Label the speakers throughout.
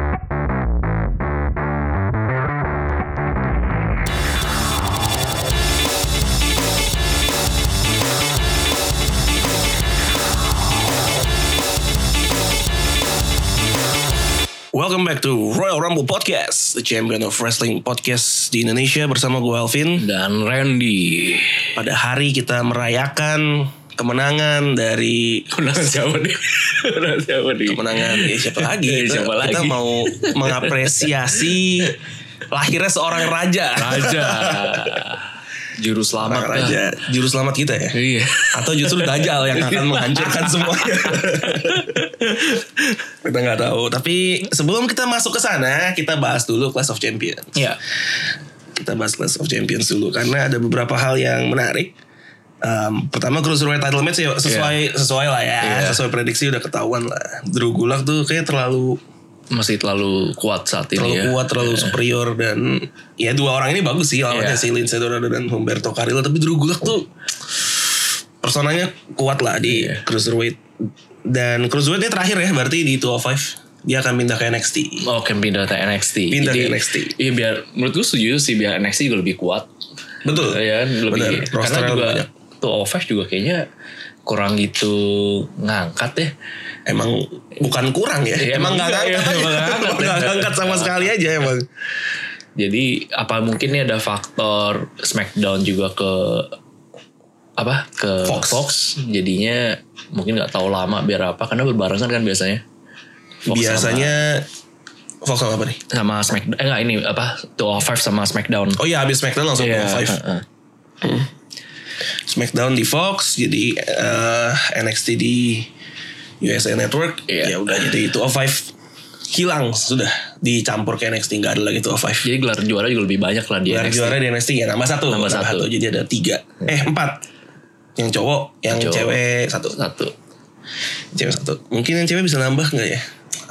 Speaker 1: Welcome back to Royal Rumble Podcast, the champion of wrestling podcast di Indonesia bersama gue Alvin.
Speaker 2: dan Randy.
Speaker 1: Pada hari kita merayakan kemenangan dari
Speaker 2: Orang Jawa nih. Orang Jawa nih.
Speaker 1: kemenangan ya siapa lagi?
Speaker 2: Ya,
Speaker 1: Kita,
Speaker 2: siapa
Speaker 1: kita
Speaker 2: lagi?
Speaker 1: mau mengapresiasi lahirnya seorang raja.
Speaker 2: Raja. Juru selamat
Speaker 1: Seorang raja, juru selamat kita ya.
Speaker 2: lah. Iya.
Speaker 1: Atau justru Dajjal yang akan menghancurkan semuanya. kita nggak tahu. Tapi sebelum kita masuk ke sana, kita bahas dulu Clash of Champions.
Speaker 2: Iya.
Speaker 1: kita bahas Clash of Champions dulu karena ada beberapa hal yang menarik. Um, pertama cruiserweight title match ya sesuai sesuai lah ya,
Speaker 2: Iya.
Speaker 1: sesuai prediksi udah ketahuan lah. Drew Gulak tuh kayak terlalu
Speaker 2: Masih terlalu kuat saat ini
Speaker 1: terlalu
Speaker 2: ya.
Speaker 1: kuat, terlalu superior dan ya dua orang ini bagus sih lawannya si
Speaker 2: Iya.
Speaker 1: Lince Dorado dan Humberto Carrillo tapi Drew Gulak tuh personanya kuat lah di
Speaker 2: Iya.
Speaker 1: cruiserweight dan cruiserweight dia terakhir ya berarti di 205 dia akan pindah ke NXT.
Speaker 2: Oke Oh, pindah ke NXT.
Speaker 1: Pindah ke
Speaker 2: Jadi,
Speaker 1: NXT.
Speaker 2: Iya biar menurut gue setuju sih biar NXT juga lebih kuat.
Speaker 1: Betul.
Speaker 2: Ya
Speaker 1: Bener,
Speaker 2: lebih
Speaker 1: rosternya
Speaker 2: karena juga
Speaker 1: banyak.
Speaker 2: tuh Ovech juga kayaknya kurang gitu ngangkat ya.
Speaker 1: emang bukan kurang ya,
Speaker 2: Iya,
Speaker 1: emang
Speaker 2: emang
Speaker 1: nggak ngangkat,
Speaker 2: iya, emang
Speaker 1: aja.
Speaker 2: nggak ngangkat.
Speaker 1: Emang nggak ngangkat sama sekali aja emang.
Speaker 2: Jadi apa mungkin ini ada faktor Smackdown juga ke apa ke
Speaker 1: Fox.
Speaker 2: Fox, jadinya mungkin nggak tahu lama biar apa karena berbarengan kan biasanya Fox
Speaker 1: Biasanya Fox sama apa nih?
Speaker 2: sama, sama Smackdown eh nggak ini apa Two Five sama Smackdown
Speaker 1: Oh iya habis SmackDown langsung
Speaker 2: Iya,
Speaker 1: yeah. Five.
Speaker 2: heeh.
Speaker 1: SmackDown di Fox, jadi eh, NXT di USA Network. Ya
Speaker 2: Iya.
Speaker 1: udah jadi itu Five hilang sudah dicampur ke NXT nggak ada lagi itu Five.
Speaker 2: jadi gelar juara juga lebih banyak lah di
Speaker 1: Gelar
Speaker 2: NXT.
Speaker 1: juara di NXT ya nambah satu,
Speaker 2: Nambah satu. Iya.
Speaker 1: Jadi ada tiga, eh empat. Yang cowok, yang
Speaker 2: Cowok.
Speaker 1: cewek satu.
Speaker 2: satu
Speaker 1: Cewek satu. Mungkin yang cewek bisa nambah nggak ya?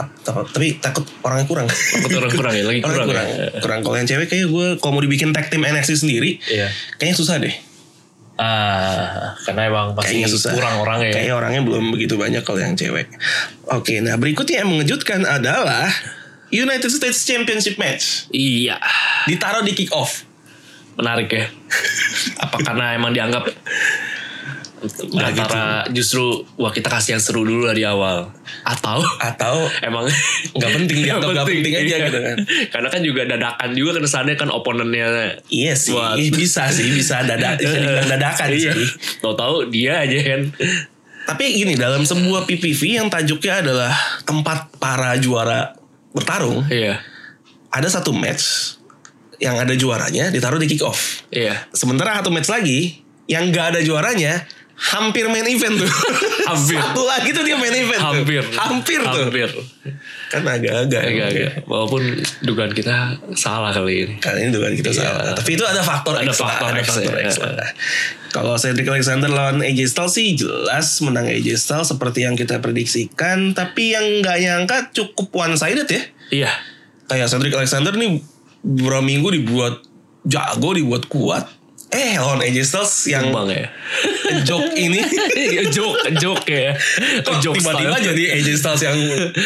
Speaker 1: Ap- Tapi takut orangnya kurang.
Speaker 2: Takut orang kurang ya lagi
Speaker 1: Orang
Speaker 2: kurang,
Speaker 1: kurang,
Speaker 2: ya.
Speaker 1: kurang. Kalau yang cewek kayaknya gue kalau mau dibikin tag team NXT sendiri,
Speaker 2: Iya.
Speaker 1: kayaknya susah deh.
Speaker 2: ah karena emang pasti
Speaker 1: Kayaknya susah.
Speaker 2: kurang orang ya
Speaker 1: Kayaknya orangnya belum begitu banyak kalau yang cewek. Oke, nah berikutnya yang mengejutkan adalah United States Championship match
Speaker 2: iya
Speaker 1: ditaruh di kick off.
Speaker 2: menarik ya apa karena emang dianggap antara justru wah kita kasih yang seru dulu dari awal atau
Speaker 1: Atau
Speaker 2: emang
Speaker 1: Nggak penting, dianggap nggak penting aja gitu kan.
Speaker 2: karena kan juga dadakan juga kan kesannya kan oponennya
Speaker 1: iya sih,
Speaker 2: Wah.
Speaker 1: bisa sih, bisa dada, bisa dibilang dadakan
Speaker 2: Iya.
Speaker 1: sih.
Speaker 2: tahu-tahu dia aja kan
Speaker 1: Tapi gini, dalam sebuah PPV yang tajuknya adalah tempat para juara bertarung,
Speaker 2: iya
Speaker 1: ada satu match yang ada juaranya ditaruh di kick off.
Speaker 2: iya
Speaker 1: Sementara satu match lagi yang gak ada juaranya hampir main event tuh.
Speaker 2: Hampir.
Speaker 1: satu lagi tuh dia main event. tuh.
Speaker 2: hampir
Speaker 1: Hampir tuh.
Speaker 2: hampir
Speaker 1: Kan agak-agak.
Speaker 2: agak-agak walaupun dugaan kita salah kali ini
Speaker 1: Kan ini dugaan kita
Speaker 2: Iya.
Speaker 1: salah. Tapi itu ada faktor
Speaker 2: Ada
Speaker 1: X lah,
Speaker 2: faktor
Speaker 1: ada
Speaker 2: X,
Speaker 1: faktor
Speaker 2: ya.
Speaker 1: X lah. Kalau Cedric Alexander lawan AJ Styles sih jelas menang AJ Styles seperti yang kita prediksikan. Tapi yang nggak nyangka cukup one sided ya.
Speaker 2: iya
Speaker 1: Kayak Cedric Alexander nih beberapa minggu dibuat jago, dibuat kuat. Eh lawan AJ Styles yang
Speaker 2: bang ya Iya,
Speaker 1: joke ini
Speaker 2: joke joke ya
Speaker 1: Kok
Speaker 2: joke
Speaker 1: tiba-tiba jadi AJ Styles yang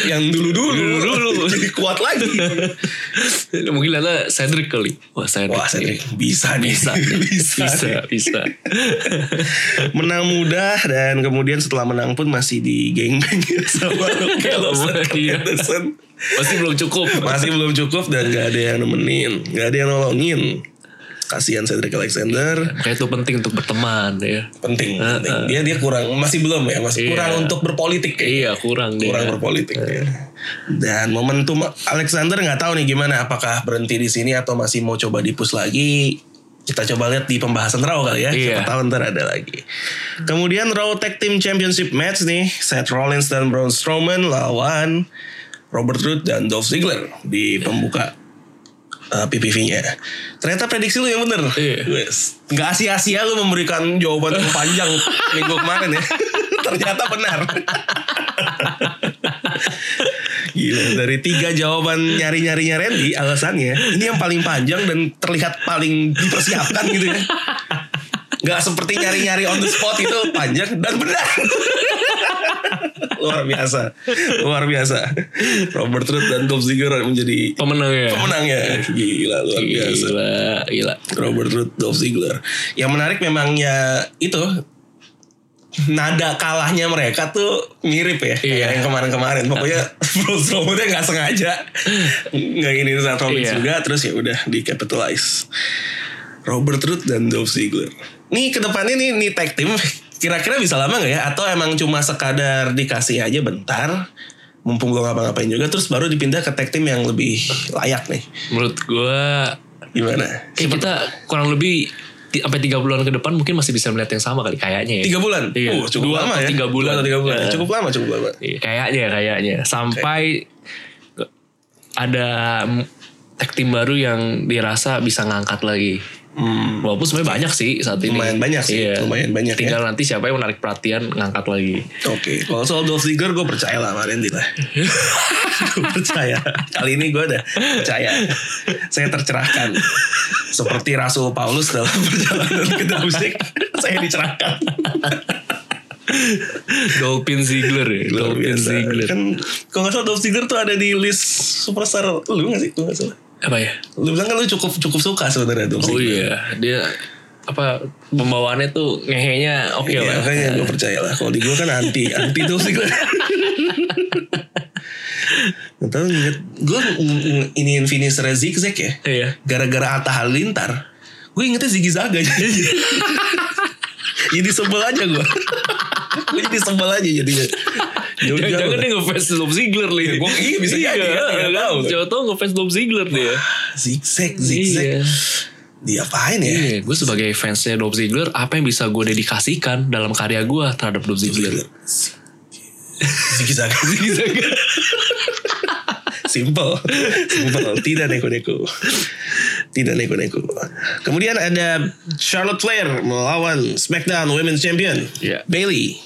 Speaker 1: yang dulu-dulu
Speaker 2: Dulu-dulu.
Speaker 1: jadi kuat lagi.
Speaker 2: style. mungkin Lala Cedric kali wah Cedric
Speaker 1: Wah, Cedric bisa nih.
Speaker 2: Iya. bisa
Speaker 1: bisa.
Speaker 2: bisa
Speaker 1: nih.
Speaker 2: bisa
Speaker 1: Menang mudah dan kemudian setelah menang pun masih di gangbang sama Kelvin
Speaker 2: Iya.
Speaker 1: Anderson.
Speaker 2: masih belum cukup
Speaker 1: Masih belum cukup dan gak ada yang nemenin, gak ada yang nolongin. Kasihan Cedric Alexander.
Speaker 2: Makanya itu penting untuk berteman ya
Speaker 1: Penting, penting. Dia dia kurang masih belum ya, masih
Speaker 2: Iya.
Speaker 1: kurang untuk berpolitik. ya.
Speaker 2: iya Eh. kurang deh
Speaker 1: kurang berpolitik ya. Dan momentum Alexander nggak tahu nih gimana apakah berhenti di sini atau masih mau coba dipus lagi. Kita coba lihat di pembahasan Raw kali ya.
Speaker 2: Iya.
Speaker 1: Siapa tahu ntar ada lagi. Kemudian Raw Tag Team Championship match nih, Seth Rollins dan Braun Strowman lawan Robert Roode dan Dolph Ziggler di pembuka uh, PPV-nya. Ternyata prediksi lu yang bener.
Speaker 2: Iya.
Speaker 1: Wes. Nggak sia-sia lu memberikan jawaban yang panjang minggu kemarin ya. Ternyata benar. Gila, dari tiga jawaban nyari-nyarinya Randy alasannya ini yang paling panjang dan terlihat paling dipersiapkan gitu ya. Gak seperti nyari-nyari on the spot itu panjang dan benar. luar biasa, luar biasa. Robert Ruth dan Tom Ziegler menjadi
Speaker 2: Pemenangnya.
Speaker 1: pemenangnya. Gila, luar biasa.
Speaker 2: Gila, gila.
Speaker 1: Robert Ruth, Dolph Ziggler. Yang menarik memang ya itu nada kalahnya mereka tuh mirip ya kayak
Speaker 2: Iya.
Speaker 1: yang kemarin-kemarin. Pokoknya Braun Strowman-nya nggak sengaja nggak ini Seth Rollins
Speaker 2: Iya.
Speaker 1: juga, terus ya udah di capitalize. Robert Root dan Dolph Ziggler. Nih kedepannya nih nih tag team kira-kira bisa lama nggak ya? Atau emang cuma sekadar dikasih aja bentar? Mumpung gue ngapa-ngapain juga, terus baru dipindah ke tag team yang lebih layak nih.
Speaker 2: Menurut gue
Speaker 1: Gimana?
Speaker 2: kayak kita kurang lebih ti- sampai tiga bulan ke depan mungkin masih bisa melihat yang sama kali kayaknya ya.
Speaker 1: tiga bulan
Speaker 2: Iya.
Speaker 1: Uh, cukup
Speaker 2: Dua
Speaker 1: lama
Speaker 2: atau
Speaker 1: ya
Speaker 2: tiga
Speaker 1: Dua
Speaker 2: bulan.
Speaker 1: atau tiga bulan
Speaker 2: Iya.
Speaker 1: cukup lama cukup lama
Speaker 2: Iya, Kayaknya kayaknya sampai ada mm, tag team baru yang dirasa bisa ngangkat lagi. Walaupun sebenarnya banyak sih saat ini.
Speaker 1: Hmm.
Speaker 2: Iya.
Speaker 1: Lumayan banyak sih, lumayan banyak ya.
Speaker 2: Tinggal nanti siapa yang menarik perhatian ngangkat lagi.
Speaker 1: oke kalau soal Dolph Ziggler gue percaya lah sama Randy lah gue percaya kali ini gue udah percaya saya tercerahkan seperti Rasul Paulus dalam perjalanan ke Damasik saya dicerahkan
Speaker 2: Dolphin Ziggler ya.
Speaker 1: Luar
Speaker 2: Dolphin
Speaker 1: biasa.
Speaker 2: Ziggler.
Speaker 1: kan kalau nggak salah Dolph Ziggler tuh ada di list superstar lu nggak sih kalau nggak salah
Speaker 2: Apa ya?
Speaker 1: lu bilang kan lu cukup cukup suka sebenarnya Dolph
Speaker 2: Oh
Speaker 1: Ziggler
Speaker 2: iya, dia apa pembawaannya tuh ngehenya oke
Speaker 1: Iya,
Speaker 2: lah.
Speaker 1: makanya gue percaya lah. Kalau di gue kan anti, anti tuh sih gue. Nggak tahu inget, gue ini finisher zigzag ya.
Speaker 2: Iya.
Speaker 1: Gara-gara Atta Halilintar, gue ingetnya Ziggy Zaga jadi. jadi sebel aja gue. gue jadi sebel aja jadinya.
Speaker 2: Jangan,
Speaker 1: Jauh-jauh
Speaker 2: jangan
Speaker 1: lah.
Speaker 2: dia ngefans Dolph Ziggler nih.
Speaker 1: Iya, gua- iya, bisa jadi, ya,
Speaker 2: Iya,
Speaker 1: nggak
Speaker 2: nggak
Speaker 1: tahu.
Speaker 2: tahu. Siapa tahu ngefans Dolph Ziggler dia.
Speaker 1: Zigzag, zigzag. Ya.
Speaker 2: Iya.
Speaker 1: Diapain ya?
Speaker 2: Iya, gue sebagai fansnya Dolph Ziggler, apa yang bisa gue dedikasikan dalam karya gue terhadap Dolph Ziggler?
Speaker 1: Iya. Ziggy Zaga. Ziggy Zaga. Simple. Simple. Tidak neko-neko. Tidak neko-neko. Kemudian ada Charlotte Flair melawan SmackDown Women's Champion.
Speaker 2: Iya.
Speaker 1: Bailey.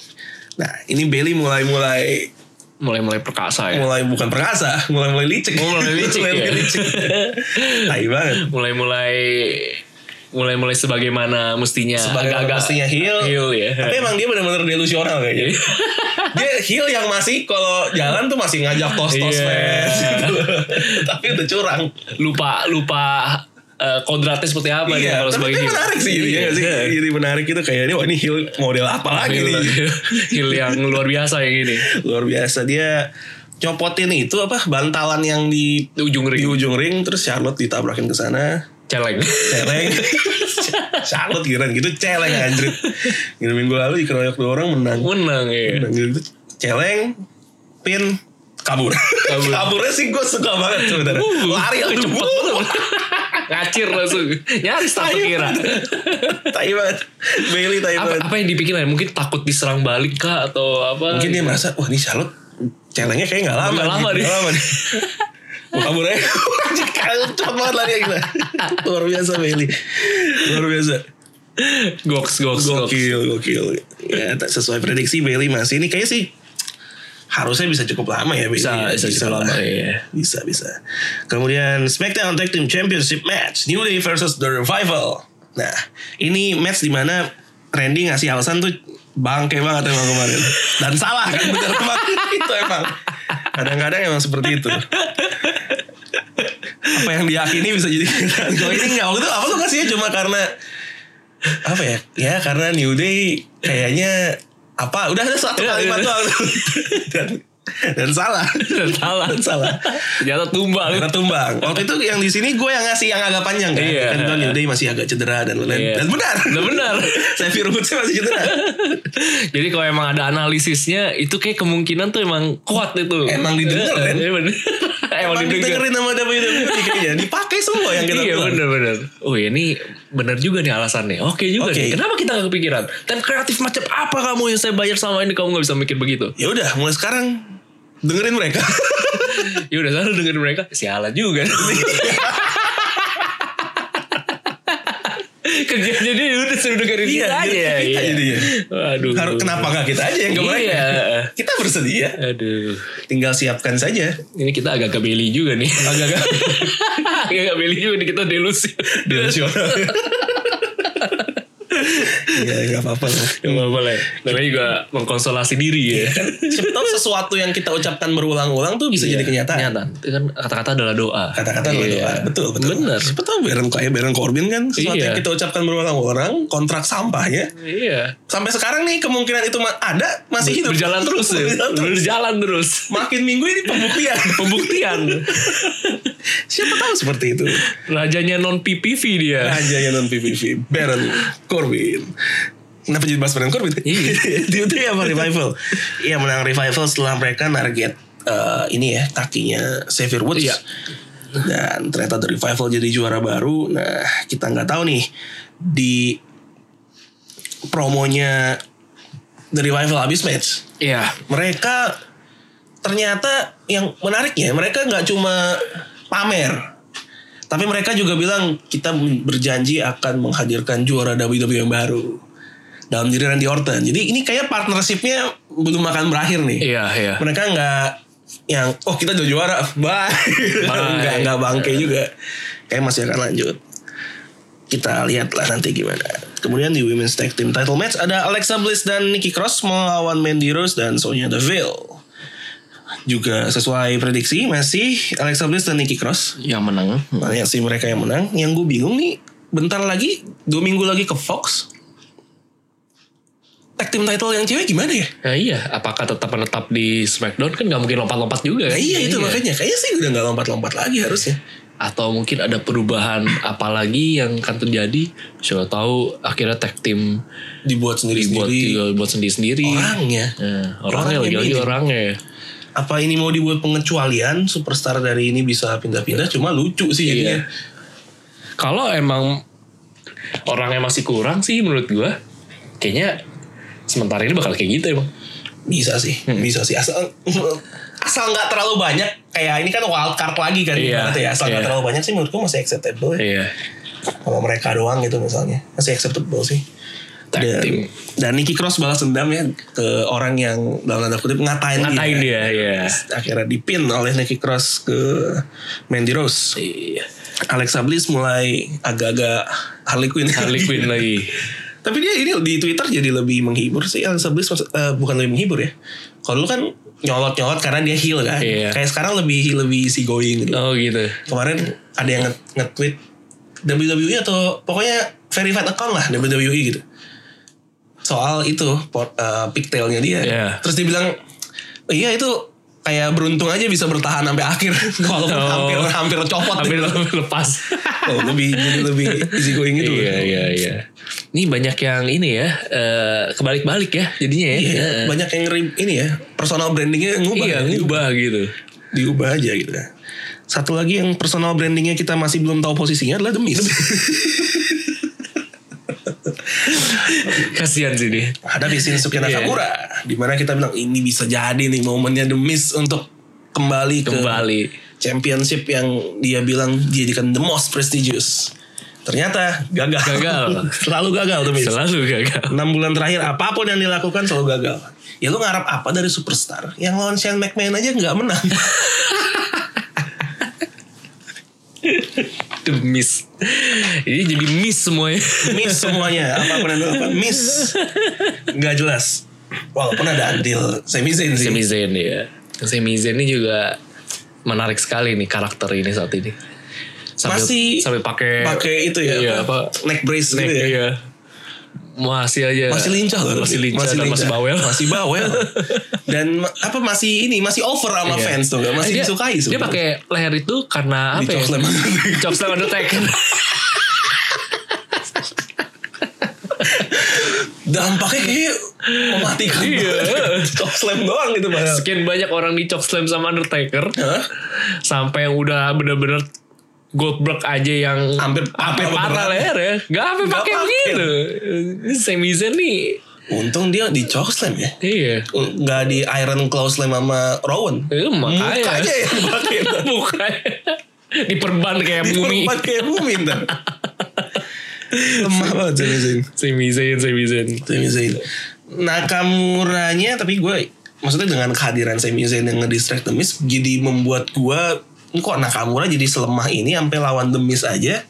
Speaker 1: Nah, ini Bailey mulai-mulai
Speaker 2: Eh. Mulai-mulai perkasa ya.
Speaker 1: mulai bukan perkasa, mulai-mulai licik.
Speaker 2: Oh, mulai licik ya.
Speaker 1: licik. Tai banget.
Speaker 2: Mulai-mulai mulai-mulai sebagaimana mestinya
Speaker 1: Sebagai pastinya heel.
Speaker 2: heel ya.
Speaker 1: Tapi emang dia benar-benar delusional kayaknya.
Speaker 2: Iya.
Speaker 1: dia heel yang masih kalau jalan tuh masih ngajak tos-tos
Speaker 2: Iya.
Speaker 1: fans gitu. Tapi udah curang.
Speaker 2: lupa lupa eh, kodratnya seperti apa dia
Speaker 1: Iya,
Speaker 2: kalau
Speaker 1: tapi
Speaker 2: sebagai
Speaker 1: dia
Speaker 2: heel.
Speaker 1: menarik sih jadinya nggak sih.
Speaker 2: Iya.
Speaker 1: Jadi menarik itu kayak ini wah ini heel model apa lagi
Speaker 2: Heel,
Speaker 1: nih.
Speaker 2: heel yang luar biasa yang ini.
Speaker 1: Luar biasa dia copotin itu apa bantalan yang di
Speaker 2: Di ujung
Speaker 1: di
Speaker 2: ring.
Speaker 1: ujung ring terus Charlotte ditabrakin ke sana
Speaker 2: Celeng.
Speaker 1: celeng Charlotte kirain gitu celeng anjrit Gitu, minggu lalu dikeroyok dua orang menang
Speaker 2: Menang ya.
Speaker 1: Nah, gitu. celeng pin kabur
Speaker 2: Kabur. Uh.
Speaker 1: kaburnya sih gue suka banget sebenarnya lari langsung
Speaker 2: cepet
Speaker 1: wuh.
Speaker 2: Ngacir langsung. Nyaris tak
Speaker 1: Tai
Speaker 2: kira.
Speaker 1: banget. tai banget Bailey tai
Speaker 2: Apa,
Speaker 1: banget
Speaker 2: apa yang dipikirin? Mungkin takut diserang balik kah atau apa?
Speaker 1: mungkin dia merasa wah ini Charlotte celengnya kayak gak lama
Speaker 2: Nggak lama
Speaker 1: nih.
Speaker 2: nih.
Speaker 1: Nggak lama nih Wah, kabur aja Kacau banget lari gitu luar biasa Bailey luar biasa
Speaker 2: goks goks goks.
Speaker 1: Gokil, gokil. Ya, tak- sesuai prediksi Bailey masih ini kayaknya sih harusnya bisa cukup lama ya Bailey. Ya,
Speaker 2: Bisa, bisa cukup
Speaker 1: lah.
Speaker 2: lama, iya.
Speaker 1: Bisa, bisa. Kemudian SmackDown Tag Team Championship match New Day versus The Revival. Nah, ini match di mana Randy ngasih alasan tuh bangke banget emang kemarin. Dan salah kan bener emang itu emang. Kadang-kadang emang seperti itu. Apa yang diyakini bisa jadi kenyataan. Kalau ini enggak waktu itu apa lu ngasihnya cuma karena apa ya ya karena New Day kayaknya apa udah ada satu
Speaker 2: Iya,
Speaker 1: kalimat
Speaker 2: iya.
Speaker 1: doang dan, dan salah
Speaker 2: Dan salah.
Speaker 1: dan salah
Speaker 2: Ternyata tumbal.
Speaker 1: karena tumbang waktu itu yang di sini gue yang ngasih yang agak panjang kan
Speaker 2: Iya.
Speaker 1: kan bilang New Day masih agak cedera dan lain-lain
Speaker 2: Iya.
Speaker 1: dan benar
Speaker 2: Nah, benar. Eh,
Speaker 1: saya Woodsnya masih cedera
Speaker 2: Jadi kalau emang ada analisisnya itu kayak kemungkinan tuh emang kuat itu.
Speaker 1: Emang didengar,
Speaker 2: Iya,
Speaker 1: Ren.
Speaker 2: iya, bener. Emang
Speaker 1: Emang
Speaker 2: didengar.
Speaker 1: didengerin sama WWE kayaknya dipakai semua yang kita
Speaker 2: iya
Speaker 1: bilang.
Speaker 2: bener-bener. Oh iya, ini bener juga nih alasannya. Oke
Speaker 1: Oke.
Speaker 2: juga nih. Kenapa kita gak kepikiran? Dan kreatif macam apa kamu yang saya bayar sama ini kamu gak bisa mikir begitu?
Speaker 1: ya udah mulai sekarang dengerin mereka
Speaker 2: Ya udah selalu dengerin mereka. Sialan juga. Kerjanya dia udah suruh dengerin
Speaker 1: Iya,
Speaker 2: kita aja.
Speaker 1: dengerin kita
Speaker 2: Iya.
Speaker 1: jadinya.
Speaker 2: Aduh.
Speaker 1: Har- kenapa gak kita aja yang ke mereka
Speaker 2: Iya. Iya.
Speaker 1: Kita bersedia.
Speaker 2: Aduh.
Speaker 1: Tinggal siapkan saja.
Speaker 2: Ini kita agak-agak beli juga nih. Agak-agak. agak-agak beli juga nih kita delusi.
Speaker 1: Dimensional. Iya, nggak apa-apa lah.
Speaker 2: Gak apa-apa lah. ya. Namanya
Speaker 1: Iya.
Speaker 2: juga mengkonsolasi diri ya.
Speaker 1: Siapa tahu sesuatu yang kita ucapkan berulang-ulang tuh bisa kan jadi kenyataan.
Speaker 2: Iya. Kenyataan. Itu kan kata-kata adalah doa.
Speaker 1: Kata-kata adalah
Speaker 2: Iya.
Speaker 1: doa. Betul, betul.
Speaker 2: Bener.
Speaker 1: Siapa tahu Baron kayak Baron Corbin kan sesuatu
Speaker 2: Iya.
Speaker 1: yang kita ucapkan berulang-ulang, kontrak sampah ya.
Speaker 2: Iya.
Speaker 1: Sampai sekarang nih kemungkinan itu ma- ada masih hidup.
Speaker 2: Berjalan terus ya.
Speaker 1: Berjalan terus.
Speaker 2: Berjalan terus.
Speaker 1: Makin minggu ini pembuktian.
Speaker 2: Pembuktian.
Speaker 1: Siapa tahu seperti itu.
Speaker 2: Rajanya non PPV dia.
Speaker 1: Raja Nah, yang non PVV, Baron Corbin. Kenapa jadi bahas Baron Corbin?
Speaker 2: Iya.
Speaker 1: Dia itu ya revival. Iya menang revival setelah mereka target eh, ini ya kakinya Xavier Woods.
Speaker 2: Iya.
Speaker 1: Dan ternyata The Revival jadi juara baru. Nah kita nggak tahu nih di promonya The Revival habis match
Speaker 2: Iya.
Speaker 1: mereka ternyata yang menariknya mereka nggak cuma pamer tapi mereka juga bilang kita berjanji akan menghadirkan juara WWE yang baru dalam diri Randy Orton jadi ini kayak partnershipnya belum akan berakhir nih
Speaker 2: Iya, iya.
Speaker 1: mereka nggak yang oh kita udah juara bye nggak nggak bangke juga kayak masih akan lanjut kita lihatlah nanti gimana kemudian di women's tag team title match ada Alexa Bliss dan Nikki Cross melawan Mandy Rose dan Sonya Deville juga sesuai prediksi masih Alexa Bliss dan Nikki Cross
Speaker 2: Yang menang.
Speaker 1: banyak sih mereka yang menang yang gue bingung nih bentar lagi dua minggu lagi ke Fox tag team title yang cewek gimana ya
Speaker 2: Nah, iya, apakah tetap menetap di SmackDown kan nggak mungkin lompat-lompat juga kan?
Speaker 1: Nah, iya itu makanya kayaknya sih udah nggak lompat-lompat lagi harusnya
Speaker 2: Atau mungkin ada perubahan apalagi yang akan terjadi? Siapa tahu akhirnya tag team
Speaker 1: dibuat sendiri
Speaker 2: dibuat iya.
Speaker 1: sendiri
Speaker 2: juga buat sendiri-sendiri.
Speaker 1: orangnya
Speaker 2: Nah, orangnya
Speaker 1: Orangnya
Speaker 2: lagi-lagi
Speaker 1: minim.
Speaker 2: orangnya.
Speaker 1: apa ini mau dibuat pengecualian superstar dari ini bisa pindah-pindah cuma lucu
Speaker 2: Iya.
Speaker 1: sih jadinya
Speaker 2: Kalau emang orangnya masih kurang sih menurut gua, kayaknya sementara ini bakal kayak gitu emang.
Speaker 1: bisa sih
Speaker 2: Hmm.
Speaker 1: bisa sih asal asal nggak terlalu banyak kayak ini kan wild card lagi kan
Speaker 2: Iya,
Speaker 1: ibaratnya ya asal nggak
Speaker 2: iya.
Speaker 1: terlalu banyak sih menurutku masih acceptable ya.
Speaker 2: Iya.
Speaker 1: sama mereka doang gitu misalnya masih acceptable sih
Speaker 2: Tag
Speaker 1: dan,
Speaker 2: team.
Speaker 1: dan Nicky Cross balas dendam ya ke orang yang dalam tanda kutip ngatain,
Speaker 2: Ngatain dia, ya.
Speaker 1: akhirnya dipin oleh Nicky Cross ke Mandy Rose
Speaker 2: Iya.
Speaker 1: Alexa Bliss mulai agak-agak Harley Quinn.
Speaker 2: Harley Quinn lagi.
Speaker 1: Tapi dia ini di Twitter jadi lebih menghibur sih Alexa Bliss maksud- eh, bukan lebih menghibur ya. Kalau dulu kan nyolot-nyolot karena dia heel kan.
Speaker 2: Iya.
Speaker 1: Kayak sekarang lebih lebih easy going gitu.
Speaker 2: Oh gitu.
Speaker 1: Kemarin ada yang nge- nge-tweet WWE atau pokoknya verified account lah WWE gitu. Soal itu pot, eh, pigtailnya dia.
Speaker 2: Iya.
Speaker 1: Terus dia bilang iya itu kayak beruntung aja bisa bertahan sampai akhir walaupun
Speaker 2: Oh.
Speaker 1: hampir hampir copot
Speaker 2: Hampir
Speaker 1: gitu.
Speaker 2: lepas.
Speaker 1: Oh, lebih jadi lebih easy going gitu.
Speaker 2: Iya
Speaker 1: loh.
Speaker 2: iya iya. Ini banyak yang ini ya eh, kebalik-balik ya jadinya ya.
Speaker 1: Iya,
Speaker 2: Heeh.
Speaker 1: banyak yang ngeri- ini ya personal brandingnya ngubah,
Speaker 2: Iya,
Speaker 1: Ini
Speaker 2: ngubah gitu.
Speaker 1: diubah aja gitu. Satu lagi yang personal brandingnya kita masih belum tahu posisinya adalah Demis.
Speaker 2: Kasihan sih dia.
Speaker 1: Ada di Shinsuke
Speaker 2: Iya.
Speaker 1: Nakamura, di mana kita bilang ini bisa jadi nih momennya Demis untuk kembali ke
Speaker 2: Kembali.
Speaker 1: championship yang dia bilang dijadikan the most prestigious. Ternyata gagal.
Speaker 2: Gagal.
Speaker 1: Selalu gagal Demis.
Speaker 2: Selalu gagal.
Speaker 1: 6 bulan terakhir apapun yang dilakukan selalu gagal. Ya lu ngarap apa dari superstar? Yang lawan Shane McMahon aja nggak menang.
Speaker 2: The miss. Ini jadi miss semuanya.
Speaker 1: miss semuanya. Apapun yang dilakukan miss. Nggak jelas. Walaupun ada andil Sami Zayn sih.
Speaker 2: Sami Zayn ya. Sami Zayn ini juga menarik sekali nih karakter ini saat ini. Sambil,
Speaker 1: Masih
Speaker 2: sampai pakai
Speaker 1: Pakai itu ya.
Speaker 2: Iya,
Speaker 1: apa,
Speaker 2: apa?
Speaker 1: Neck brace
Speaker 2: Snack,
Speaker 1: gitu ya.
Speaker 2: iya. Masih aja.
Speaker 1: Masih lincah loh.
Speaker 2: Masih lincah dan masih bawel.
Speaker 1: Masih bawel. Dan ma- apa masih ini masih over sama
Speaker 2: Iya.
Speaker 1: fans tuh nggak? Masih
Speaker 2: Dia-
Speaker 1: disukai
Speaker 2: Dia pakai leher itu karena
Speaker 1: Di
Speaker 2: apa ya?
Speaker 1: Chokeslam.
Speaker 2: Chokeslam Undertaker.
Speaker 1: Dampaknya kayak mematikan.
Speaker 2: Iya.
Speaker 1: banget. Top slam doang gitu padahal.
Speaker 2: Sekian banyak orang di Chokeslam sama Undertaker.
Speaker 1: Hah?
Speaker 2: Sampai yang udah bener-bener Goldberg aja yang
Speaker 1: Hampir
Speaker 2: sampai
Speaker 1: patah
Speaker 2: patah
Speaker 1: beneran.
Speaker 2: leher ya. Gak sampai
Speaker 1: Nggak
Speaker 2: pakai
Speaker 1: pakai.
Speaker 2: begitu. Ini Sami Zayn nih.
Speaker 1: Untung dia di chok slam ya.
Speaker 2: Iya.
Speaker 1: nggak di Iron Claw Slam sama Rowan.
Speaker 2: Itu makanya.
Speaker 1: Muka aja yang pakai.
Speaker 2: Mukanya. Diperban kayak bumi.
Speaker 1: Diperban kayak bumi ntar. Lemah banget Sami Zayn.
Speaker 2: Sami Zayn, Sami Zayn.
Speaker 1: Sami Zayn. Nakamuranya Nah, tapi gue maksudnya dengan kehadiran Sami Zayn yang ngedistract The Miz jadi membuat gua ini kok Nakamura jadi selemah ini sampai lawan The Miz aja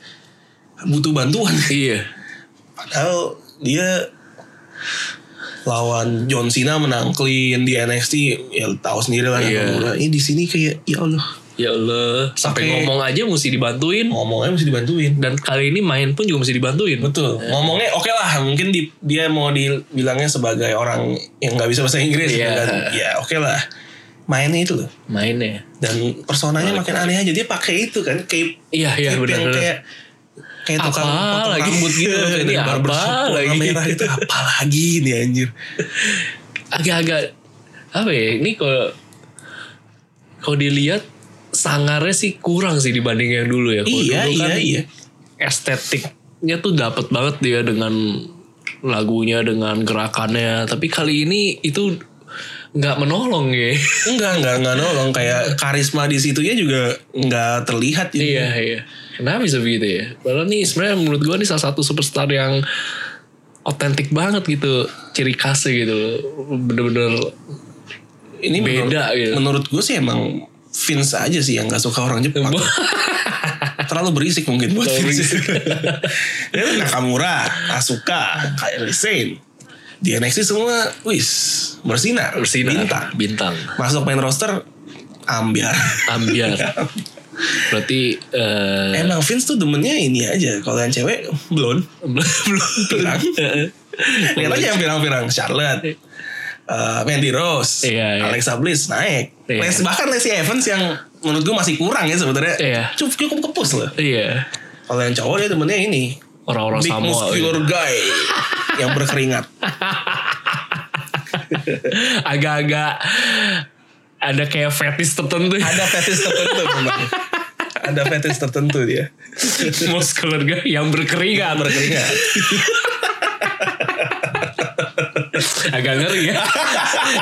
Speaker 1: butuh bantuan
Speaker 2: Iya.
Speaker 1: padahal dia lawan John Cena menang clean di NXT ya tahu sendiri lah
Speaker 2: Iya.
Speaker 1: Nakamura ini di sini kayak ya Allah
Speaker 2: Ya Allah, sampai
Speaker 1: Pakai-
Speaker 2: ngomong aja mesti dibantuin
Speaker 1: ngomongnya mesti dibantuin
Speaker 2: dan kali ini main pun juga mesti dibantuin.
Speaker 1: Oh. Betul. Ngomongnya oke lah, mungkin di- dia mau dibilangnya sebagai orang yang nggak bisa bahasa Inggris,
Speaker 2: Iya.
Speaker 1: dan ya oke lah. Mainnya itu loh.
Speaker 2: Mainnya.
Speaker 1: Dan personanya makin aneh aja. Dia pakai itu kan, cape,
Speaker 2: Iya, iya
Speaker 1: cape yang
Speaker 2: benar benar.
Speaker 1: kayak kayak tukang
Speaker 2: Apa
Speaker 1: potong
Speaker 2: lagi?
Speaker 1: rambut gitu loh, kayak
Speaker 2: Ini
Speaker 1: dari
Speaker 2: apa
Speaker 1: barbershop warna
Speaker 2: lagi?
Speaker 1: merah itu apa lagi ini anjir
Speaker 2: Agak-agak apa ya? Ini kalau kalau dilihat sangarnya sih kurang sih dibanding yang dulu ya. Kalau
Speaker 1: iya
Speaker 2: dulu
Speaker 1: iya
Speaker 2: kan
Speaker 1: iya
Speaker 2: estetiknya tuh dapat banget dia dengan lagunya dengan gerakannya tapi kali ini itu nggak menolong ya
Speaker 1: enggak enggak enggak nolong kayak karisma di situnya juga enggak terlihat gitu.
Speaker 2: iya iya kenapa bisa begitu ya padahal nih sebenarnya menurut gua nih salah satu superstar yang otentik banget gitu ciri khasnya gitu loh. bener-bener
Speaker 1: ini
Speaker 2: Beda
Speaker 1: menurut,
Speaker 2: gitu.
Speaker 1: menurut gue sih emang Vince aja sih yang gak suka orang Jepang terlalu berisik mungkin buat Vince Dia Nakamura Asuka Kairi Sane di NXT semua wis bersinar
Speaker 2: bersinar
Speaker 1: bintang
Speaker 2: bintang
Speaker 1: masuk main roster ambiar
Speaker 2: ambiar
Speaker 1: Iya.
Speaker 2: berarti eh,
Speaker 1: emang Vince tuh demennya ini aja kalau yang cewek blonde
Speaker 2: belum
Speaker 1: pirang lihat aja yang pirang-pirang Charlotte eh, Mandy Rose
Speaker 2: Iya, iya.
Speaker 1: Alexa Bliss naik
Speaker 2: Iya.
Speaker 1: Les, bahkan Lacey Evans yang menurut gue masih kurang ya sebenarnya
Speaker 2: Iya.
Speaker 1: cukup cukup kepus lah
Speaker 2: iya
Speaker 1: kalau yang cowok dia temennya ini
Speaker 2: orang-orang
Speaker 1: big
Speaker 2: Samoa gitu.
Speaker 1: muscular guy yang berkeringat
Speaker 2: agak-agak ada kayak fetish tertentu
Speaker 1: ada fetish tertentu memang ada fetish tertentu dia
Speaker 2: muscular guy yang berkeringat
Speaker 1: berkeringat
Speaker 2: agak ngeri ya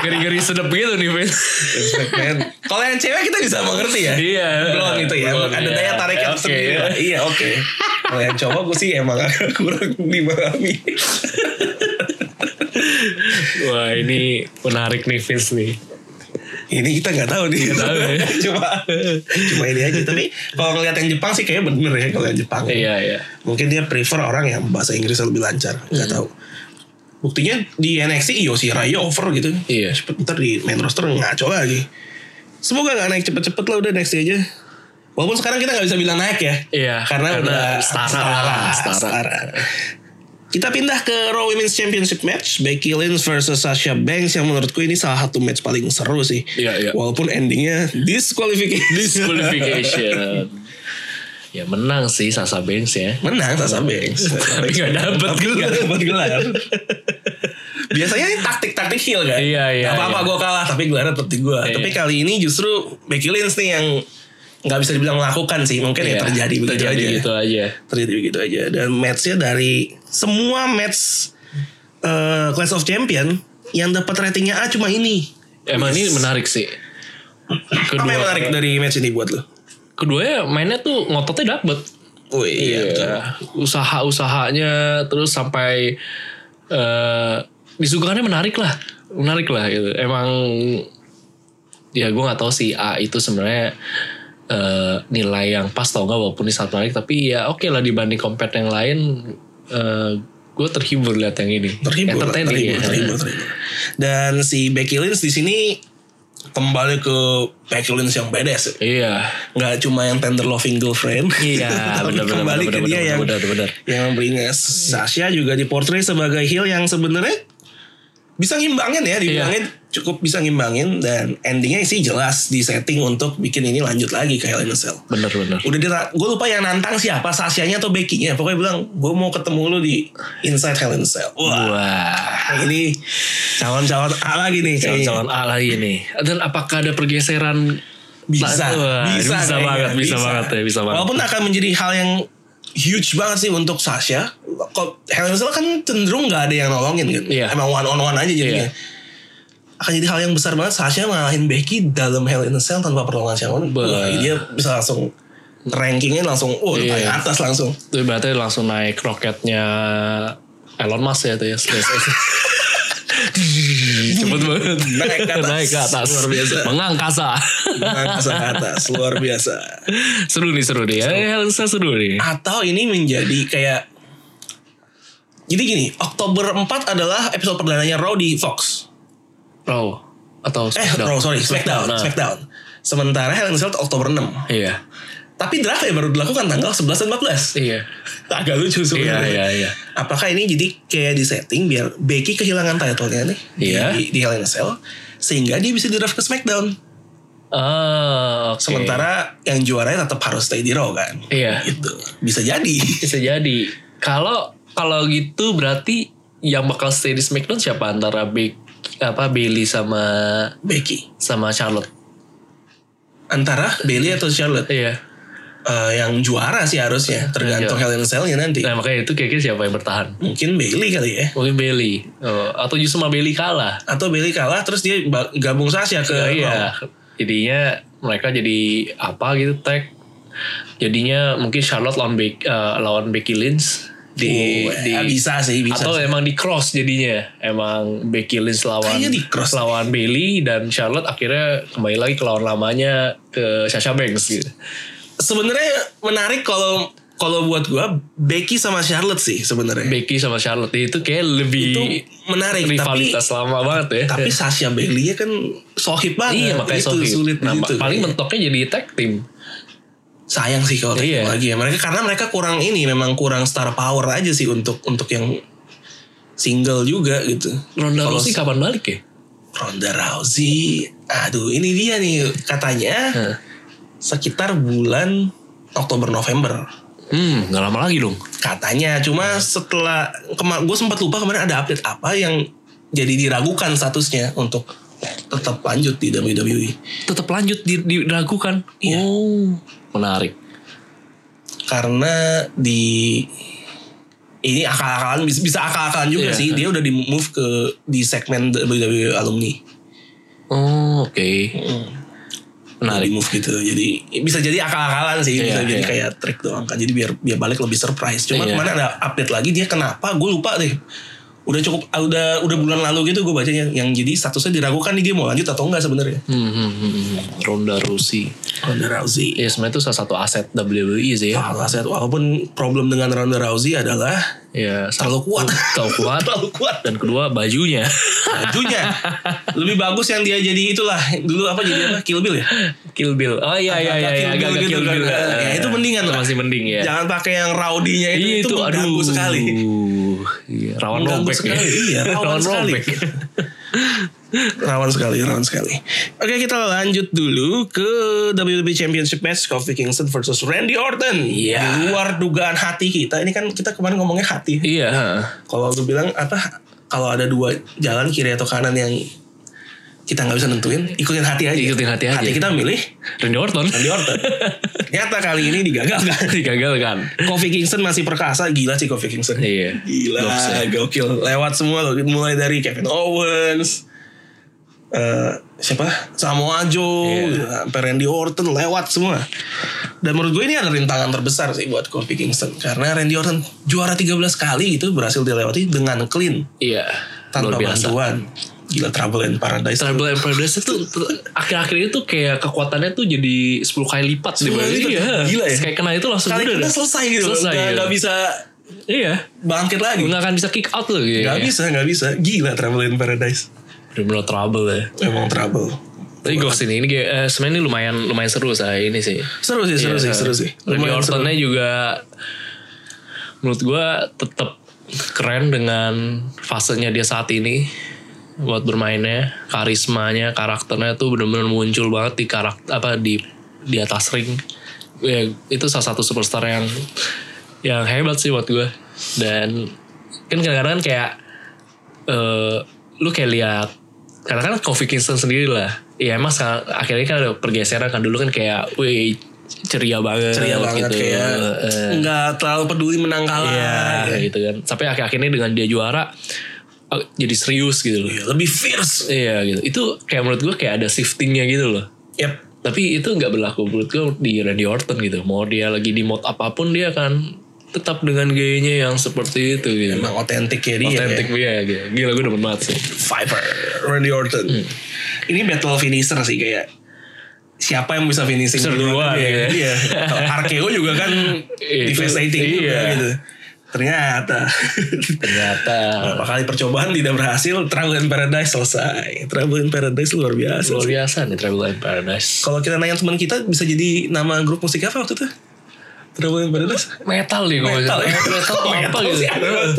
Speaker 2: ngeri-ngeri sedep gitu nih Vin
Speaker 1: Respect, man. kalau yang cewek kita bisa mengerti ya
Speaker 2: iya
Speaker 1: belum gitu ya
Speaker 2: Belum,
Speaker 1: ada
Speaker 2: iya.
Speaker 1: daya tarik yang
Speaker 2: Oke.
Speaker 1: sendiri lah. iya oke kalau yang cowok gue sih emang agak kurang dipahami
Speaker 2: wah ini menarik nih Vince nih
Speaker 1: ini kita nggak tahu nih
Speaker 2: tahu ya.
Speaker 1: cuma cuma ini aja tapi kalau ngeliat yang Jepang sih kayaknya bener ya kalau yang Jepang
Speaker 2: iya iya
Speaker 1: mungkin dia prefer orang yang bahasa Inggris lebih lancar nggak
Speaker 2: Hmm.
Speaker 1: tahu buktinya di NXT Io Shirai iya over gitu
Speaker 2: Iya.
Speaker 1: cepet ntar di main roster ngaco lagi semoga nggak naik cepet-cepet lah udah NXT aja walaupun sekarang kita nggak bisa bilang naik ya
Speaker 2: Iya,
Speaker 1: karena,
Speaker 2: karena
Speaker 1: udah
Speaker 2: setara,
Speaker 1: setara,
Speaker 2: setara.
Speaker 1: setara. Kita pindah ke Raw Women's Championship match Becky Lynch versus Sasha Banks yang menurutku ini salah satu match paling seru sih.
Speaker 2: Iya, iya.
Speaker 1: Walaupun endingnya disqualification.
Speaker 2: disqualification ya menang sih Sasa Banks ya
Speaker 1: Menang Sasha Banks.
Speaker 2: tapi gak dapet gelar
Speaker 1: dapat gelar. Biasanya ini taktik-taktik heel kan.
Speaker 2: Iya, iya,
Speaker 1: Gak apa-apa
Speaker 2: iya.
Speaker 1: gue kalah tapi gelarnya tetap di gue.
Speaker 2: Iya.
Speaker 1: Tapi kali ini justru Becky Lynch nih yang nggak bisa dibilang melakukan sih. Mungkin
Speaker 2: Iya,
Speaker 1: ya terjadi begitu
Speaker 2: terjadi
Speaker 1: aja.
Speaker 2: gitu aja
Speaker 1: terjadi begitu aja dan matchnya dari semua match eh, Clash of Champion yang dapat ratingnya A cuma ini
Speaker 2: emang ini menarik sih
Speaker 1: apa yang
Speaker 2: kedua
Speaker 1: menarik dari match ini buat lo?
Speaker 2: keduanya mainnya tuh ngototnya dapet
Speaker 1: Wih, iya. betul.
Speaker 2: Iya. usaha-usahanya terus sampai eh disuguhannya menarik lah menarik lah gitu emang ya gue nggak tahu si A itu sebenarnya eh, nilai yang pas tau nggak walaupun ini sangat menarik tapi ya oke lah dibanding compare yang lain gue terhibur lihat yang ini
Speaker 1: terhibur, lah,
Speaker 2: Entertaining
Speaker 1: terhibur,
Speaker 2: ya.
Speaker 1: terhibur, terhibur. Dan si Becky Lynch di sini kembali ke Becky Lynch yang badass.
Speaker 2: iya
Speaker 1: Nggak cuma yang tender loving girlfriend.
Speaker 2: Iya,
Speaker 1: Tapi
Speaker 2: benar, benar,
Speaker 1: kembali
Speaker 2: benar,
Speaker 1: ke
Speaker 2: benar,
Speaker 1: dia
Speaker 2: benar,
Speaker 1: yang
Speaker 2: benar, benar.
Speaker 1: yang memberi nges. Sasha juga dipotret sebagai heel yang sebenarnya bisa ngimbangin ya, dibilangin
Speaker 2: Iya.
Speaker 1: cukup bisa ngimbangin dan endingnya sih jelas disetting untuk bikin ini lanjut lagi kayak in a Cell.
Speaker 2: bener bener
Speaker 1: Udah dia, gue lupa yang nantang siapa, Sashanya atau Becky-nya. Pokoknya bilang, gue mau ketemu lu di Inside Hell in a Cell. Wah,
Speaker 2: wah
Speaker 1: Nah, ini calon-calon A lagi
Speaker 2: Iya.
Speaker 1: nih kayaknya.
Speaker 2: calon-calon A lagi nih dan apakah ada pergeseran
Speaker 1: bisa,
Speaker 2: Wah,
Speaker 1: bisa,
Speaker 2: bisa
Speaker 1: kayaknya.
Speaker 2: banget bisa, banget ya bisa banget
Speaker 1: Walaupun akan menjadi hal yang huge banget sih untuk Sasha. Kalau Helen Cell kan cenderung nggak ada yang nolongin kan.
Speaker 2: Iya.
Speaker 1: Emang one on one aja jadinya.
Speaker 2: Iya.
Speaker 1: Akan jadi hal yang besar banget Sasha ngalahin Becky dalam Hell in a Cell tanpa pertolongan siapapun.
Speaker 2: Bah.
Speaker 1: Wah, dia bisa langsung rankingnya langsung, oh
Speaker 2: Iya.
Speaker 1: paling atas langsung.
Speaker 2: Itu berarti langsung naik roketnya Elon Musk ya itu ya SpaceX. cepet banget
Speaker 1: Naik ke atas.
Speaker 2: naik ke atas
Speaker 1: Luar biasa.
Speaker 2: mengangkasa
Speaker 1: Angkasa ke atas luar biasa.
Speaker 2: seru nih seru nih ya Elsa seru nih
Speaker 1: Atau ini menjadi kayak jadi gini, Oktober 4 adalah episode perdananya Raw di Fox.
Speaker 2: Raw atau
Speaker 1: Eh, Raw, sorry, Smackdown.
Speaker 2: Nah,
Speaker 1: Smackdown. Sementara Hell in a Cell Oktober 6.
Speaker 2: iya
Speaker 1: Tapi draftnya baru dilakukan tanggal 11 dan 14.
Speaker 2: iya
Speaker 1: Agak lucu
Speaker 2: iya
Speaker 1: sebenarnya.
Speaker 2: iya iya
Speaker 1: Apakah ini jadi kayak di setting biar Becky kehilangan title-nya nih
Speaker 2: Iya.
Speaker 1: di, di Hell in a Cell sehingga dia bisa di draft ke SmackDown.
Speaker 2: ah oke.
Speaker 1: Sementara yang juaranya tetap harus stay di Raw kan.
Speaker 2: Iya.
Speaker 1: Gitu. Bisa jadi.
Speaker 2: bisa jadi kalau kalau gitu berarti yang bakal stay di Smackdown siapa antara Be apa Bailey sama
Speaker 1: Becky
Speaker 2: sama Charlotte
Speaker 1: antara Bailey atau Charlotte
Speaker 2: iya
Speaker 1: Eh, yang juara sih harusnya tergantung Hell in a Cell-nya nanti.
Speaker 2: nah makanya itu kira-kira siapa yang bertahan
Speaker 1: Mungkin Bailey kali ya.
Speaker 2: mungkin Bailey oh, atau justru sama Bailey kalah
Speaker 1: Atau Bailey kalah terus dia ba- gabung Sasha ke
Speaker 2: Oh,
Speaker 1: Raw.
Speaker 2: iya jadinya mereka jadi apa gitu tag jadinya mungkin Charlotte lawan Be- eh, lawan Becky Lynch di,
Speaker 1: Oh, eh,
Speaker 2: di
Speaker 1: bisa sih bisa.
Speaker 2: iya. atau
Speaker 1: sih.
Speaker 2: emang di cross jadinya emang Becky Lynch lawan
Speaker 1: Kayaknya di cross.
Speaker 2: lawan Bailey dan Charlotte akhirnya kembali lagi ke lawan lamanya ke Sasha Banks gitu.
Speaker 1: sebenarnya menarik kalau kalau buat gua Becky sama Charlotte sih sebenarnya.
Speaker 2: Becky sama Charlotte itu kayak lebih
Speaker 1: Itu menarik tapi
Speaker 2: rivalitas lama banget ya.
Speaker 1: tapi Sasha Bailey kan sohib banget.
Speaker 2: iya makanya
Speaker 1: Itu
Speaker 2: sorry.
Speaker 1: sulit
Speaker 2: Nah,
Speaker 1: gitu.
Speaker 2: paling mentoknya jadi tag team.
Speaker 1: sayang sih kalau
Speaker 2: Iya.
Speaker 1: kayak gitu lagi ya mereka karena mereka kurang ini memang kurang star power aja sih untuk untuk yang single juga gitu
Speaker 2: Ronda
Speaker 1: Kalau
Speaker 2: Rousey kapan balik ya?
Speaker 1: Ronda Rousey aduh ini dia nih katanya
Speaker 2: Hah.
Speaker 1: sekitar bulan Oktober November
Speaker 2: Hmm, nggak lama lagi dong.
Speaker 1: katanya
Speaker 2: Hmm.
Speaker 1: cuma setelah kema- gue sempat lupa kemarin ada update apa yang jadi diragukan statusnya untuk tetap lanjut di E. WWE
Speaker 2: Tetap lanjut di- diragukan.
Speaker 1: Iya.
Speaker 2: Oh, menarik.
Speaker 1: karena di ini akal-akalan bisa, bisa akal-akalan juga
Speaker 2: Iya.
Speaker 1: sih dia udah di move ke di segmen WWE alumni
Speaker 2: Oh, oke.
Speaker 1: Hmm.
Speaker 2: Menarik.
Speaker 1: di move gitu jadi bisa jadi akal-akalan sih
Speaker 2: Iya,
Speaker 1: bisa jadi
Speaker 2: iya.
Speaker 1: kayak trik doang kan jadi biar biar balik lebih surprise cuman
Speaker 2: Iya.
Speaker 1: kemana ada update lagi dia kenapa gue lupa deh udah cukup ah, udah udah bulan lalu gitu gue bacanya yang jadi statusnya diragukan nih dia mau lanjut atau enggak sebenarnya
Speaker 2: Hmm, hmm, hmm, hmm. Ronda Rousey.
Speaker 1: Ronda Rousey
Speaker 2: Ya sebenarnya itu salah satu aset WWE sih ya.
Speaker 1: Salah satu- walaupun problem dengan Ronda Rousey adalah
Speaker 2: Ya,
Speaker 1: terlalu kuat
Speaker 2: Terlalu kuat.
Speaker 1: terlalu kuat
Speaker 2: dan kedua bajunya
Speaker 1: bajunya lebih bagus yang dia jadi itulah dulu apa jadi apa Kill Bill ya
Speaker 2: Kill Bill oh iya iya iya
Speaker 1: Agak-agak Kill Bill
Speaker 2: iya, agak-agak
Speaker 1: gitu
Speaker 2: Kill Bill
Speaker 1: kan.
Speaker 2: Eh,
Speaker 1: Ya, itu mendingan lah.
Speaker 2: masih mending ya
Speaker 1: jangan pakai yang rowdy-nya itu
Speaker 2: Iya,
Speaker 1: itu, mengganggu sekali
Speaker 2: Iya, rawan
Speaker 1: Mengganggu
Speaker 2: robek ya
Speaker 1: sekali, iya, rawan sekali.
Speaker 2: robek
Speaker 1: rawan sekali rawan sekali oke kita lanjut dulu ke WWE Championship match Kofi Kingston versus Randy Orton
Speaker 2: Iya.
Speaker 1: di luar dugaan hati kita ini kan kita kemarin ngomongnya hati
Speaker 2: iya ha.
Speaker 1: kalau lu bilang apa kalau ada dua jalan kiri atau kanan yang kita nggak bisa nentuin ikutin hati aja
Speaker 2: Ikutin hati aja.
Speaker 1: hati kita milih
Speaker 2: Randy Orton
Speaker 1: Randy Orton nyata kali ini digagalkan
Speaker 2: digagalkan
Speaker 1: Kofi Kingston masih perkasa gila sih Kofi Kingston
Speaker 2: kan? iya
Speaker 1: gila gokil lewat semua loh mulai dari Kevin Owens eh, siapa Samoa Joe
Speaker 2: Iya.
Speaker 1: sampai Randy Orton lewat semua dan menurut gue ini adalah rintangan terbesar sih buat Kofi Kingston karena Randy Orton juara 13 kali itu berhasil dilewati dengan clean
Speaker 2: iya
Speaker 1: tanpa
Speaker 2: luar biasa
Speaker 1: bantuan gila Trouble in Paradise
Speaker 2: Tribal and Paradise itu akhir-akhir ini tuh kayak kekuatannya tuh jadi 10 kali lipat deh.
Speaker 1: 10 kali lipat. Gila ya.
Speaker 2: Kayak kena itu langsung
Speaker 1: kali
Speaker 2: udah
Speaker 1: kita
Speaker 2: dah.
Speaker 1: selesai gitu loh.
Speaker 2: Selesai.
Speaker 1: nggak
Speaker 2: iya.
Speaker 1: nggak bisa
Speaker 2: Iya.
Speaker 1: bangkit lagi
Speaker 2: Nggak akan bisa kick out loh gitu.
Speaker 1: nggak bisa nggak bisa gila Trouble in Paradise
Speaker 2: Bener-bener trouble ya.
Speaker 1: emang Trouble
Speaker 2: Tapi gue kesini ini kayak eh, sebenarnya ini lumayan lumayan seru saya ini sih.
Speaker 1: seru sih seru sih
Speaker 2: Iya, eh,
Speaker 1: seru sih
Speaker 2: Randy
Speaker 1: Lumayan seru.
Speaker 2: Ortonnya juga menurut gue tetap keren dengan fasenya dia saat ini buat bermainnya, karismanya, karakternya tuh bener-bener muncul banget di karakter apa di di atas ring. Ya, itu salah satu superstar yang yang hebat sih buat gue. Dan kan kadang-kadang kayak eh lu kayak lihat katakan Kofi Kingston sendiri lah ya emang sekarang- akhirnya kan ada pergeseran kan dulu kan kayak wih ceria banget
Speaker 1: ceria banget
Speaker 2: gitu.
Speaker 1: kayak
Speaker 2: Eh,
Speaker 1: nggak terlalu peduli menang kalah
Speaker 2: iya
Speaker 1: Kayak,
Speaker 2: gitu kan sampai akhir-akhir ini dengan dia juara eh, jadi serius gitu loh
Speaker 1: iya, lebih fierce
Speaker 2: iya gitu itu kayak menurut gue kayak ada shiftingnya gitu loh
Speaker 1: yep
Speaker 2: tapi itu nggak berlaku menurut gue di Randy Orton gitu mau dia lagi di mode apapun dia akan tetap dengan gayanya yang seperti itu gitu.
Speaker 1: Emang otentik ya dia.
Speaker 2: Otentik
Speaker 1: ya.
Speaker 2: dia gitu. Gila gue demen banget sih.
Speaker 1: Viper, Randy Orton.
Speaker 2: Hmm.
Speaker 1: Ini battle finisher sih kayak siapa yang bisa finishing
Speaker 2: Finisher duluan,
Speaker 1: Iya.
Speaker 2: ya.
Speaker 1: iya. Kalau RKO juga kan
Speaker 2: Itu,
Speaker 1: devastating juga
Speaker 2: iya.
Speaker 1: gitu. Ternyata
Speaker 2: Ternyata
Speaker 1: berapa kali percobaan tidak berhasil, Trouble in Paradise selesai. Trouble in Paradise luar biasa.
Speaker 2: luar biasa nih Travel and Paradise.
Speaker 1: Kalau kita nanya teman kita bisa jadi nama grup musik apa waktu itu? Trouble in Paradise.
Speaker 2: Metal nih gue.
Speaker 1: Metal ya?
Speaker 2: metal atau apa
Speaker 1: Metal
Speaker 2: gitu.
Speaker 1: sih, ada banget.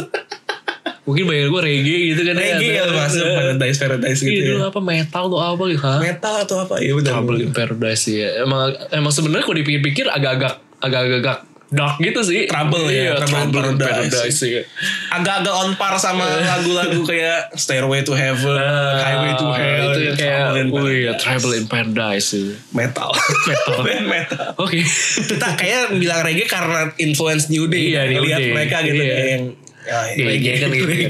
Speaker 2: Mungkin banyak gue reggae gitu kan.
Speaker 1: Reggae ya
Speaker 2: ya
Speaker 1: masuk Paradise Paradise gitu.
Speaker 2: Gitu
Speaker 1: ya.
Speaker 2: apa metal tuh apa gitu. Hah?
Speaker 1: Metal atau apa? Iya benar.
Speaker 2: Trouble in Paradise ya. Emang emang sebenarnya kalau dipikir-pikir agak-agak agak-agak dark gitu sih.
Speaker 1: Trouble ya,
Speaker 2: Iya,
Speaker 1: Trouble in
Speaker 2: Trouble in
Speaker 1: Paradise.
Speaker 2: Paradise. iya.
Speaker 1: agak-agak on par sama lagu-lagu kayak Stairway to Heaven, Highway to Hell,
Speaker 2: Ah, Nah, itu
Speaker 1: gitu.
Speaker 2: kayak
Speaker 1: Trouble in
Speaker 2: wih ya,
Speaker 1: Paradise.
Speaker 2: Trouble in Paradise. gitu.
Speaker 1: metal.
Speaker 2: Metal.
Speaker 1: Band metal.
Speaker 2: Oke.
Speaker 1: Kita kayak bilang reggae karena influence New Day.
Speaker 2: Iya, New
Speaker 1: Lihat
Speaker 2: Day.
Speaker 1: mereka gitu
Speaker 2: Iya.
Speaker 1: kayak yang ya,
Speaker 2: Reggae kan gitu. kan.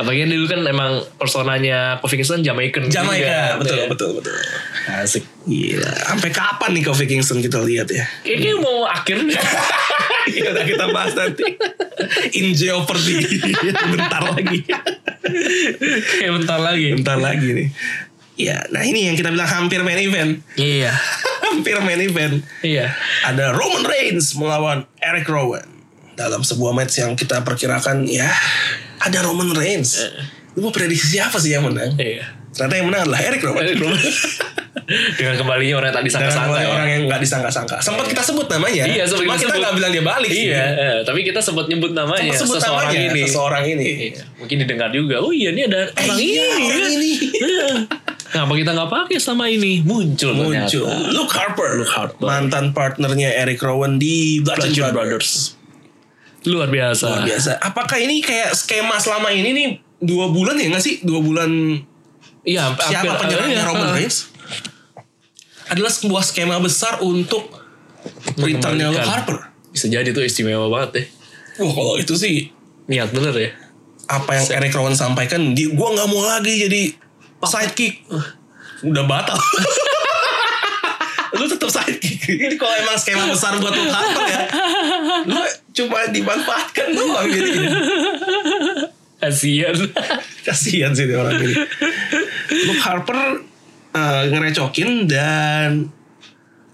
Speaker 2: Apalagi dulu kan emang personanya Kofi Kingston Jamaican.
Speaker 1: Jamaika,
Speaker 2: juga,
Speaker 1: betul,
Speaker 2: ya.
Speaker 1: betul, betul.
Speaker 2: Asik.
Speaker 1: Gila, sampai kapan nih Kofi Kingston kita lihat ya?
Speaker 2: Kayaknya mau akhirnya.
Speaker 1: Iya, udah kita bahas nanti. In Jeopardy. Bentar lagi.
Speaker 2: Kayak bentar lagi.
Speaker 1: Bentar lagi nih. Ya, nah ini yang kita bilang hampir main event.
Speaker 2: Iya.
Speaker 1: hampir main event.
Speaker 2: Iya.
Speaker 1: ada Roman Reigns melawan Eric Rowan dalam sebuah match yang kita perkirakan ya ada Roman Reigns. Lu mau prediksi siapa sih yang menang?
Speaker 2: Iya.
Speaker 1: Ternyata yang menang adalah Eric Rowan.
Speaker 2: Dengan kembalinya orang yang tadi
Speaker 1: Dan
Speaker 2: sangka-sangka ya.
Speaker 1: orang yang nggak disangka-sangka. Sempat kita sebut namanya.
Speaker 2: Iya, sempat
Speaker 1: Cuma
Speaker 2: kita
Speaker 1: kita
Speaker 2: sebut.
Speaker 1: nggak bilang dia balik. sih.
Speaker 2: Iya, eh, tapi kita sempat nyebut namanya
Speaker 1: Sempat sebut
Speaker 2: seseorang
Speaker 1: namanya,
Speaker 2: ini.
Speaker 1: Seseorang ini.
Speaker 2: Iya, mungkin didengar juga. Oh iya, ini ada
Speaker 1: Eh,
Speaker 2: orang
Speaker 1: iya,
Speaker 2: ini.
Speaker 1: orang
Speaker 2: kan?
Speaker 1: ini.
Speaker 2: Iya. Kenapa kita nggak pakai selama ini? Muncul,
Speaker 1: Muncul.
Speaker 2: ternyata.
Speaker 1: Luke Harper.
Speaker 2: Luke Harper.
Speaker 1: Mantan partnernya Eric Rowan di Bludgeon,
Speaker 2: Bludgeon
Speaker 1: Brothers.
Speaker 2: Brothers. Luar biasa.
Speaker 1: Luar biasa. Apakah ini kayak skema selama ini nih dua bulan ya nggak sih? Dua bulan
Speaker 2: Iya,
Speaker 1: siapa
Speaker 2: hampir-
Speaker 1: penyerangnya
Speaker 2: iya,
Speaker 1: Roman
Speaker 2: ah.
Speaker 1: Reigns adalah sebuah skema besar untuk returnnya Luke
Speaker 2: Mengembalikan.
Speaker 1: Harper.
Speaker 2: Bisa jadi tuh istimewa banget deh.
Speaker 1: Wah kalau itu sih
Speaker 2: Niat bener ya.
Speaker 1: apa yang Eric Rowan sampaikan, dia gua nggak mau lagi jadi sidekick. Udah batal. lu tetap sidekick. Ini kalau emang skema besar buat Luke Harper ya, lu cuma dimanfaatkan doang jadi.
Speaker 2: Kasian.
Speaker 1: kasihan sih dia orang ini. Luke Harper eh, ngerecokin dan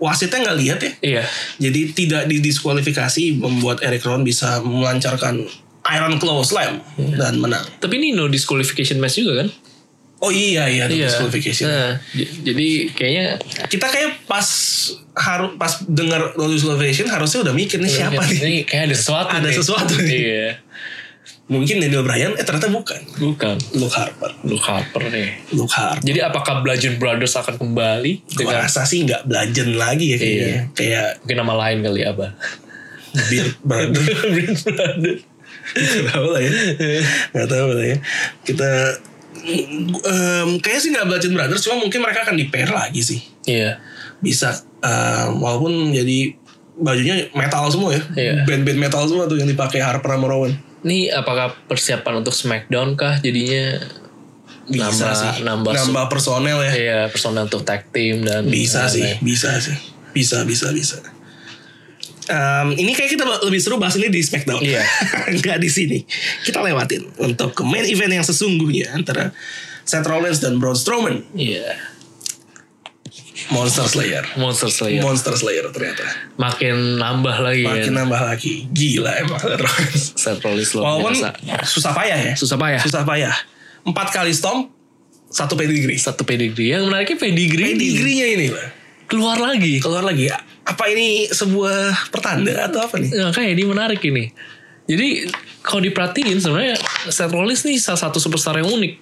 Speaker 1: wasitnya nggak lihat ya.
Speaker 2: iya.
Speaker 1: Jadi tidak didiskualifikasi membuat Eric Rowan bisa melancarkan Iron Claw Slam dan menang.
Speaker 2: Tapi ini no disqualification match juga kan?
Speaker 1: Oh iya iya,
Speaker 2: Iya.
Speaker 1: disqualification.
Speaker 2: Nah, j- jadi kayaknya
Speaker 1: Kita kayak pas harus pas dengar no disqualification harusnya udah mikir nih siapa nih.
Speaker 2: Ini kayak ada sesuatu.
Speaker 1: Ada
Speaker 2: nih.
Speaker 1: sesuatu nih.
Speaker 2: Iya.
Speaker 1: Mungkin Daniel Bryan eh ternyata bukan.
Speaker 2: Bukan.
Speaker 1: Luke Harper.
Speaker 2: Lu kaper nih.
Speaker 1: Luke Harper.
Speaker 2: Jadi apakah Bludgeon Brothers akan kembali
Speaker 1: Gua
Speaker 2: dengan
Speaker 1: rasa sih nggak belajen lagi ya kayaknya.
Speaker 2: Iya.
Speaker 1: Kayak
Speaker 2: mungkin nama lain kali ya, Abah?
Speaker 1: Beard Brother.
Speaker 2: Bludgeon Brothers.
Speaker 1: Gak tahu lah ya Gak tahu lah ya Kita em, Kayaknya sih gak Bludgeon Brothers Cuma mungkin mereka akan di pair lagi sih
Speaker 2: Iya.
Speaker 1: Bisa em, Walaupun jadi Bajunya metal semua ya
Speaker 2: Iya.
Speaker 1: Band-band metal semua tuh Yang dipakai Harper sama Rowan
Speaker 2: Nih apakah persiapan untuk SmackDown kah jadinya nambah nambah,
Speaker 1: Nambah personel ya
Speaker 2: Iya, ya. personal untuk tag team dan
Speaker 1: Bisa
Speaker 2: dan
Speaker 1: sih
Speaker 2: lain.
Speaker 1: Bisa sih Bisa bisa bisa Em, ini kayak kita lebih seru bahas ini di Smackdown.
Speaker 2: Iya.
Speaker 1: Nggak di sini. Kita lewatin untuk ke main event yang sesungguhnya antara Seth Rollins dan Braun Strowman.
Speaker 2: Iya.
Speaker 1: Monster Slayer.
Speaker 2: Monster Slayer.
Speaker 1: Monster Slayer ternyata.
Speaker 2: ya. Makin nambah lagi
Speaker 1: Makin
Speaker 2: ya.
Speaker 1: nambah lagi. Gila emang.
Speaker 2: Seth Rollins luar
Speaker 1: Walaupun
Speaker 2: biasa.
Speaker 1: susah payah ya.
Speaker 2: Susah payah.
Speaker 1: Susah payah. Empat kali stomp, satu pedigree.
Speaker 2: Satu pedigree. Yang menariknya pedigree,
Speaker 1: Pedigree-nya ini
Speaker 2: keluar lagi.
Speaker 1: keluar lagi. Apa ini sebuah pertanda atau apa nih?
Speaker 2: Nah, kayak ini menarik ini. Jadi kalau diperhatiin sebenarnya Seth Rollins nih salah satu superstar yang unik.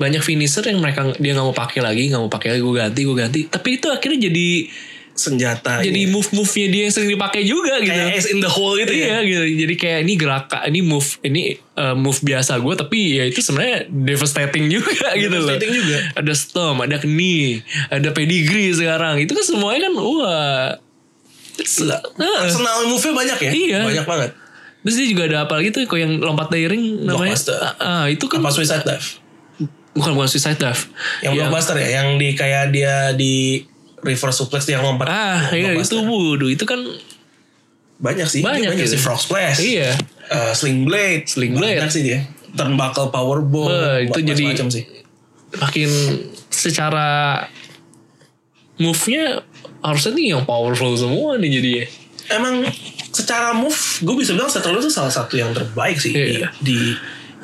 Speaker 2: Banyak finisher yang mereka dia nggak mau pakai lagi, nggak mau pakai lagi, gue ganti, gue ganti. Tapi itu akhirnya jadi
Speaker 1: Senjata.
Speaker 2: jadi
Speaker 1: ini.
Speaker 2: move-move-nya dia yang sering dipakai juga gitu.
Speaker 1: Ah, iya. kayak as in the hole gitu ya.
Speaker 2: Iya gitu. Jadi kayak ini gerakan, ini move, ini uh, move biasa gue tapi ya itu sebenarnya devastating juga gitu loh.
Speaker 1: Devastating juga.
Speaker 2: Ada storm, ada knee, ada pedigree sekarang. Itu kan semuanya kan wah.
Speaker 1: Gila. Arsenal move-nya banyak ya.
Speaker 2: Iya.
Speaker 1: Banyak banget.
Speaker 2: Terus dia juga ada apa lagi tuh kok yang lompat dari ring namanya?
Speaker 1: Blockbuster.
Speaker 2: Ah, ah, itu kan Iya.
Speaker 1: Apa suicide dive?
Speaker 2: bukan bukan suicide dive.
Speaker 1: Yang blockbuster ya. Yang di kayak dia di reverse suplex dia lompat.
Speaker 2: Ah, iya itu
Speaker 1: Blockbuster.
Speaker 2: wuduh itu kan
Speaker 1: banyak sih Dia
Speaker 2: Banyak
Speaker 1: banyak
Speaker 2: gitu.
Speaker 1: sih Frog Splash
Speaker 2: Iya.
Speaker 1: Eh, Sling Blade
Speaker 2: Sling
Speaker 1: banyak
Speaker 2: Blade.
Speaker 1: sih dia Turnbuckle Powerbomb
Speaker 2: Wah, itu jadi-
Speaker 1: macam sih
Speaker 2: makin secara move-nya harusnya nih yang powerful semua nih jadinya.
Speaker 1: emang secara move gue bisa bilang Seth Rollins itu salah satu yang terbaik sih
Speaker 2: Iya.
Speaker 1: di, di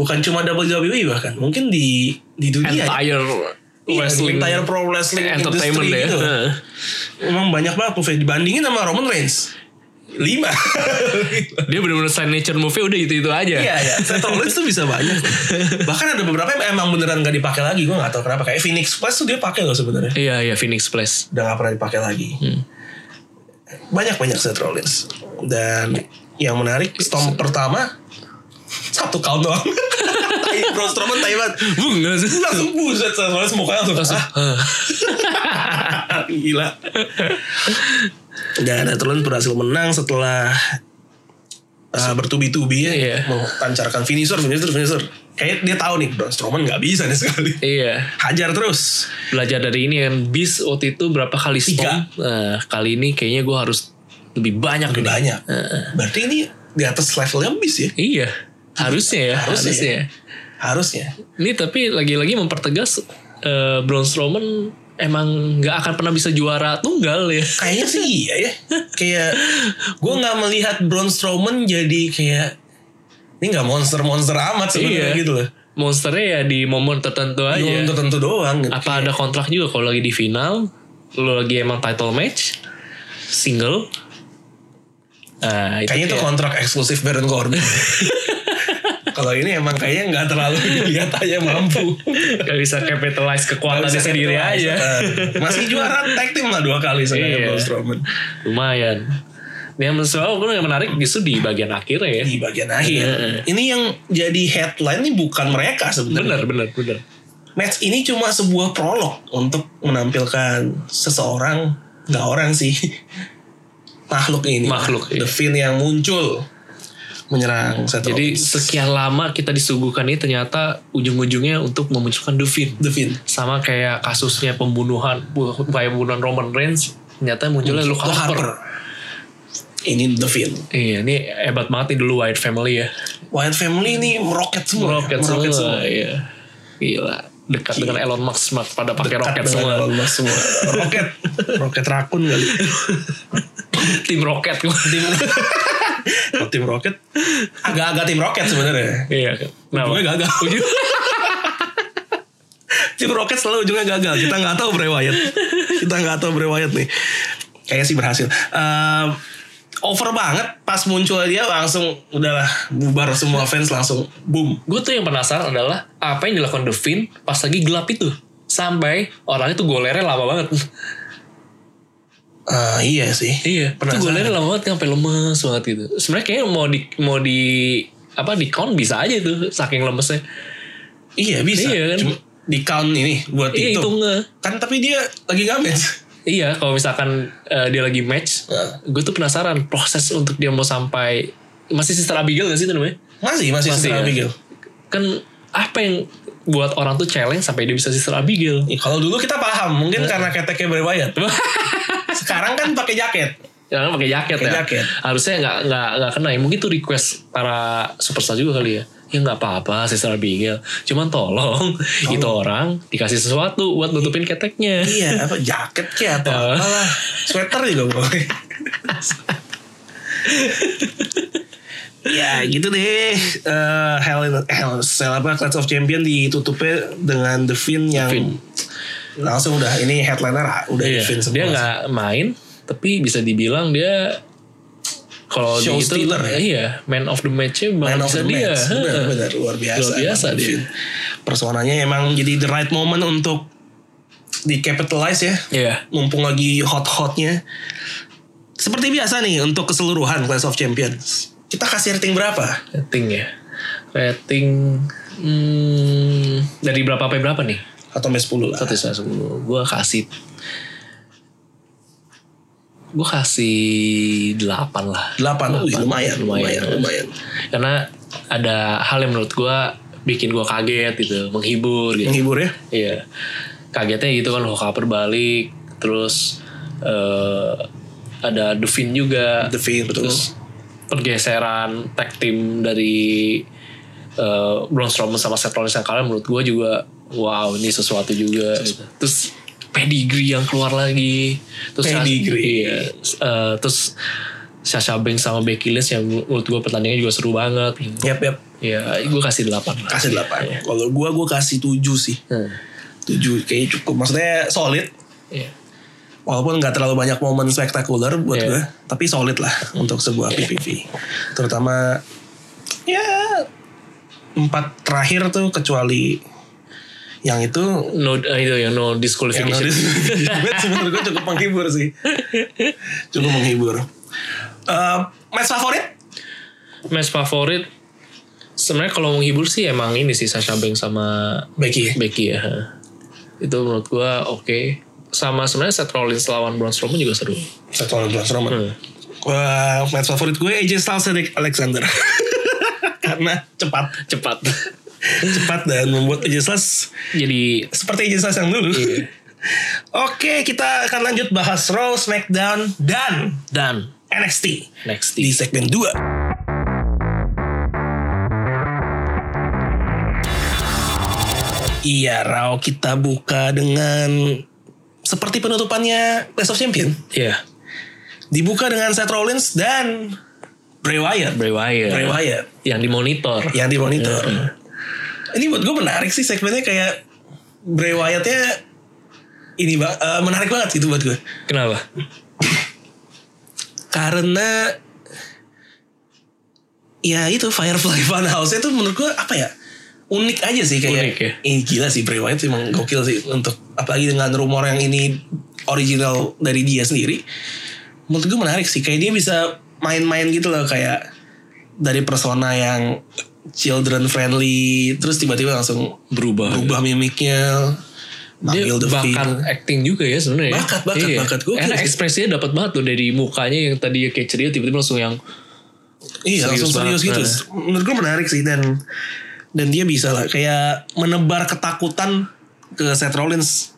Speaker 1: bukan cuma WWE bahkan mungkin di di dunia ya.
Speaker 2: entire
Speaker 1: Iya,
Speaker 2: wrestling
Speaker 1: entire pro wrestling
Speaker 2: entertainment
Speaker 1: industry
Speaker 2: ya.
Speaker 1: gitu.
Speaker 2: Heeh.
Speaker 1: emang banyak banget move dibandingin sama Roman Reigns lima
Speaker 2: Dia benar-benar signature move-nya udah itu-itu aja.
Speaker 1: Iya ya, Seth Rollins tuh bisa banyak. Bahkan ada beberapa yang emang beneran gak dipakai lagi. Gue gak tahu kenapa. Kayak Phoenix Plus tuh dia pakai loh sebenarnya.
Speaker 2: Iya, iya Phoenix Splash.
Speaker 1: Udah gak pernah dipakai lagi. Banyak banyak Seth Rollins. Dan yang menarik, Storm pertama satu count doang. Tai Braun Strowman tai banget.
Speaker 2: Bung, langsung-
Speaker 1: Langsung buset Seth Rollins mukanya langsung.
Speaker 2: langsung. Hah.
Speaker 1: "Ah, Gila. Dan Seth Rollins berhasil menang setelah uh, bertubi-tubi ya,
Speaker 2: Iya.
Speaker 1: melancarkan finisher, finisher, finisher. Kayak dia tahu nih, Braun Strowman nggak bisa nih sekali.
Speaker 2: Iya,
Speaker 1: Hajar terus.
Speaker 2: belajar dari ini kan bis waktu itu berapa kali
Speaker 1: Tiga.
Speaker 2: storm? Nah, kali ini kayaknya gue harus lebih banyak
Speaker 1: Lebih
Speaker 2: nih.
Speaker 1: banyak. Berarti ini di atas levelnya bis ya.
Speaker 2: Iya, harusnya ya,
Speaker 1: Harusnya
Speaker 2: harusnya.
Speaker 1: ya. Harusnya.
Speaker 2: Ini tapi lagi-lagi mempertegas eh, Braun Strowman emang nggak akan pernah bisa juara tunggal ya.
Speaker 1: Kayaknya sih iya ya. Kayak gue nggak melihat Braun Strowman jadi kayak ini nggak monster-monster amat sebenarnya
Speaker 2: Iya. Oh
Speaker 1: gitu loh.
Speaker 2: Monsternya ya di momen tertentu aja.
Speaker 1: Cuma Untuk tentu doang. Gitu.
Speaker 2: Apa ada kontrak juga kalau lagi di final, lu lagi emang title match, single. Nah, itu
Speaker 1: Kayaknya itu
Speaker 2: kayak-
Speaker 1: kontrak eksklusif Baron Corbin. Kalau ini emang kayaknya nggak terlalu dilihat aja mampu. gitu
Speaker 2: nggak bisa capitalize kekuatannya sendiri aja.
Speaker 1: Masih juara tag team lah dua kali sama
Speaker 2: Iya.
Speaker 1: Braun Strowman.
Speaker 2: Lumayan. Yang menurut yang menarik justru di bagian akhirnya ya.
Speaker 1: Di bagian akhir. Ini yang jadi headline ini bukan mereka sebenarnya.
Speaker 2: Bener, bener, bener.
Speaker 1: Match ini cuma sebuah prolog untuk menampilkan seseorang, nggak orang sih, makhluk ini.
Speaker 2: Makhluk,
Speaker 1: The
Speaker 2: iya.
Speaker 1: Fiend yang muncul menyerang Seth
Speaker 2: Jadi
Speaker 1: Rollins.
Speaker 2: sekian lama kita disuguhkan ini ternyata ujung-ujungnya untuk memunculkan Dufin.
Speaker 1: The Fiend.
Speaker 2: Sama kayak kasusnya pembunuhan, bu- kayak pembunuhan Roman Reigns, ternyata munculnya Luke
Speaker 1: Luke
Speaker 2: Harper.
Speaker 1: Harper. Ini The Fiend.
Speaker 2: Iya, ini hebat banget nih dulu Wyatt Family ya.
Speaker 1: Wyatt Family ini meroket semua.
Speaker 2: Roket
Speaker 1: ya?
Speaker 2: semua, iya. Gila, dekat dengan Elon Musk Mark, pada pakai
Speaker 1: Dekat
Speaker 2: roket
Speaker 1: dengan
Speaker 2: semua.
Speaker 1: Elon Musk semua. roket. roket rakun kali.
Speaker 2: Tim roket.
Speaker 1: Tim, Kalau tim roket. Agak-agak tim roket sebenarnya.
Speaker 2: iya. Kenapa?
Speaker 1: Ujungnya gagal. tim roket selalu ujungnya gagal. Kita nggak tahu Bray Wyatt. Kita nggak tahu Bray Wyatt nih. Kayaknya sih berhasil. Ehm, over banget pas muncul dia langsung udahlah bubar semua fans langsung boom
Speaker 2: Gue tuh yang penasaran adalah apa yang dilakukan Devin pas lagi gelap itu. Sampai orang itu golernya lama banget.
Speaker 1: Eh, iya sih
Speaker 2: Iya,
Speaker 1: Penasaran.
Speaker 2: itu golernya lama banget sampai lemes banget gitu. Sebenarnya kayaknya mau di mau di apa di count bisa aja itu saking lemesnya.
Speaker 1: Iya bisa.
Speaker 2: Iya kan?
Speaker 1: Cuma di count ini buat
Speaker 2: Iya
Speaker 1: itu.
Speaker 2: hitungnya.
Speaker 1: Kan tapi dia lagi ngamen.
Speaker 2: Iya, kalau misalkan eh, dia lagi match,
Speaker 1: Nah.
Speaker 2: gue tuh penasaran proses untuk dia mau sampai masih Sister Abigail gak sih itu namanya?
Speaker 1: Masih masih, Sister
Speaker 2: Masih ya?
Speaker 1: Abigail.
Speaker 2: Kan apa yang buat orang tuh challenge sampai dia bisa Sister Abigail?
Speaker 1: Ya, kalau dulu kita paham mungkin
Speaker 2: Iya.
Speaker 1: karena keteknya berbayar. Sekarang kan pakai jaket.
Speaker 2: Jangan pakai jaket
Speaker 1: Pakai
Speaker 2: ya.
Speaker 1: jaket.
Speaker 2: Harusnya nggak nggak nggak kena. ya. Mungkin tuh request para superstar juga kali ya. Ya nggak apa-apa, Sister Abigail. Cuman tolong, itu orang dikasih sesuatu buat nutupin keteknya.
Speaker 1: iya apa jaket kayak atau
Speaker 2: Oh.
Speaker 1: apalah sweater juga boleh. ya gitu deh Eh, Hell in Hell in a Cell apa Clash of Champion ditutupnya dengan The Fiend yang
Speaker 2: Fiend.
Speaker 1: langsung udah ini headliner ah, udah
Speaker 2: Iya,
Speaker 1: The Fiend semua.
Speaker 2: dia nggak main, tapi bisa dibilang dia kalau di
Speaker 1: Show
Speaker 2: itu
Speaker 1: stealer ya?
Speaker 2: iya man of the match-nya
Speaker 1: Man
Speaker 2: banget
Speaker 1: of
Speaker 2: bisa
Speaker 1: the
Speaker 2: dia.
Speaker 1: match. Benar,
Speaker 2: Heeh.
Speaker 1: benar. luar biasa.
Speaker 2: Luar biasa
Speaker 1: emang
Speaker 2: dia.
Speaker 1: Finn. Personanya emang jadi the right moment untuk di capitalize ya.
Speaker 2: Iya.
Speaker 1: Mumpung lagi hot-hotnya. Seperti biasa nih untuk keseluruhan Clash of Champions. Kita kasih rating berapa?
Speaker 2: Rating ya. Rating hmm, dari berapa sampai berapa nih?
Speaker 1: Atau sampai 10 lah.
Speaker 2: Satu sampai sepuluh. Gue kasih gue kasih 8 lah
Speaker 1: 8. Wih,
Speaker 2: Delapan.
Speaker 1: lumayan, lumayan, lumayan.
Speaker 2: karena ada hal yang menurut gue bikin gue kaget gitu menghibur gitu
Speaker 1: Menghibur ya.
Speaker 2: Iya. Kagetnya gitu kan Hulk Harper balik, terus eh ada Devin juga.
Speaker 1: The Fiend betul.
Speaker 2: Terus pergeseran tag team dari eh, Braun Strowman sama Seth Rollins yang kalah menurut gue juga wow ini sesuatu juga gitu. terus pedigree yang keluar lagi terus
Speaker 1: Pedigree.
Speaker 2: iya, eh, terus Sasha Banks sama Becky Lynch yang menurut gue pertandingannya juga seru banget
Speaker 1: Yap, yap.
Speaker 2: ya gue kasih 8 lah
Speaker 1: Kasih 8. Kalau gua gua kasih 7 sih.
Speaker 2: Hmm,
Speaker 1: 7 kayaknya cukup. Maksudnya solid.
Speaker 2: iya.
Speaker 1: Walaupun nggak terlalu banyak momen spektakuler buat
Speaker 2: Iya.
Speaker 1: gue, tapi solid lah untuk sebuah PPV. Terutama ya empat terakhir tuh kecuali yang itu
Speaker 2: no eh, itu ya no
Speaker 1: yang
Speaker 2: disqualification
Speaker 1: notice sebenarnya gue cukup menghibur sih, cukup menghibur. Eh, match favorit?
Speaker 2: match favorit sebenarnya kalau menghibur sih emang ini sih Sasha Banks sama
Speaker 1: Becky.
Speaker 2: Becky ya itu menurut gua oke sama sebenarnya Seth Rollins lawan Braun Strowman juga seru
Speaker 1: Satu orang Braun Strowman.
Speaker 2: Hmm.
Speaker 1: Wah, Eh, match favorit gue AJ Styles dan Alexander. Karena cepat,
Speaker 2: cepat
Speaker 1: cepat dan membuat AJ Styles
Speaker 2: jadi
Speaker 1: seperti AJ Styles yang dulu.
Speaker 2: Iya.
Speaker 1: Oke, kita akan lanjut bahas Raw, SmackDown, dan
Speaker 2: dan
Speaker 1: NXT
Speaker 2: next
Speaker 1: di
Speaker 2: di
Speaker 1: segmen 2. Iya, Raw kita buka dengan seperti penutupannya Best of Champion.
Speaker 2: ya
Speaker 1: Dibuka dengan Seth Rollins dan Bray Wyatt.
Speaker 2: Bray Wyatt
Speaker 1: Bray Wyatt Ya.
Speaker 2: yang dimonitor
Speaker 1: yang di monitor. Ini buat gue menarik sih segmennya kayak Bray Wyatt-nya ini ba- eh, menarik banget gitu buat gue.
Speaker 2: kenapa
Speaker 1: Karena ya itu Firefly Funhouse-nya tuh menurut gue apa ya? Unik aja sih kayak.
Speaker 2: Unik ya.
Speaker 1: Ini gila sih Bray Wyatt emang gokil sih untuk apalagi dengan rumor yang ini original dari dia sendiri. Menurut gue menarik sih kayak dia bisa main-main gitu loh kayak dari persona yang children friendly terus tiba-tiba langsung
Speaker 2: berubah
Speaker 1: berubah mimiknya
Speaker 2: dia
Speaker 1: manggil the
Speaker 2: bakat
Speaker 1: Fiend.
Speaker 2: acting juga ya sebenarnya ya.
Speaker 1: Bakat, bakat, bakat. Gokil
Speaker 2: karena
Speaker 1: sih.
Speaker 2: ekspresinya dapat banget loh dari mukanya yang tadi ya, kayak ceria tiba-tiba langsung yang
Speaker 1: Iya langsung
Speaker 2: Serius
Speaker 1: serius
Speaker 2: banget.
Speaker 1: gitu. Menurut gue menarik sih dan dan dia bisa lah kayak menebar ketakutan ke Seth Rollins.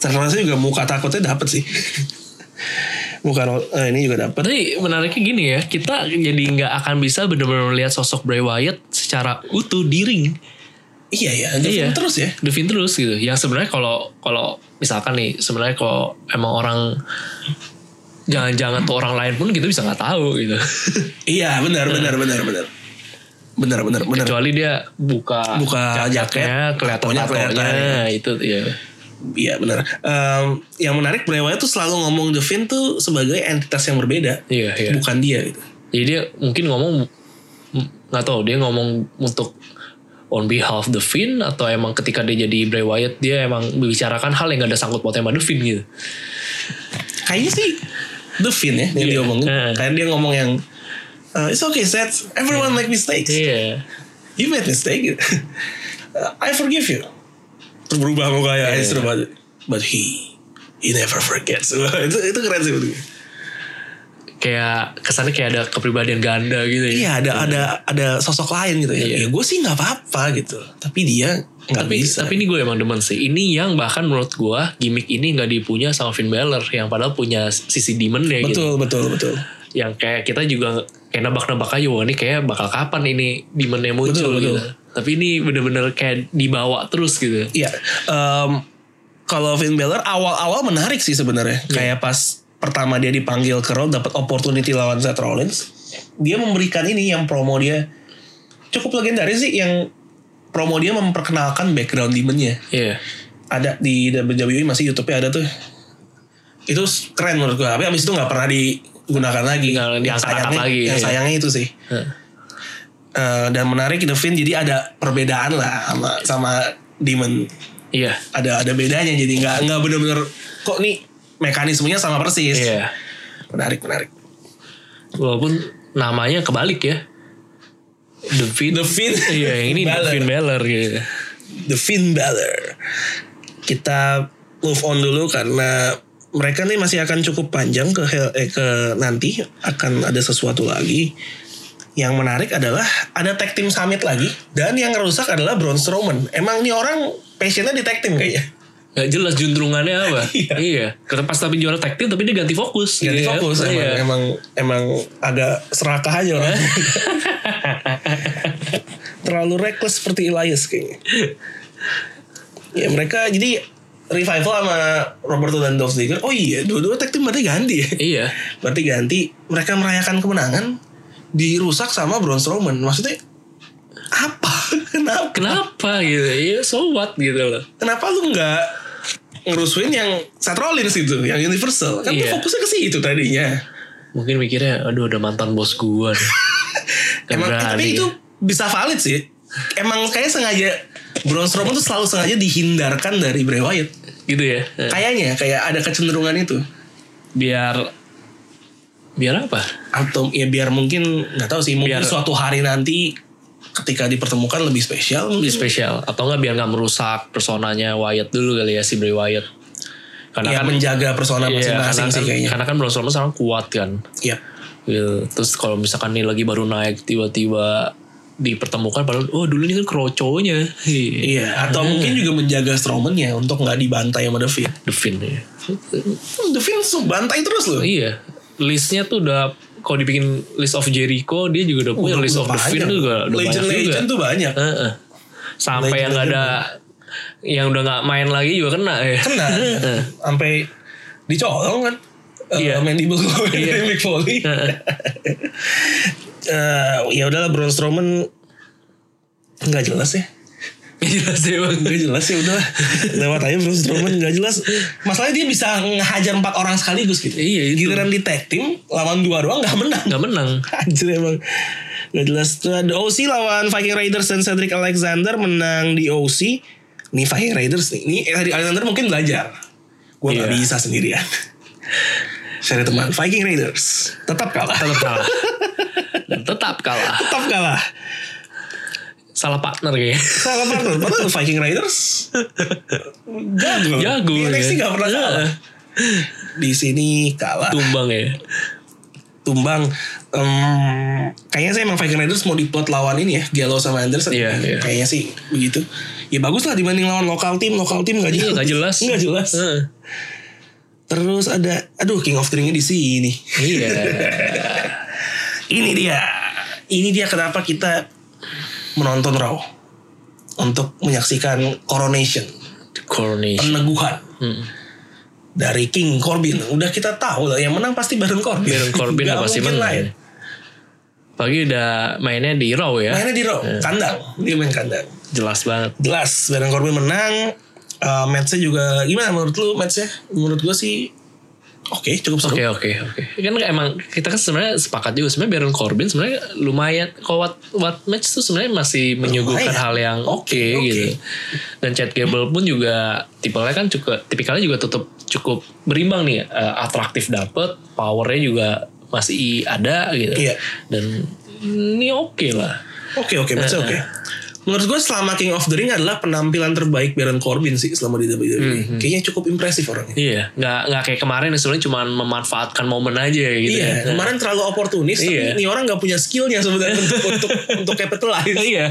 Speaker 1: Seth Rollins juga muka takutnya dapet sih. muka Roll- eh, ini juga dapet.
Speaker 2: Tapi menariknya gini ya, kita jadi nggak akan bisa benar-benar melihat sosok Bray Wyatt secara utuh di ring.
Speaker 1: Iya ya,
Speaker 2: Iya.
Speaker 1: terus ya.
Speaker 2: The Fiend terus gitu. Yang sebenarnya kalau kalau misalkan nih, sebenarnya kalau emang orang jangan-jangan tuh orang lain pun kita bisa nggak tahu gitu.
Speaker 1: Iya benar benar benar benar benar benar benar.
Speaker 2: Kecuali dia buka
Speaker 1: Buka jaket,
Speaker 2: jaketnya, kelihatan
Speaker 1: tatonya
Speaker 2: tatonya itu ya.
Speaker 1: Iya benar. Em, yang menarik Bray Wyatt tuh selalu ngomong The Fiend tuh sebagai entitas yang berbeda,
Speaker 2: Iya, iya.
Speaker 1: bukan dia gitu.
Speaker 2: Jadi dia mungkin ngomong m- nggak tahu dia ngomong untuk on behalf the Finn atau emang ketika dia jadi Bray Wyatt dia emang membicarakan hal yang gak ada sangkut pautnya sama the Finn gitu.
Speaker 1: kayaknya sih The Fin ya yang
Speaker 2: Iya.
Speaker 1: dia ngomongin.
Speaker 2: Heeh.
Speaker 1: Kayak dia ngomong yang "Uh, It's okay Seth, everyone make mistakes.
Speaker 2: Iya.
Speaker 1: You made mistake. Uh, I forgive you. Terus berubah mukanya.
Speaker 2: Iya.
Speaker 1: Yeah. Seru banget. But he he never forgets. itu itu keren sih menurut gue.
Speaker 2: Kayak kesannya kayak ada kepribadian ganda gitu ya.
Speaker 1: Iya ada ada ada sosok lain gitu ya.
Speaker 2: Iya.
Speaker 1: Ya gue sih nggak apa-apa gitu. Tapi dia nggak
Speaker 2: Tapi,
Speaker 1: bisa.
Speaker 2: tapi ini gue emang demen sih. Ini yang bahkan menurut gue gimmick ini nggak dipunya sama Finn Balor yang padahal punya sisi demon ya
Speaker 1: betul
Speaker 2: gitu.
Speaker 1: betul betul.
Speaker 2: Yang kayak kita juga kayak nebak-nebak aja wah ini kayak bakal kapan ini demonnya
Speaker 1: Betul,
Speaker 2: muncul
Speaker 1: betul.
Speaker 2: gitu. Tapi ini bener-bener kayak dibawa terus gitu.
Speaker 1: Iya. em, kalau Finn Balor awal-awal menarik sih sebenarnya.
Speaker 2: Iya.
Speaker 1: Kayak pas pertama dia dipanggil ke Raw dapat opportunity lawan Seth Rollins, dia memberikan ini yang promo dia cukup legendaris sih yang promo dia memperkenalkan background demonnya.
Speaker 2: Iya.
Speaker 1: Ada di WWE masih YouTube-nya ada tuh. Itu s- keren menurut gua. Tapi abis itu nggak pernah digunakan lagi.
Speaker 2: Nggak
Speaker 1: Yang
Speaker 2: diangkat-angkat
Speaker 1: sayangnya,
Speaker 2: lagi,
Speaker 1: yang
Speaker 2: iya.
Speaker 1: sayangnya itu sih.
Speaker 2: Heeh.
Speaker 1: Eh, dan menarik The Finn jadi ada perbedaan lah sama sama Demon
Speaker 2: Iya.
Speaker 1: ada ada bedanya jadi nggak nggak bener-bener kok nih mekanismenya sama persis
Speaker 2: Iya.
Speaker 1: menarik menarik
Speaker 2: Walaupun namanya kebalik ya. The Finn.
Speaker 1: The Finn.
Speaker 2: Iya, yang ini The
Speaker 1: Balor.
Speaker 2: Finn Balor gitu.
Speaker 1: The Finn Balor kita move on dulu karena mereka nih masih akan cukup panjang ke hel- eh, ke nanti akan ada sesuatu lagi yang menarik adalah ada tag team summit lagi dan yang rusak adalah Braun Strowman emang nih orang passionnya di tag team kayaknya
Speaker 2: Gak jelas juntrungannya apa.
Speaker 1: Iya.
Speaker 2: iya. Kata pas tapi juara tag team tapi dia ganti fokus.
Speaker 1: Ganti
Speaker 2: Iya.
Speaker 1: fokus emang,
Speaker 2: Iya.
Speaker 1: emang emang agak serakah aja orang. Terlalu reckless seperti Elias kayaknya. Ya mereka jadi revival sama Roberto dan Dolph Ziggler. Oh iya, dua-dua tag team berarti ganti ya.
Speaker 2: Iya.
Speaker 1: Berarti ganti mereka merayakan kemenangan dirusak sama Braun Strowman. Maksudnya apa? Kenapa?
Speaker 2: Kenapa gitu? Iya, so what gitu loh.
Speaker 1: Kenapa lu nggak ngerusuin yang Seth Rollins itu, yang Universal? Kan lu
Speaker 2: Iya.
Speaker 1: fokusnya ke situ tadinya.
Speaker 2: Mungkin mikirnya, aduh udah mantan bos gua nih. Gak
Speaker 1: Emang eh, tapi
Speaker 2: berani.
Speaker 1: itu bisa valid sih. Emang kayak sengaja Braun Strowman tuh selalu sengaja dihindarkan dari Bray Wyatt.
Speaker 2: gitu ya.
Speaker 1: Kayaknya kayak ada kecenderungan itu.
Speaker 2: Biar biar apa?
Speaker 1: Atau ya biar mungkin nggak tahu sih mungkin
Speaker 2: Biar-
Speaker 1: suatu hari nanti ketika dipertemukan lebih spesial ya mungkin.
Speaker 2: Lebih spesial atau enggak biar nggak merusak personanya Wyatt dulu kali ya si Bray Wyatt. Karena
Speaker 1: ya
Speaker 2: kan
Speaker 1: menjaga persona
Speaker 2: Iya,
Speaker 1: masing-masing
Speaker 2: karena,
Speaker 1: sih
Speaker 2: kan-
Speaker 1: kayaknya.
Speaker 2: karena kan Braun Strowman sekarang kuat kan.
Speaker 1: Iya.
Speaker 2: Gitu. Terus kalau misalkan nih lagi baru naik tiba-tiba dipertemukan padahal oh dulu ini kan kroconya. Iya.
Speaker 1: Iya, atau mungkin juga menjaga Strowman-nya untuk nggak dibantai sama The Fiend.
Speaker 2: The Fiend ya.
Speaker 1: Hmm, The Fiend su- bantai terus loh.
Speaker 2: Iya. Listnya tuh udah kalau dibikin list of Jericho dia juga udah punya
Speaker 1: Udah-
Speaker 2: list
Speaker 1: udah
Speaker 2: of The Fiend
Speaker 1: banyak.
Speaker 2: juga udah banyak
Speaker 1: Legend-legend
Speaker 2: juga.
Speaker 1: tuh banyak.
Speaker 2: Heeh. Sampai yang nggak ada yang udah nggak main lagi juga kena ya.
Speaker 1: kena sampai dicolong kan
Speaker 2: Iya.
Speaker 1: Eh, mandible claw
Speaker 2: Iya.
Speaker 1: dari Mick Foley Eh, ya udahlah Braun Strowman nggak jelas ya
Speaker 2: Jelas ya bang.
Speaker 1: nggak jelas ya udahlah lewat aja Braun Strowman nggak jelas masalahnya dia bisa ngehajar empat orang sekaligus gitu
Speaker 2: Iya, itu.
Speaker 1: giliran di tag team lawan dua doang nggak menang
Speaker 2: Nggak menang.
Speaker 1: Anjir emang Gak jelas tuh ada OC lawan Viking Raiders dan Cedric Alexander menang di OC Nih Viking Raiders nih Ini Cedric Alexander mungkin belajar Gue nggak
Speaker 2: Iya.
Speaker 1: bisa sendirian Cari teman Viking Raiders Tetap kalah
Speaker 2: Tetap kalah. Dan tetap kalah.
Speaker 1: Tetap kalah
Speaker 2: Salah partner ya. kayaknya.
Speaker 1: Salah partner Padahal Viking Raiders Jago
Speaker 2: Jago,
Speaker 1: Di NXT
Speaker 2: ya.
Speaker 1: nggak pernah kalah Di sini kalah
Speaker 2: Tumbang ya.
Speaker 1: tumbang Em, kayaknya sih emang Viking Raiders mau diplot lawan ini ya Gallows sama Anderson
Speaker 2: Iya, iya.
Speaker 1: kayaknya sih begitu ya bagus lah dibanding lawan lokal tim lokal tim nggak jelas
Speaker 2: Iya, nggak jelas.
Speaker 1: nggak jelas
Speaker 2: Heeh.
Speaker 1: terus ada aduh King of the Ring-nya di sini
Speaker 2: Iya.
Speaker 1: ini dia ini dia kenapa kita menonton Raw untuk menyaksikan coronation
Speaker 2: The Coronation.
Speaker 1: peneguhan
Speaker 2: Hmm.
Speaker 1: dari King Corbin udah kita tahu lah yang menang pasti Baron Corbin
Speaker 2: Baron Corbin
Speaker 1: Nggak
Speaker 2: udah pasti
Speaker 1: mungkin ya.
Speaker 2: menang.
Speaker 1: lain.
Speaker 2: Pagi udah mainnya di Raw ya.
Speaker 1: mainnya di Raw kandang dia main kandang
Speaker 2: Jelas banget.
Speaker 1: jelas Baron Corbin menang Eh matchnya juga gimana menurut lu matchnya menurut gua sih oke cukup seru
Speaker 2: Oke oke oke. Kan emang kita kan sebenarnya sepakat juga sebenarnya Baron Corbin sebenarnya lumayan kalau what, what match tuh sebenarnya masih menyuguhkan
Speaker 1: Lumayan.
Speaker 2: hal yang oke
Speaker 1: Oke.
Speaker 2: gitu. Dan Chad Gable pun juga tipenya kan juga tipikalnya juga tetap cukup berimbang nih Eh, atraktif dapet, powernya juga masih ada gitu.
Speaker 1: Iya.
Speaker 2: Dan ini oke lah.
Speaker 1: oke oke
Speaker 2: Eh,
Speaker 1: matchnya oke menurut gua selama King of the Ring adalah penampilan terbaik Baron Corbin sih selama di WWE
Speaker 2: Hmm,
Speaker 1: kayaknya cukup impresif orangnya
Speaker 2: Iya, nggak nggak kayak kemarin yang sebenarnya cuma memanfaatkan momen aja gitu.
Speaker 1: Iya,
Speaker 2: ya.
Speaker 1: kemarin terlalu oportunis.
Speaker 2: Iya.
Speaker 1: Tapi ini orang nggak punya skillnya sebenarnya untuk untuk untuk capitalize.
Speaker 2: iya.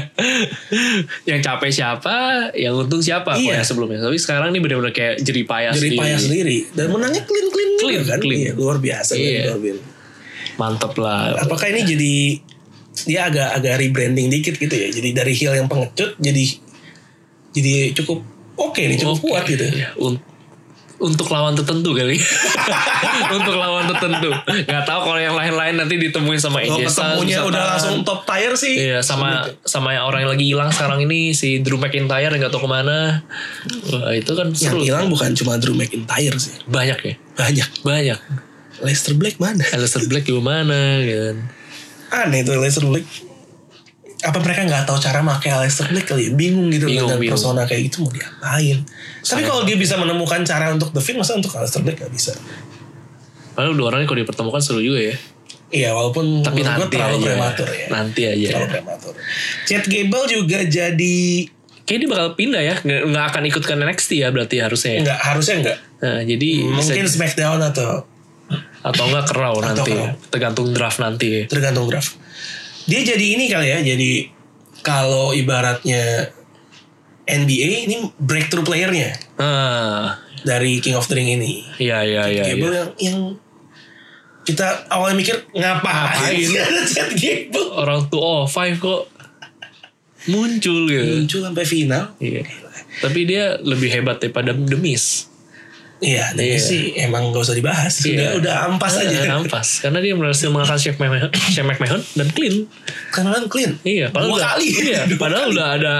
Speaker 2: yang capek siapa, yang untung siapa kalau
Speaker 1: Iya.
Speaker 2: yang sebelumnya. Tapi sekarang ini benar-benar kayak jeripayah
Speaker 1: Jadi
Speaker 2: sendiri.
Speaker 1: payah sendiri dan menangnya clean clean,
Speaker 2: Clean,
Speaker 1: kan?
Speaker 2: clean.
Speaker 1: Iya, luar biasa
Speaker 2: Iya.
Speaker 1: Baron Corbin.
Speaker 2: Mantep lah.
Speaker 1: Apakah ini jadi dia agak agak rebranding dikit gitu ya? Jadi dari heel yang pengecut jadi jadi cukup oke nih, cukup
Speaker 2: Oke.
Speaker 1: kuat gitu.
Speaker 2: Iya, un- untuk lawan tertentu kali. untuk lawan tertentu. Gak tahu kalau yang lain-lain nanti ditemuin sama
Speaker 1: Kalau
Speaker 2: AJ Styles,
Speaker 1: ketemunya
Speaker 2: misalkan.
Speaker 1: udah langsung ya. top tier sih.
Speaker 2: Iya sama sama yang orang yang lagi hilang sekarang ini si Drew McIntyre yang gak tahu kemana. Wah, itu kan
Speaker 1: Yang
Speaker 2: seru.
Speaker 1: hilang bukan cuma Drew McIntyre sih.
Speaker 2: Banyak ya.
Speaker 1: Banyak.
Speaker 2: Banyak.
Speaker 1: Lester Black mana?
Speaker 2: Aleister Black gimana gitu.
Speaker 1: Aneh tuh Lester Black. Apa mereka nggak tahu cara pakai Lester Black kali ya? Bingung gitu
Speaker 2: Bingung,
Speaker 1: dengan
Speaker 2: bingung.
Speaker 1: persona kayak gitu mau diapain. Tapi kalau dia bisa menemukan cara untuk The Fiend, masa untuk Lester Black nggak bisa?
Speaker 2: Padahal dua orang ini kalau dipertemukan seru juga ya.
Speaker 1: Iya, walaupun
Speaker 2: Tapi
Speaker 1: menurut gua
Speaker 2: nanti
Speaker 1: terlalu
Speaker 2: aja.
Speaker 1: prematur ya.
Speaker 2: Nanti aja.
Speaker 1: Terlalu prematur. Chad Gable juga jadi
Speaker 2: Kayaknya dia bakal pindah ya. Nggak, nggak akan ikut ke NXT ya berarti harusnya. ya.
Speaker 1: nggak harusnya nggak.
Speaker 2: Nah, jadi bisa,
Speaker 1: Hmm. Mungkin SmackDown atau
Speaker 2: atau nggak ke Raw nanti.
Speaker 1: ke Raw.
Speaker 2: ya. Tergantung draft nanti. ya.
Speaker 1: tergantung draft. Dia jadi ini kali ya. Jadi kalau ibaratnya NBA ini breakthrough playernya
Speaker 2: Ah,
Speaker 1: dari King of the Ring ini.
Speaker 2: iya iya iya.
Speaker 1: Gable
Speaker 2: iya.
Speaker 1: yang yang kita awalnya mikir ngapain?
Speaker 2: Ngapain?
Speaker 1: Ada Chad Gable
Speaker 2: Orang tuh oh five kok muncul gitu.
Speaker 1: muncul sampai final.
Speaker 2: Iya. Tapi dia lebih hebat daripada Demis.
Speaker 1: Iya, dan
Speaker 2: Iya.
Speaker 1: sih emang gak usah dibahas. Udah
Speaker 2: Iya.
Speaker 1: udah ampas
Speaker 2: Ah,
Speaker 1: aja.
Speaker 2: Ampas. Karena dia berhasil mengalahkan Shane McMahon, Shane McMahon dan Clean.
Speaker 1: Karena kan clean.
Speaker 2: Iya, padahal
Speaker 1: Dua
Speaker 2: udah,
Speaker 1: kali.
Speaker 2: Iya,
Speaker 1: Dua
Speaker 2: padahal
Speaker 1: kali.
Speaker 2: udah ada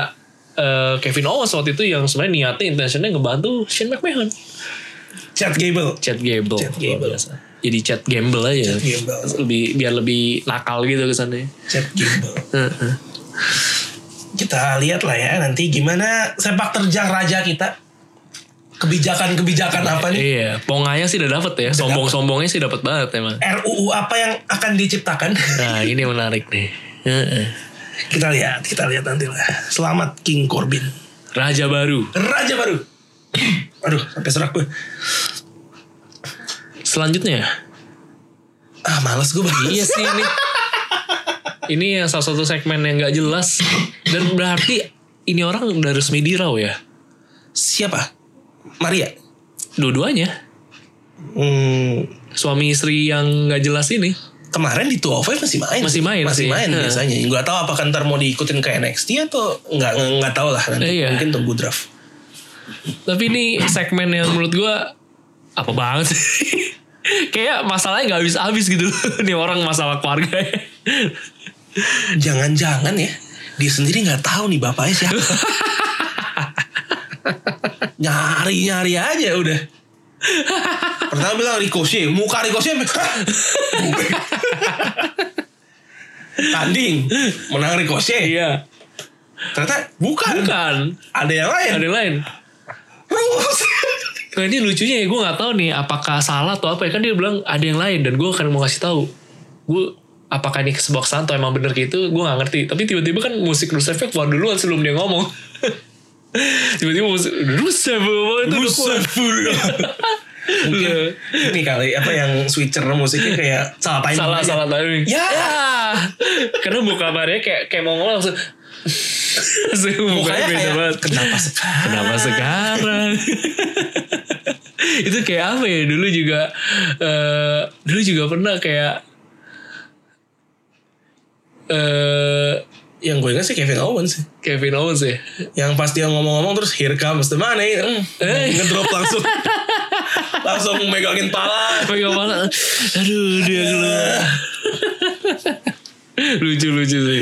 Speaker 2: eh, Kevin Owens waktu itu yang sebenarnya niatnya intentionnya ngebantu Shane McMahon.
Speaker 1: Chad Gable.
Speaker 2: Chad Gable.
Speaker 1: Chad
Speaker 2: luar
Speaker 1: Gable.
Speaker 2: biasa. Jadi Chad Gamble aja.
Speaker 1: Chad Gable.
Speaker 2: Lebih biar lebih nakal gitu kesannya.
Speaker 1: Chad Gable.
Speaker 2: Heeh.
Speaker 1: Kita lihat lah ya nanti gimana sepak terjang raja kita. Kebijakan-kebijakan apa nih?
Speaker 2: Iya, ponganya sih udah dapet ya. Sombong-sombongnya sih dapet banget emang.
Speaker 1: RUU apa yang akan diciptakan?
Speaker 2: Nah, ini yang menarik nih. Heeh.
Speaker 1: kita lihat, kita lihat nanti lah. Selamat King Corbin.
Speaker 2: Raja baru.
Speaker 1: Raja baru. Aduh, sampai serak gue.
Speaker 2: Selanjutnya.
Speaker 1: Ah, males gue bahas.
Speaker 2: Iya sih ini. Ini yang salah satu segmen yang gak jelas. Dan berarti ini orang udah resmi dirau ya.
Speaker 1: Siapa? Maria.
Speaker 2: Dua-duanya.
Speaker 1: Hmm,
Speaker 2: suami istri yang nggak jelas ini.
Speaker 1: kemarin di 205 masih main.
Speaker 2: Masih main
Speaker 1: Masih
Speaker 2: sih.
Speaker 1: main
Speaker 2: Heeh.
Speaker 1: biasanya. Gak tahu apakah ntar mau diikutin ke NXT atau nggak nggak- nggak tahu lah nanti.
Speaker 2: Iya.
Speaker 1: Mungkin tunggu draft.
Speaker 2: Tapi ini segmen yang menurut gua apa banget sih? Kayak masalahnya nggak habis-habis gitu. Nih orang masalah keluarga.
Speaker 1: Jangan-jangan ya dia sendiri nggak tahu nih bapaknya siapa. Nyari-nyari aja udah. Pertama bilang Ricochet, muka Ricochet. "Hah? Gue." Tanding, menang Ricochet.
Speaker 2: iya.
Speaker 1: Ternyata bukan.
Speaker 2: Bukan.
Speaker 1: Ada yang lain.
Speaker 2: Ada yang lain.
Speaker 1: Rules.
Speaker 2: Nah ini lucunya ya gue nggak tahu nih apakah salah atau apa ya kan dia bilang ada yang lain dan gue akan mau kasih tahu. Gue apakah ini sebuah kesan atau emang bener gitu gue nggak ngerti tapi tiba-tiba kan musik Rusev keluar duluan sebelum dia ngomong tiba-tiba musik Rusev apa itu udah keluar.
Speaker 1: Mungkin ini kali apa yang switcher musiknya kayak salah timing.
Speaker 2: salah
Speaker 1: aja.
Speaker 2: salah timing
Speaker 1: Ya.
Speaker 2: karena buka kabarnya kayak kayak mau ngomong langsung langsung mukanya
Speaker 1: Mukanya
Speaker 2: beda
Speaker 1: kayak
Speaker 2: banget
Speaker 1: kenapa sekarang?
Speaker 2: kenapa sekarang itu kayak apa ya dulu juga eh dulu juga pernah kayak eh
Speaker 1: Yang gue ingat sih Kevin Owens sih.
Speaker 2: Kevin Owens ya
Speaker 1: Yang pas dia ngomong-ngomong terus here comes the money. Mm.
Speaker 2: Eh.
Speaker 1: Ngedrop langsung. langsung megangin pala.
Speaker 2: pegang mana aduh dia keluar lucu lucu sih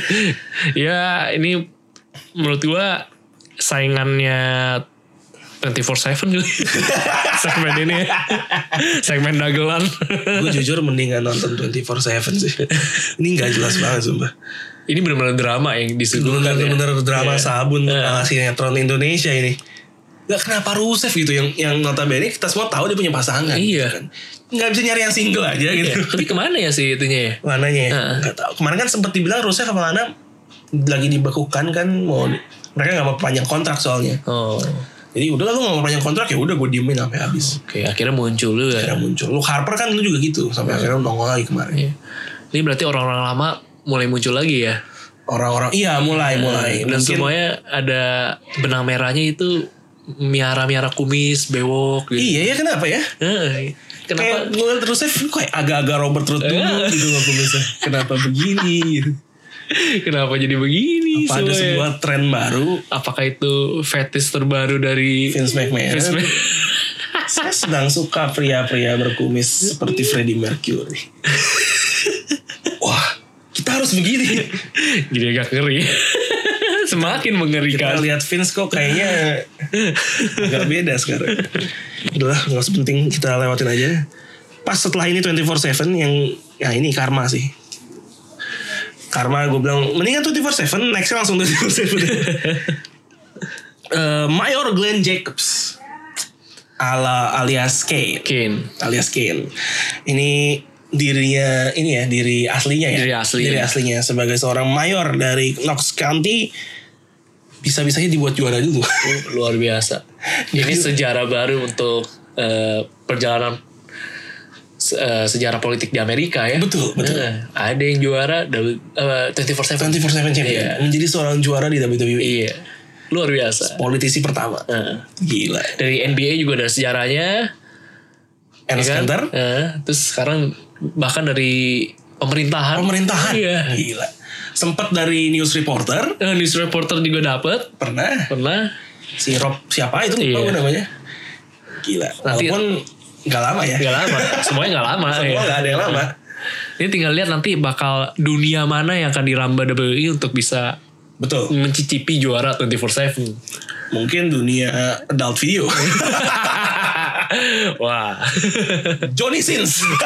Speaker 2: ya ini menurut gua saingannya 24/7 kali segmen ini ya. segmen dagelan
Speaker 1: gue jujur mendingan nonton 24/7 sih. Ini nggak jelas banget sumpah.
Speaker 2: ini benar-benar drama yang disuguhkan ya.
Speaker 1: Bener-bener drama
Speaker 2: Iya.
Speaker 1: sabun
Speaker 2: Iya.
Speaker 1: ala sinetron Indonesia ini. Gak kenapa Rusev gitu yang yang notabene kita semua tahu dia punya pasangan. Gitu
Speaker 2: Iya.
Speaker 1: kan. Nggak bisa nyari yang single aja gitu.
Speaker 2: Iya. tapi kemana ya sih itunya ya
Speaker 1: Lananya ya?
Speaker 2: Heeh.
Speaker 1: Nggak tahu. Kemarin kan sempat dibilang Rusev sama Lana lagi dibekukan kan mau mereka nggak mau panjang kontrak soalnya.
Speaker 2: oh oke
Speaker 1: Jadi udah lu nggak mau panjang kontrak ya udah gue diemin sampai habis.
Speaker 2: akhirnya muncul lu ya
Speaker 1: Akhirnya muncul. Lu Harper kan lu juga gitu sampai akhirnya nongol lagi kemarin.
Speaker 2: Iya. ini berarti orang-orang lama mulai muncul lagi ya
Speaker 1: Orang-orang iya mulai mulai.
Speaker 2: dan
Speaker 1: Mungkin-
Speaker 2: semuanya ada benang merahnya itu miara-miara kumis bewok gitu.
Speaker 1: Iya ya kenapa ya?
Speaker 2: Heeh.
Speaker 1: Kayak
Speaker 2: Eh, Kenapa?
Speaker 1: gue terus kayak agak-agak Robert Ruth dulu
Speaker 2: Iya.
Speaker 1: gitu loh pemirsa. Kenapa begini? gitu.
Speaker 2: kenapa jadi begini?
Speaker 1: Apa ada
Speaker 2: semuanya?
Speaker 1: sebuah tren baru
Speaker 2: Apakah itu fetish terbaru dari
Speaker 1: Vince McMahon.
Speaker 2: Vince Mc-
Speaker 1: Saya sedang suka pria-pria berkumis seperti Freddie Mercury. Wah, kita harus begini.
Speaker 2: jadi agak ngeri. Semakin
Speaker 1: Kita
Speaker 2: mengerikan.
Speaker 1: lihat Vince kok kayaknya agak beda sekarang. Udah, nggak usah penting kita lewatin aja. Pas setelah ini 24/7 yang ya ini karma sih. Karma gue bilang mendingan 24/7 nextnya langsung 24/7. Eh, Mayor Glenn Jacobs ala alias Kane.
Speaker 2: Mungkin.
Speaker 1: alias Kane. Ini dirinya ini ya diri aslinya ya.
Speaker 2: Diri asli,
Speaker 1: Diri
Speaker 2: ya.
Speaker 1: aslinya sebagai seorang mayor dari Knox County bisa-bisanya dibuat juara dulu.
Speaker 2: Luar biasa. Ini sejarah baru untuk eh, perjalanan se- eh, sejarah politik di Amerika ya.
Speaker 1: Betul, betul.
Speaker 2: Heeh. ada yang juara W- eh, 24/7.
Speaker 1: 24/7 champion menjadi seorang juara di WWE.
Speaker 2: Iya. luar biasa.
Speaker 1: Politisi pertama.
Speaker 2: Heeh.
Speaker 1: Gila.
Speaker 2: dari NBA juga ada sejarahnya.
Speaker 1: Ernest
Speaker 2: ya kan?
Speaker 1: Cantor,
Speaker 2: Heeh. terus sekarang bahkan dari pemerintahan.
Speaker 1: pemerintahan.
Speaker 2: Iya.
Speaker 1: Gila. Sempat dari news reporter,
Speaker 2: Eh, News reporter juga dapat
Speaker 1: pernah
Speaker 2: pernah.
Speaker 1: si Rob siapa itu lupa
Speaker 2: Iya.
Speaker 1: gue namanya. Gila.
Speaker 2: Nanti-
Speaker 1: Walaupun nggak lama ya.
Speaker 2: Gak lama, ya. semuanya gak lama. iya.
Speaker 1: Semua nggak ada yang lama.
Speaker 2: Ini tinggal lihat nanti bakal dunia mana yang akan diramba WWE E untuk bisa
Speaker 1: Betul.
Speaker 2: mencicipi juara 24/7.
Speaker 1: Mungkin dunia adult video.
Speaker 2: Iya. Wah.
Speaker 1: Johnny Sins. Iya.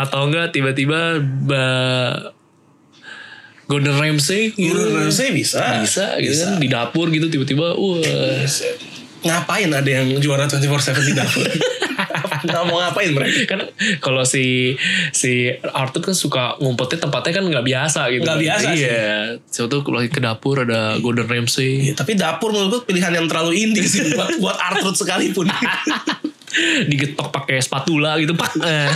Speaker 2: Atau enggak tiba-tiba ba- Gordon Ramsay gitu.
Speaker 1: Guru Ramsey bisa.
Speaker 2: bisa gitu kan di dapur gitu tiba-tiba wah
Speaker 1: Bisa. Ngapain ada yang juara 24-7 di dapur? Nggak mau ngapain mereka.
Speaker 2: kan kalau si si Arthur kan suka ngumpetnya tempatnya kan nggak biasa gitu
Speaker 1: Nggak biasa sih.
Speaker 2: iya Siapa tuh kalau ke dapur ada Gordon Ramsay
Speaker 1: Ya, tapi dapur menurut gue pilihan yang terlalu indie sih buat, buat Arthrud sekalipun.
Speaker 2: digetok pakai spatula gitu pak Eh,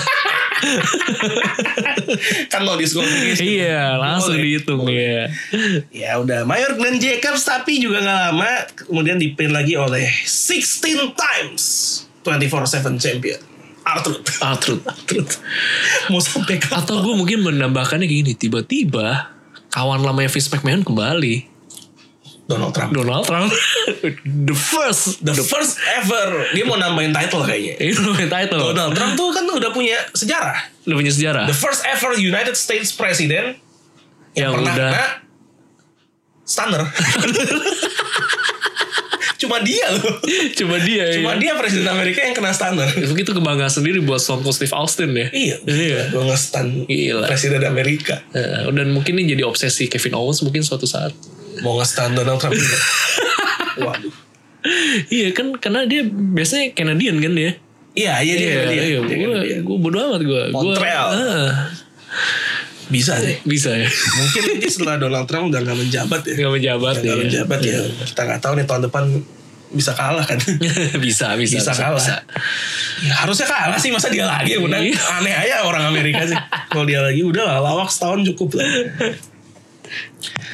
Speaker 1: kan no disqualification.
Speaker 2: iya langsung
Speaker 1: Boleh.
Speaker 2: dihitung ya
Speaker 1: Ya udah, Mayor Glenn Jacobs tapi juga nggak lama kemudian dipin lagi oleh 16 times 24/7 champion Arthrud.
Speaker 2: Arthur Arthur
Speaker 1: Mau sampai kapan?
Speaker 2: atau gue mungkin menambahkannya gini tiba-tiba kawan lamanya Vince McMahon kembali
Speaker 1: Donald Trump.
Speaker 2: Donald Trump the first
Speaker 1: The first ever dia mau nambahin title kayaknya.
Speaker 2: ini eh, namanya title
Speaker 1: Donald Trump tuh kan udah punya sejarah.
Speaker 2: udah punya sejarah
Speaker 1: The first ever United States President
Speaker 2: yang
Speaker 1: pernah
Speaker 2: udah
Speaker 1: kena stunner. Cuma dia loh.
Speaker 2: cuma dia ya.
Speaker 1: Cuma dia presiden Amerika yang kena stunner.
Speaker 2: itu kebanggaan sendiri buat Stone Cold Steve Austin ya
Speaker 1: Iya.
Speaker 2: Iya.
Speaker 1: Gue nge-stun
Speaker 2: Gila.
Speaker 1: presiden Amerika.
Speaker 2: Eh, dan mungkin ini jadi obsesi Kevin Owens mungkin suatu saat
Speaker 1: Mau nge-stun Donald Trump juga. Waduh.
Speaker 2: iya kan karena dia biasanya Canadian kan dia
Speaker 1: Iya, iya dia. dia,
Speaker 2: iya
Speaker 1: dia,
Speaker 2: gue
Speaker 1: dia.
Speaker 2: gue bodo amat gue
Speaker 1: Montreal. Bisa deh.
Speaker 2: bisa ya
Speaker 1: Mungkin nanti setelah Donald Trump udah gak menjabat ya.
Speaker 2: nggak menjabat
Speaker 1: Udah
Speaker 2: ya
Speaker 1: gak menjabat ya. Kita gak tahu nih tahun depan bisa kalah kan.
Speaker 2: bisa bisa
Speaker 1: Bisa kalah. Ya, harusnya kalah sih masa dia lagi yang menang.
Speaker 2: Iya.
Speaker 1: Aneh aja orang Amerika sih. Kalau dia lagi udah lah lawak setahun cukup lah.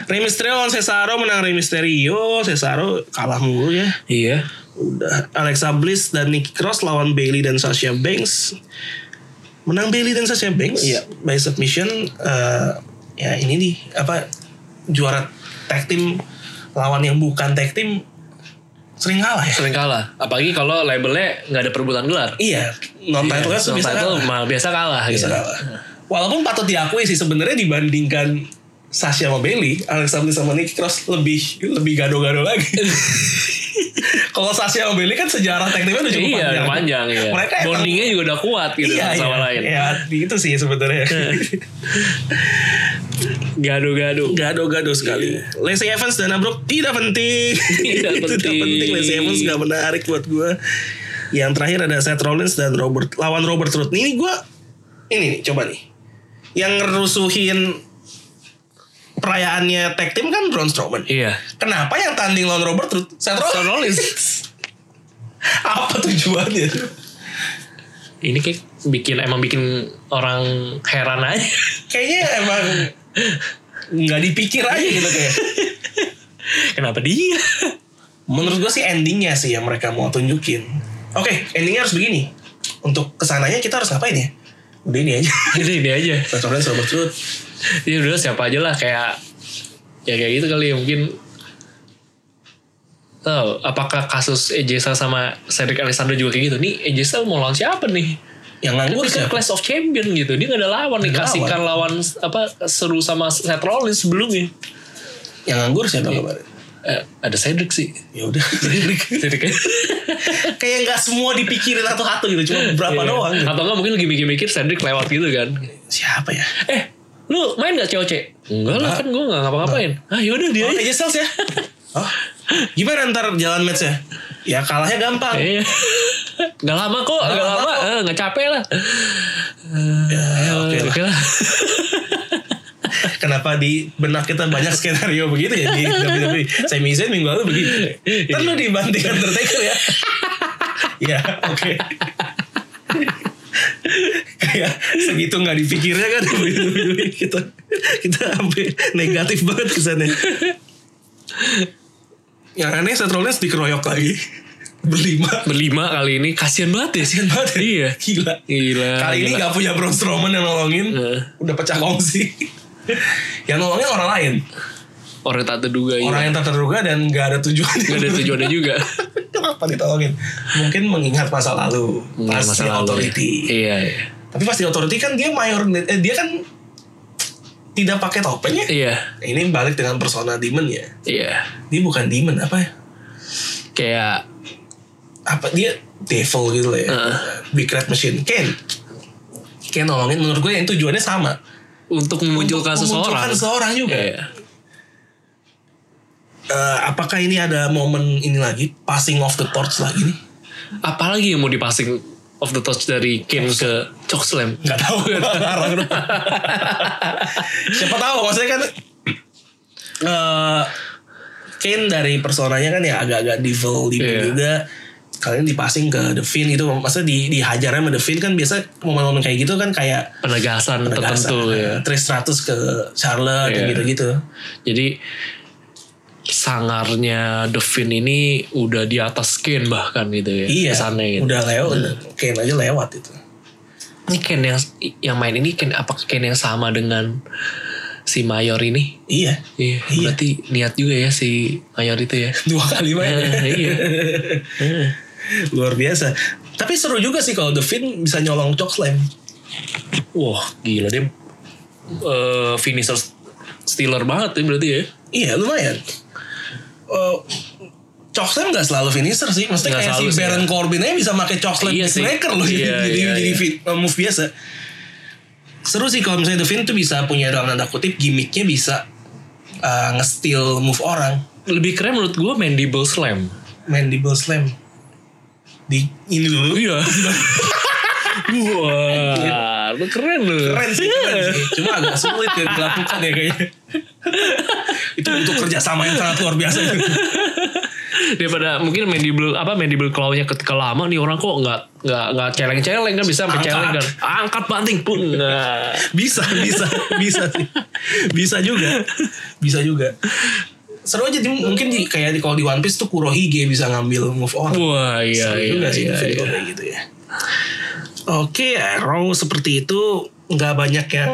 Speaker 1: Rey Mysterio lawan Cesaro menang Rey Mysterio, Cesaro kalah mulu ya.
Speaker 2: iya
Speaker 1: Udah Alexa Bliss dan Nikki Cross lawan Bailey dan Sasha Banks. Menang Bailey dan Sasha Banks
Speaker 2: Iya.
Speaker 1: by submission eh, ya ini nih apa juara tag team lawan yang bukan tag team sering kalah ya.
Speaker 2: sering kalah apalagi kalau labelnya nggak ada perebutan gelar
Speaker 1: Iya, non title kan bisa
Speaker 2: title
Speaker 1: kalah.
Speaker 2: malah biasa kalah
Speaker 1: Bisa
Speaker 2: gitu.
Speaker 1: kalah. Walaupun patut diakui sih sebenarnya dibandingkan Sasha sama Bailey, Alexa Bliss sama Nikki Cross lebih lebih gado-gado lagi. Kalau Sasha sama Bailey kan sejarah tag teamnya udah cukup
Speaker 2: iya
Speaker 1: panjang.
Speaker 2: panjang ya
Speaker 1: Mereka emang-
Speaker 2: bondingnya juga udah kuat gitu
Speaker 1: iya,
Speaker 2: satu sama
Speaker 1: iya,
Speaker 2: lain
Speaker 1: Iya, itu sih sebenarnya.
Speaker 2: gaduh-gaduh
Speaker 1: Gado-gado sekali. Lacey Evans dan Abrok tidak penting.
Speaker 2: Tidak
Speaker 1: itu tidak
Speaker 2: penting.
Speaker 1: penting. Lacey Evans gak menarik buat gue. Yang terakhir ada Seth Rollins dan Robert lawan Robert Roode. Ini gue ini nih coba nih. Yang ngerusuhin perayaannya tag team kan Braun Strowman.
Speaker 2: iya
Speaker 1: Kenapa yang tanding lawan Robert Roode Seth Rollins?
Speaker 2: Seth Rollins.
Speaker 1: Apa tujuannya?
Speaker 2: ini kayak bikin emang bikin orang heran aja
Speaker 1: Kayaknya emang nggak dipikir aja gitu kayak.
Speaker 2: kenapa dia
Speaker 1: Menurut gue sih endingnya sih yang mereka mau tunjukin. Oke, endingnya harus begini. Untuk kesananya kita harus ngapain ya? Udah ini aja.
Speaker 2: ini ini aja
Speaker 1: Seth Rollins, Robert Roode.
Speaker 2: ya udah siapa aja lah kayak ya kayak gitu kali ya mungkin tahu apakah kasus Ejesa sama Cedric Alexander juga kayak gitu nih Ejesa mau lawan siapa nih
Speaker 1: Yang nganggur
Speaker 2: Ini kan
Speaker 1: siapa?
Speaker 2: Clash of Champion gitu dia nggak ada lawan nih
Speaker 1: Nggak ada
Speaker 2: kasihkan lawan apa seru sama Seth Rollins sebelumnya
Speaker 1: Yang nganggur siapa kemarin?
Speaker 2: Eh, ada Cedric sih
Speaker 1: Ya udah.
Speaker 2: Cedric
Speaker 1: Kayak nggak semua dipikirin satu-satu gitu, cuma beberapa
Speaker 2: Iya.
Speaker 1: doang.
Speaker 2: atau nggak mungkin lagi mikir-mikir Cedric lewat gitu kan
Speaker 1: Siapa ya?
Speaker 2: eh lu main gak COC? Enggak lah kan gue gak ngapa-ngapain ah yaudah dia
Speaker 1: Oh,
Speaker 2: aja
Speaker 1: aja sales ya? Oh, gimana ntar jalan matchnya? Ya kalahnya gampang.
Speaker 2: Iya. Gak lama kok, gak,
Speaker 1: lama
Speaker 2: lama, Eh, gak capek lah.
Speaker 1: Ya, oke
Speaker 2: Eh,
Speaker 1: lah.
Speaker 2: Oke lah.
Speaker 1: Kenapa di benak kita banyak skenario begitu ya di WWE? Sami Zayn minggu lalu begitu. ya.
Speaker 2: Iya.
Speaker 1: Ntar lu dibanting Undertaker ya. ya, oke. Kayak segitu nggak dipikirnya kan WWE kita kita sampai negatif banget kesannya. Yang aneh Seth Rollins dikeroyok lagi. Berlima.
Speaker 2: berlima kali ini kasihan banget ya
Speaker 1: Kasian banget ya.
Speaker 2: iya
Speaker 1: Gila.
Speaker 2: gila
Speaker 1: Kali ini
Speaker 2: gila. Iya.
Speaker 1: gak punya Braun Strowman yang nolongin.
Speaker 2: Heeh.
Speaker 1: Udah pecah kongsi. yang nolongin orang lain.
Speaker 2: orang tak terduga
Speaker 1: Orang
Speaker 2: iya
Speaker 1: yang tak terduga dan gak ada tujuan.
Speaker 2: gak ada tujuannya juga
Speaker 1: Kenapa ditolongin? Mungkin mengingat masa lalu.
Speaker 2: Nggak
Speaker 1: Pas di
Speaker 2: lalu ya.
Speaker 1: authority.
Speaker 2: iya iya
Speaker 1: Tapi pas di authority kan dia mayor. Eh, dia kan tidak pakai topeng ya.
Speaker 2: iya
Speaker 1: Ini balik dengan persona demon ya.
Speaker 2: iya
Speaker 1: Dia bukan demon apa ya?
Speaker 2: kayak
Speaker 1: apa dia devil gitu lah ya
Speaker 2: Heeh.
Speaker 1: big red machine Ken Ken nolongin menurut gue yang tujuannya sama
Speaker 2: untuk memunculkan
Speaker 1: Untuk
Speaker 2: seseorang
Speaker 1: memunculkan seseorang juga
Speaker 2: iya
Speaker 1: Eh, apakah ini ada momen ini lagi passing of the torch lagi nih
Speaker 2: apalagi yang mau dipassing of the touch dari Kane ke Chok Slam
Speaker 1: nggak tahu Arang dong. siapa tahu maksudnya kan eh Ken dari personanya kan ya agak-agak devil devil
Speaker 2: Iya.
Speaker 1: juga kalian dipassing ke The Finn itu maksudnya di dihajarnya sama The Finn kan biasa momen-momen kayak gitu kan kayak
Speaker 2: penegasan tertentu
Speaker 1: penegasan,
Speaker 2: ya
Speaker 1: eh, 300 ke Charlotte
Speaker 2: Iya.
Speaker 1: dan gitu-gitu
Speaker 2: jadi sangarnya The Finn ini udah di atas Kane bahkan gitu ya
Speaker 1: Iya,
Speaker 2: kesannya gitu
Speaker 1: udah lewat, Ken aja lewat itu.
Speaker 2: ini Ken yang yang main ini Ken apakah Ken yang sama dengan si Mayor ini?
Speaker 1: Iya,
Speaker 2: Iya,
Speaker 1: Iya.
Speaker 2: berarti niat juga ya si Mayor itu ya.
Speaker 1: dua kali main.
Speaker 2: Eh, iya. Eh,
Speaker 1: Luar biasa. Tapi seru juga sih kalau The Finn bisa nyolong Chok Slam.
Speaker 2: Wah, gila dia eh finisher stealer banget ya berarti ya.
Speaker 1: Iya, lumayan. Eh Chok Slam gak selalu finisher sih. Maksudnya
Speaker 2: Nggak
Speaker 1: kayak si
Speaker 2: selalu sih,
Speaker 1: Baron
Speaker 2: ya.
Speaker 1: Corbin aja bisa pakai Chok Slam
Speaker 2: Iya sih.
Speaker 1: Breaker loh.
Speaker 2: Iya,
Speaker 1: jadi
Speaker 2: iya,
Speaker 1: jadi
Speaker 2: iya.
Speaker 1: fit- eh, move biasa. Seru sih kalau misalnya The Finn tuh bisa punya dalam tanda kutip gimmicknya bisa eh, nge-steal move orang.
Speaker 2: Lebih keren menurut gue mandible slam.
Speaker 1: Mandible Slam. Di ini dulu.
Speaker 2: Iya. Wah, lu keren lu.
Speaker 1: keren sih, keren
Speaker 2: Iya.
Speaker 1: sih. Cuma agak sulit ya dilakukan ya kayaknya. itu untuk kerjasama yang sangat luar biasa.
Speaker 2: Daripada mungkin mandible apa mandible claw-nya ketika lama nih orang kok nggak nggak nggak celeng-celeng kan bisa sampai
Speaker 1: Angkat.
Speaker 2: celeng kan. Angkat banting pun. Nah.
Speaker 1: Bisa, bisa, bisa sih. Bisa juga, bisa juga. Seru aja di- mungkin di, kayak di, kalau di One Piece tuh Kurohige bisa ngambil move on.
Speaker 2: Wah iya
Speaker 1: Seru
Speaker 2: iya
Speaker 1: juga sih
Speaker 2: iya,
Speaker 1: itu video
Speaker 2: iya.
Speaker 1: kayak gitu ya. Oke, ya, Raw seperti itu nggak banyak yang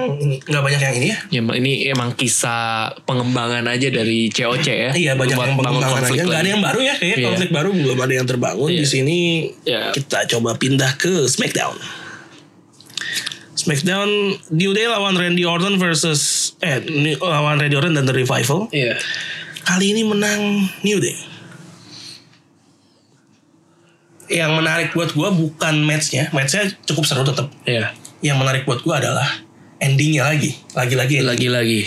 Speaker 1: nggak banyak yang ini ya.
Speaker 2: Ya, emang- ini emang kisah pengembangan aja dari COC ya.
Speaker 1: Iya banyak
Speaker 2: Buat
Speaker 1: yang
Speaker 2: bangun
Speaker 1: pengembangan
Speaker 2: konflik
Speaker 1: aja. Gak ada
Speaker 2: lagi.
Speaker 1: yang baru ya kayaknya
Speaker 2: Iya.
Speaker 1: konflik baru belum ada yang terbangun di sini.
Speaker 2: Iya.
Speaker 1: Kita coba pindah ke Smackdown. Smackdown New Day lawan Randy Orton versus eh New- lawan Randy Orton dan The Revival.
Speaker 2: Iya.
Speaker 1: Kali ini menang New Day. Yang menarik buat gue bukan matchnya, matchnya cukup seru tetap.
Speaker 2: Iya.
Speaker 1: Yang menarik buat gue adalah endingnya lagi, lagi-lagi ending
Speaker 2: Lagi-lagi.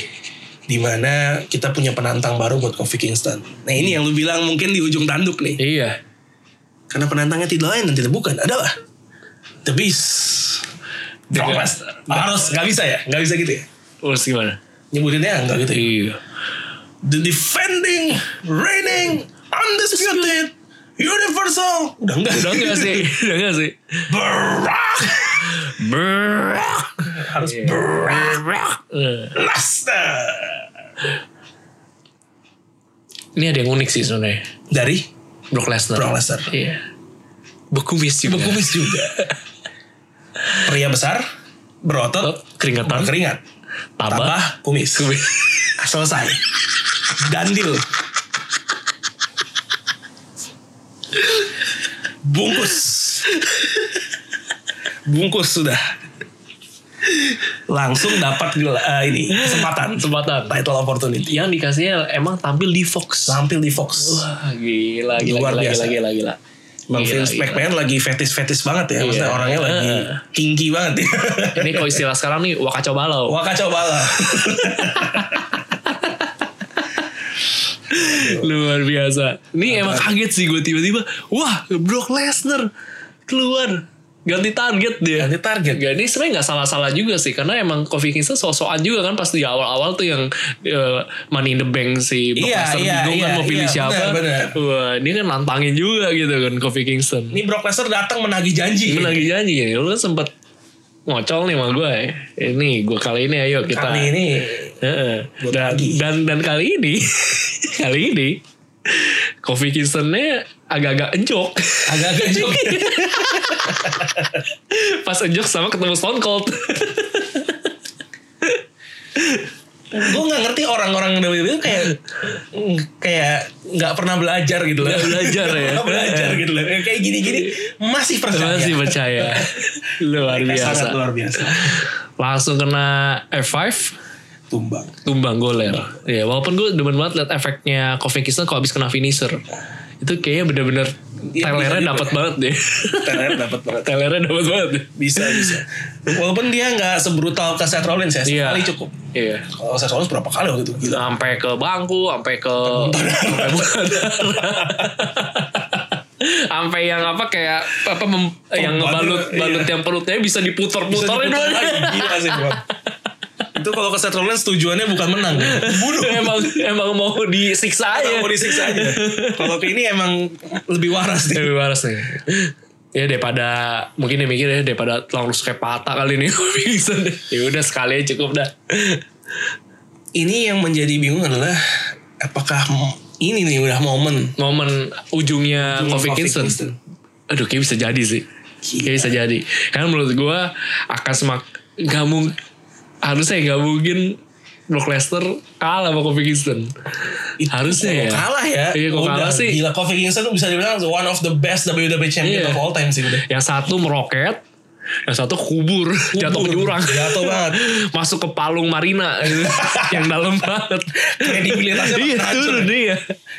Speaker 1: di mana kita punya penantang baru buat Kofi Kingston. Nah ini yang lu bilang mungkin di ujung tanduk nih,
Speaker 2: Iya.
Speaker 1: karena penantangnya tidak lain dan tidak bukan adalah The Beast. Brock
Speaker 2: Dengan-
Speaker 1: Lesnar. Harus nggak bisa ya, nggak bisa gitu ya.
Speaker 2: Terus gimana?
Speaker 1: Nyebutinnya nggak gitu. ya.
Speaker 2: Iya.
Speaker 1: The defending, reigning, undisputed, universal. Udah enggak.
Speaker 2: Udah enggak sih? Udah enggak sih?
Speaker 1: Brock.
Speaker 2: Berak.
Speaker 1: Harus
Speaker 2: Iya.
Speaker 1: Brock
Speaker 2: Eh,
Speaker 1: Lesnar.
Speaker 2: Ini ada yang unik sih sebenarnya.
Speaker 1: Dari
Speaker 2: Brock Lesnar.
Speaker 1: Brock Lesnar.
Speaker 2: Iya. Bekumis juga.
Speaker 1: Bekumis juga. Pria besar, berotot,
Speaker 2: Oh, Keringetan.
Speaker 1: berkeringat.
Speaker 2: Tabah.
Speaker 1: Tabah, kumis.
Speaker 2: Kumis.
Speaker 1: Selesai. Dandil. Bungkus. Bungkus sudah. Langsung dapat gel- eh, ini kesempatan
Speaker 2: Kesempatan.
Speaker 1: title opportunity.
Speaker 2: Yang dikasihnya emang tampil di Fox.
Speaker 1: Tampil di Fox.
Speaker 2: Wah, gila, gila,
Speaker 1: Luar
Speaker 2: gila,
Speaker 1: biasa.
Speaker 2: gila, gila, gila.
Speaker 1: Bang
Speaker 2: Gila,
Speaker 1: Vince
Speaker 2: gila.
Speaker 1: McMahon lagi fetis-fetis banget ya. Maksudnya
Speaker 2: Iya.
Speaker 1: orangnya lagi
Speaker 2: Eh.
Speaker 1: kinky banget ya.
Speaker 2: Ini kalau istilah sekarang nih wakaco balau.
Speaker 1: Wah kacau bala.
Speaker 2: Luar biasa. Ini emang kaget sih gue tiba-tiba. Wah, Brock Lesnar keluar. Ganti target dia.
Speaker 1: Ganti target.
Speaker 2: Gak, ini sebenarnya nggak salah-salah juga sih karena emang Kofi Kingston sosokan juga kan pas di awal-awal tuh yang eh, Money in the Bank si Brock
Speaker 1: Iya,
Speaker 2: Lesnar
Speaker 1: iya,
Speaker 2: bingung kan
Speaker 1: iya,
Speaker 2: mau pilih
Speaker 1: iya,
Speaker 2: siapa.
Speaker 1: benar, benar.
Speaker 2: Wah, ini kan nantangin juga gitu kan Kofi Kingston.
Speaker 1: Ini Brock Lesnar datang menagih janji.
Speaker 2: Ini lagi janji gini, lu kan sempet ngocol nih sama gue. ya. Ini gue kali ini ayo kita.
Speaker 1: Kali ini
Speaker 2: Heeh.
Speaker 1: Buat
Speaker 2: Dan,
Speaker 1: lagi.
Speaker 2: dan dan kali ini kali ini Kofi Kingstonnya agak-agak enjok.
Speaker 3: Agak-agak jok.
Speaker 2: Pas enjok sama ketemu Stone Cold.
Speaker 1: gue nggak ngerti orang-orang WWE itu kayak mm, kayak nggak pernah belajar gitu loh
Speaker 2: Nggak belajar ya.
Speaker 1: Nggak pernah belajar gitu loh kayak gini-gini masih percaya
Speaker 2: Masih percaya. ya. Luar
Speaker 1: Iya. Mereka
Speaker 2: biasa.
Speaker 1: sangat luar biasa
Speaker 2: Langsung kena F5.
Speaker 1: tumbang
Speaker 2: tumbang goler. Ya, walaupun gue demen banget liat efeknya Kofi Kingston kalau habis kena finisher. Itu kayaknya bener-bener
Speaker 1: Iya,
Speaker 2: telernya
Speaker 1: bisa
Speaker 2: dapat
Speaker 1: juga.
Speaker 2: banget deh.
Speaker 1: Teler dapat banget
Speaker 2: telernya dapat banget. deh.
Speaker 1: bisa bisa walaupun dia nggak sebrutal ke Seth Rollins ya
Speaker 2: Iya.
Speaker 1: sekali cukup
Speaker 2: Iya.
Speaker 1: kalau Seth Rollins berapa kali waktu itu gila
Speaker 2: Sampai ke bangku, sampai ke sampai bukan. sampai yang apa kayak apa mem- yang ngebalut balut yang perutnya bisa
Speaker 1: Iya. Bisa
Speaker 2: diputer-puterin
Speaker 1: diputar lagi. gila sih bro. itu kalau ke Seth Rollins tujuannya bukan menang ya. bunuh
Speaker 2: emang emang mau disiksa aja.
Speaker 1: mau disiksa aja kalau ke ini emang lebih waras nih
Speaker 2: Lebih waras nih. Ya daripada mungkin dia mikir ya daripada langsung kayak patah kali ini pingsan deh. Ya udah sekali aja cukup dah.
Speaker 1: ini yang menjadi bingung adalah apakah mo- ini nih udah momen
Speaker 2: Momen ujungnya
Speaker 1: Ujung
Speaker 2: Iya,
Speaker 1: Kofi
Speaker 2: Kofi Kingston.
Speaker 1: Kingston.
Speaker 2: Aduh kayak bisa jadi sih. Kayak Iya, bisa jadi. Karena menurut gua akan semak gak mung- harusnya gak mungkin Brock Lesnar kalah sama Kofi Kingston.
Speaker 1: Itu kalau
Speaker 2: Harusnya ya.
Speaker 1: kalah ya.
Speaker 2: Iya, kalau
Speaker 1: udah,
Speaker 2: kalah sih.
Speaker 1: Gila Kofi Kingston bisa dibilang one of the best WWE champion
Speaker 2: Iya.
Speaker 1: of all time sih udah.
Speaker 2: Yang satu meroket, yang satu kubur, jatuh ke jurang.
Speaker 1: Jatuh banget.
Speaker 2: Masuk ke palung Marina yang dalam banget.
Speaker 1: Kredibilitasnya ya.
Speaker 2: iya
Speaker 1: makin hancur.
Speaker 2: turun dia.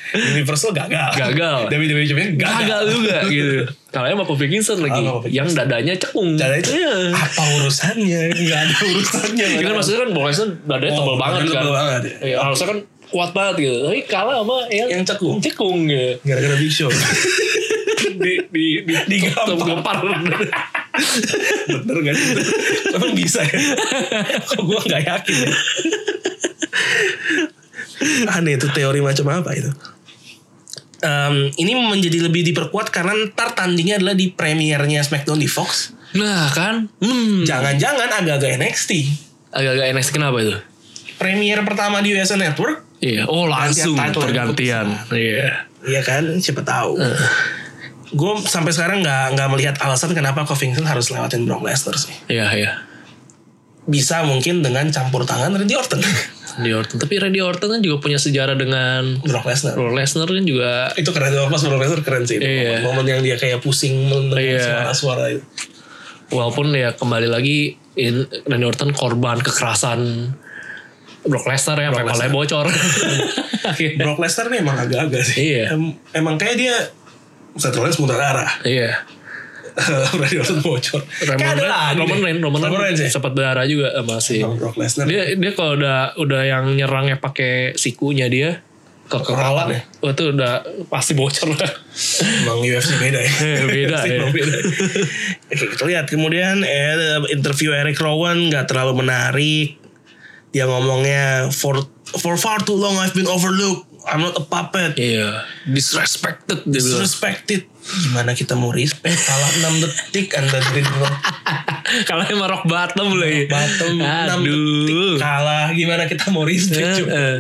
Speaker 1: Universal gagal.
Speaker 2: Gagal.
Speaker 1: WWE champion gagal.
Speaker 2: Gagal juga gitu. Kalau emang Kofi Kingston lagi
Speaker 1: Kalau Kofi
Speaker 2: yang dadanya cekung.
Speaker 1: Jadi itu
Speaker 2: Iya.
Speaker 1: apa urusannya? Gak ada urusannya.
Speaker 2: Ya kan maksudnya kan Brock Lesnar dadanya
Speaker 1: iya. Oh,
Speaker 2: tebel banget
Speaker 1: dadanya
Speaker 2: kan.
Speaker 1: tebel banget, ya.
Speaker 2: Iya, harusnya kan kuat banget gitu. Tapi kalah sama yang,
Speaker 1: Yang cekung.
Speaker 2: Cekung gitu.
Speaker 1: Gara-gara Big Show.
Speaker 2: Di di di
Speaker 1: Digampar.
Speaker 2: gempar.
Speaker 1: Bener gak sih? Emang bisa ya? Kok gue gak yakin ya? Aneh itu teori macam apa itu? Em, ini menjadi lebih diperkuat karena ntar tandingnya adalah di premiernya SmackDown di Fox.
Speaker 2: Nah kan, hmm,
Speaker 1: Jangan-jangan agak-agak NXT.
Speaker 2: agak-agak NXT kenapa itu?
Speaker 1: Premier pertama di USA Network.
Speaker 2: Iya, oh langsung
Speaker 1: title.
Speaker 2: pergantian. Iya.
Speaker 1: Iya kan, siapa tahu. Gue sampai sekarang nggak nggak melihat alasan kenapa Covington harus lewatin Brock Lesnar sih.
Speaker 2: Iya, iya.
Speaker 1: Bisa mungkin dengan campur tangan Randy Orton,
Speaker 2: Randy Orton. Tapi Randy Orton kan juga punya sejarah dengan
Speaker 1: Brock Lesnar.
Speaker 2: Brock Lesnar kan juga
Speaker 1: itu keren banget mas Brock Lesnar keren sih itu.
Speaker 2: Iya.
Speaker 1: momen yang dia kayak pusing mendengar
Speaker 2: Iya.
Speaker 1: suara-suara itu
Speaker 2: walaupun ya kembali lagi in, Randy Orton korban kekerasan Brock Lesnar ya sampai
Speaker 1: Brock
Speaker 2: palanya bocor. Akhirnya.
Speaker 1: Brock Lesnar nih emang agak-agak sih
Speaker 2: Eh. Iya.
Speaker 1: Em- emang kayak dia Seth Rollins muntah darah
Speaker 2: Iya.
Speaker 1: Randy Orton bocor kayak
Speaker 2: Roman
Speaker 1: ada lagi deh.
Speaker 2: Reigns, Roman Reigns, Roman Reigns
Speaker 1: ya
Speaker 2: sempat berdarah juga eh, masih.
Speaker 1: Sama Brock Lesnar
Speaker 2: Dia dia kalau udah udah yang nyerangnya pakai sikunya dia ke
Speaker 1: Rawan ya?
Speaker 2: Oh, itu udah pasti bocor lah.
Speaker 1: emang UFC beda ya
Speaker 2: Eh, beda,
Speaker 1: Pasti
Speaker 2: iya.
Speaker 1: emang beda. Oke, kita lihat kemudian eh, interview Eric Rowan nggak terlalu menarik dia ngomongnya for for far too long I've been overlooked I'm not a puppet
Speaker 2: Iya, disrespected dia bilang.
Speaker 1: disrespected gimana kita mau respect kalah 6 detik anda dari dulu
Speaker 2: Kalau emang rock bottom lagi.
Speaker 1: bottom 6 detik
Speaker 2: Aduh.
Speaker 1: kalah gimana kita mau respect
Speaker 2: Eh,
Speaker 1: coba.
Speaker 2: eh.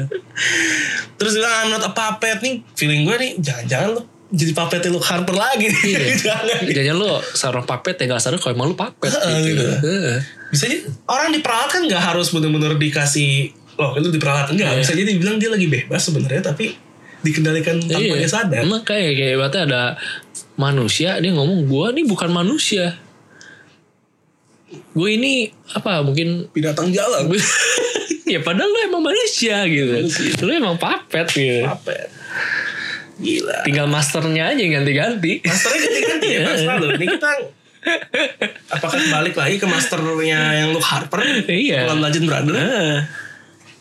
Speaker 1: terus dia bilang I'm not a puppet nih feeling gue nih jangan-jangan lu jadi puppet lu Harper lagi nih
Speaker 2: Iya.
Speaker 1: jangan nih.
Speaker 2: Jangan lu sarung papet ya gak sadar kalau emang lu papet
Speaker 1: Heeh,
Speaker 2: gitu.
Speaker 1: gitu.
Speaker 2: Heeh.
Speaker 1: bisa jadi orang diperalat kan nggak harus bener-bener dikasih loh lu diperalat enggak
Speaker 2: Iya.
Speaker 1: bisa jadi bilang dia lagi bebas sebenarnya tapi dikendalikan tanpa
Speaker 2: Iya.
Speaker 1: dia sadar
Speaker 2: Emang kayak kayak ibaratnya ada manusia dia ngomong gua nih bukan manusia. Gue ini apa mungkin
Speaker 1: binatang jalan
Speaker 2: ya padahal lu emang manusia gitu. Lu emang papet gitu.
Speaker 1: puppet gila
Speaker 2: Tinggal masternya aja yang ganti-ganti.
Speaker 1: Masternya ganti-ganti ya Mas selalu. Ini kita apakah balik lagi ke masternya yang Luke Harper?
Speaker 2: Iya.
Speaker 1: Dalam Legend Brother?
Speaker 2: Heeh.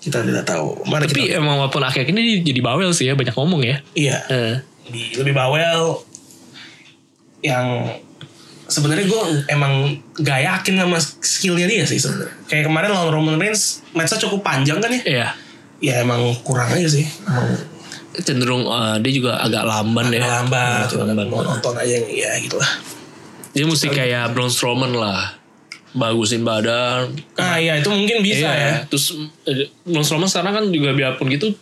Speaker 1: Kita tidak tahu. Mari
Speaker 2: Tapi
Speaker 1: kita.
Speaker 2: emang walaupun akhir ini dia jadi bawel sih ya banyak ngomong ya.
Speaker 1: Iya.
Speaker 2: Heeh.
Speaker 1: Di lebih bawel yang sebenarnya gue emang gak yakin sama skillnya dia sih sebenarnya. Kayak kemarin lawan Roman Reigns, matchnya cukup panjang kan ya?
Speaker 2: Iya.
Speaker 1: Ya emang kurang aja sih. Emang
Speaker 2: Cenderung eh, dia juga agak lamban ya.
Speaker 1: lambat.
Speaker 2: Agak lamban.
Speaker 1: Mau nonton aja yang ya gitu lah.
Speaker 2: Dia mesti kayak Braun Strowman lah. Bagusin badan.
Speaker 1: Ah iya itu mungkin bisa
Speaker 2: Iya.
Speaker 1: ya.
Speaker 2: Terus eh, Braun Strowman sekarang kan juga biarpun gitu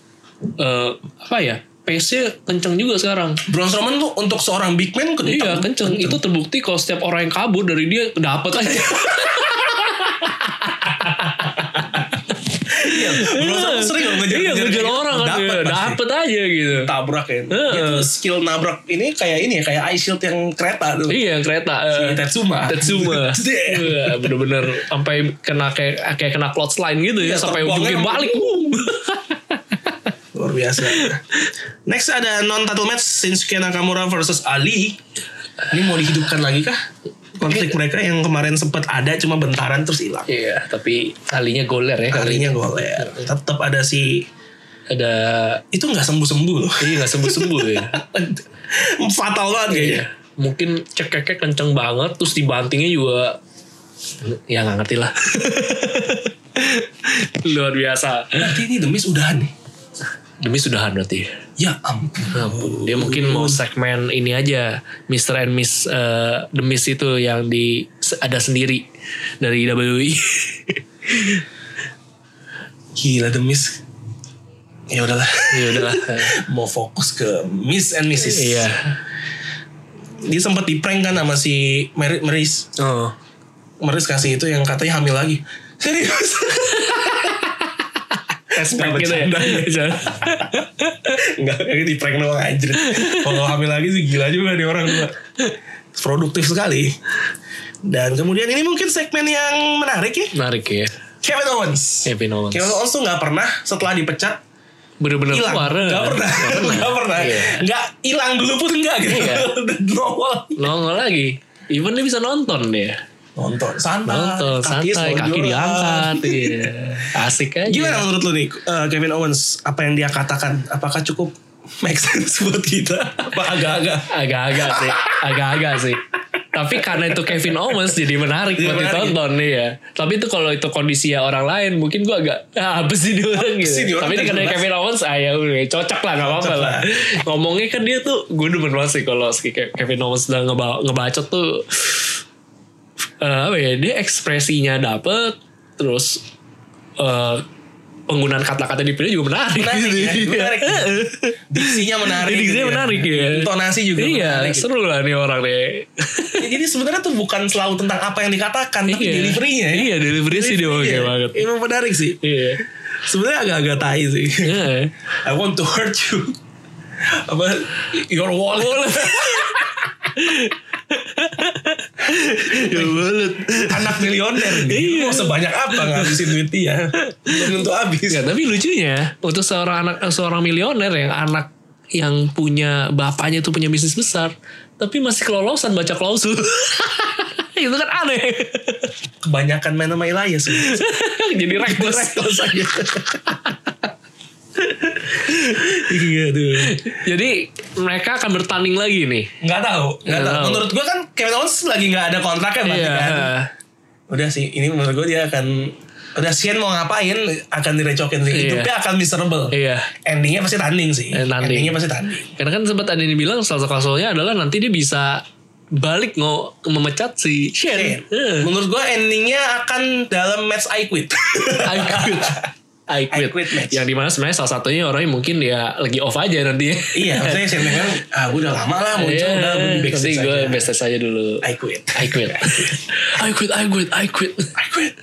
Speaker 2: eh, apa ya? pace-nya kenceng juga sekarang.
Speaker 1: Braun Strowman tuh untuk seorang big man kenceng.
Speaker 2: Iya kenceng. Itu terbukti kalau setiap orang yang kabur dari dia dapat aja.
Speaker 1: Braun Strowman sering loh ngejar
Speaker 2: Iya ngejar
Speaker 1: kayak gitu.
Speaker 2: orang kan.
Speaker 1: Dapet pasti.
Speaker 2: Dapat aja gitu.
Speaker 1: tabrak ya. Itu skill nabrak ini kayak ini ya kayak eye shield yang kereta tuh.
Speaker 2: Iya kereta. eh,
Speaker 1: Si Tetsuma.
Speaker 2: Tetsuma.
Speaker 1: Damn.
Speaker 2: Wah, bener-bener sampai kena kayak kayak kena clothesline gitu ya
Speaker 1: Iya,
Speaker 2: sampai
Speaker 1: terbangnya
Speaker 2: ujungnya
Speaker 1: sampai-
Speaker 2: balik. Wuh.
Speaker 1: Luar biasa. Next ada non title match Shinsuke Nakamura versus Ali. Ini mau dihidupkan lagi kah? Konflik mereka yang kemarin sempat ada cuma bentaran terus hilang.
Speaker 2: Iya, tapi kalinya goler ya kali.
Speaker 1: Kalinya goler. Tetap ada si
Speaker 2: Ada
Speaker 1: itu nggak sembuh sembuh loh.
Speaker 2: iya nggak sembuh-sembuh ya.
Speaker 1: Fatal banget
Speaker 2: Iya.
Speaker 1: kayaknya.
Speaker 2: Mungkin cekeknya kenceng banget terus dibantingnya juga ya nggak ngerti lah. Luar biasa.
Speaker 1: Berarti ini demis udahan nih.
Speaker 2: Demi sudahan berarti.
Speaker 1: Ya ampun.
Speaker 2: Ampun, Dia mungkin mau segmen ini aja, Mr. and Miss eh, The Miss itu yang di ada sendiri dari E. WWE.
Speaker 1: Gila demis. Ya udahlah.
Speaker 2: ya udahlah.
Speaker 1: mau fokus ke Miss and Mrs.
Speaker 2: Iya.
Speaker 1: Dia sempat di prank kan sama si Mer- Meris.
Speaker 2: Oh.
Speaker 1: Meris kasih itu yang katanya hamil lagi. Serius.
Speaker 2: Respect gitu ya.
Speaker 1: Enggak, ini di prank doang anjir. Kalau hamil lagi sih gila juga nih orang tua. Produktif sekali. Dan kemudian ini mungkin segmen yang menarik ya.
Speaker 2: Menarik ya.
Speaker 1: Kevin Owens.
Speaker 2: Kevin Owens.
Speaker 1: Kevin Owens tuh nggak pernah setelah dipecat
Speaker 2: Bener-bener
Speaker 1: hilang.
Speaker 2: keluar.
Speaker 1: Nggak pernah. Nggak pernah.
Speaker 2: Iya.
Speaker 1: Nggak hilang dulu pun nggak gitu.
Speaker 2: Iya.
Speaker 1: Nongol.
Speaker 2: Nongol lagi. Even dia bisa nonton dia.
Speaker 1: Nonton santai.
Speaker 2: Nonton santai,
Speaker 1: selonjoran.
Speaker 2: kaki diangkat. Iya. Asik aja.
Speaker 1: Gimana menurut lu nih eh, Kevin Owens? Apa yang dia katakan? Apakah cukup make sense buat kita? Apa agak-agak?
Speaker 2: Agak-agak sih. Agak-agak sih. Tapi karena itu Kevin Owens jadi menarik
Speaker 1: Jadi
Speaker 2: buat
Speaker 1: menarik,
Speaker 2: ditonton ya. Tapi itu kalau itu kondisi ya orang lain mungkin gua agak ah, apa sih dia orang
Speaker 1: sih dia
Speaker 2: gitu.
Speaker 1: orang
Speaker 2: Tapi ini
Speaker 1: kan
Speaker 2: karena
Speaker 1: jelas.
Speaker 2: Kevin Owens ah ya udah cocok lah nggak apa-apa
Speaker 1: Cocok
Speaker 2: lah.
Speaker 1: lah.
Speaker 2: Ngomongnya kan dia tuh gue demen banget sih kalau si Ke- Kevin Owens udah ngeba- ngebacot tuh eh, apa ya dia ekspresinya dapet terus eh, penggunaan kata-kata dipilih juga menarik.
Speaker 1: Menarik ya,
Speaker 2: Iya.
Speaker 1: menarik. Diksinya menarik.
Speaker 2: Jadi
Speaker 1: gitu
Speaker 2: dia
Speaker 1: ya.
Speaker 2: menarik ya.
Speaker 1: Intonasi juga
Speaker 2: Iya,
Speaker 1: menarik. gitu.
Speaker 2: seru lah nih orang deh.
Speaker 1: Ya, Jadi sebenarnya tuh bukan selalu tentang apa yang dikatakan, tapi
Speaker 2: Iya.
Speaker 1: delivery-nya. ya.
Speaker 2: Iya, delivery sih dia oke
Speaker 1: Iya.
Speaker 2: banget.
Speaker 1: Emang menarik sih.
Speaker 2: Iya.
Speaker 1: Sebenarnya agak-agak tai sih.
Speaker 2: Iya.
Speaker 1: I want to hurt you. Apa your wallet.
Speaker 2: Ya banget.
Speaker 1: Anak milioner
Speaker 2: Iya.
Speaker 1: nih. Mau sebanyak apa ngabisin duit dia? Belum tentu habis.
Speaker 2: Ya, tapi lucunya untuk seorang anak seorang milioner yang anak yang punya bapaknya itu punya bisnis besar, tapi masih kelolosan baca klausul. itu kan aneh.
Speaker 1: Kebanyakan main sama Elias.
Speaker 2: Jadi reckless.
Speaker 1: Reckless aja. Iya tuh.
Speaker 2: Jadi mereka akan bertanding lagi nih.
Speaker 1: Nggak tahu, nggak
Speaker 2: Nggak
Speaker 1: tahu.
Speaker 2: tahu. Iya.
Speaker 1: Menurut gue kan Kevin Owens lagi nggak ada kontraknya berarti kan. Udah sih, ini menurut gue dia akan udah Shane mau ngapain akan direcokin sih.
Speaker 2: Iya.
Speaker 1: Hidupnya akan miserable.
Speaker 2: Iya.
Speaker 1: Endingnya pasti tanding sih.
Speaker 2: Eh, tanding.
Speaker 1: Endingnya pasti tanding.
Speaker 2: Karena kan sempat ada yang bilang salah satu klausulnya adalah nanti dia bisa balik ngo memecat si
Speaker 1: Shane.
Speaker 2: Shane. Eh.
Speaker 1: Menurut gue endingnya akan dalam match I quit.
Speaker 2: I quit. I
Speaker 1: I
Speaker 2: quit.
Speaker 1: quit match.
Speaker 2: Yang dimana sebenarnya salah satunya orangnya mungkin dia lagi off aja nanti.
Speaker 1: iya, maksudnya Shane McMahon, ah gue udah lama lah muncul,
Speaker 2: Iya,
Speaker 1: udah gue di
Speaker 2: Nanti
Speaker 1: backstage
Speaker 2: gue
Speaker 1: aja.
Speaker 2: backstage aja dulu.
Speaker 1: I quit.
Speaker 2: I quit. I quit. I quit. I quit.
Speaker 1: I quit.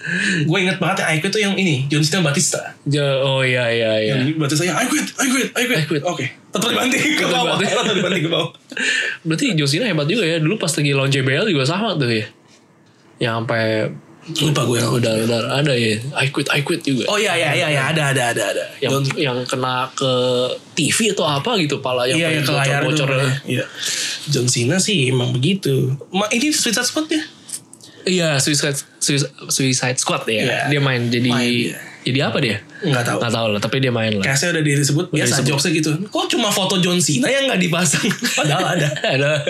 Speaker 1: Gue inget banget yang I quit tuh yang ini, John Cena Batista.
Speaker 2: Ja- Oh iya iya iya.
Speaker 1: Yang baca saya, I quit, I quit, Ya. I quit.
Speaker 2: I quit.
Speaker 1: Oke. Tetap dibanting ke
Speaker 2: Tetap
Speaker 1: bawah.
Speaker 2: dibanting.
Speaker 1: Tetap dibanting ke bawah.
Speaker 2: Berarti John Cena hebat juga ya. Dulu pas lagi lawan JBL juga sama tuh ya. Yang sampai
Speaker 1: Lupa gue yang
Speaker 2: udah udah ada ya. I quit. I quit juga.
Speaker 1: Oh iya iya iya iya ada ada ada ada.
Speaker 2: yang
Speaker 1: Don't-
Speaker 2: yang kena ke TV atau apa gitu pala yang ya.
Speaker 1: iya iya ke layar
Speaker 2: bocor,
Speaker 1: tuh. Iya. John Cena sih emang begitu. Ma, ini Suicide Squad ya?
Speaker 2: Iya, Suicide Suicide, Suicide Squad
Speaker 1: Iya.
Speaker 2: ya. Dia main jadi
Speaker 1: Main dia.
Speaker 2: jadi apa dia?
Speaker 1: Nggak tahu.
Speaker 2: Nggak tahu lah, tapi dia main lah.
Speaker 1: Kayaknya udah disebut biasa
Speaker 2: disebut.
Speaker 1: jokesnya gitu. Kok cuma foto John Cena yang nggak dipasang? Padahal ada.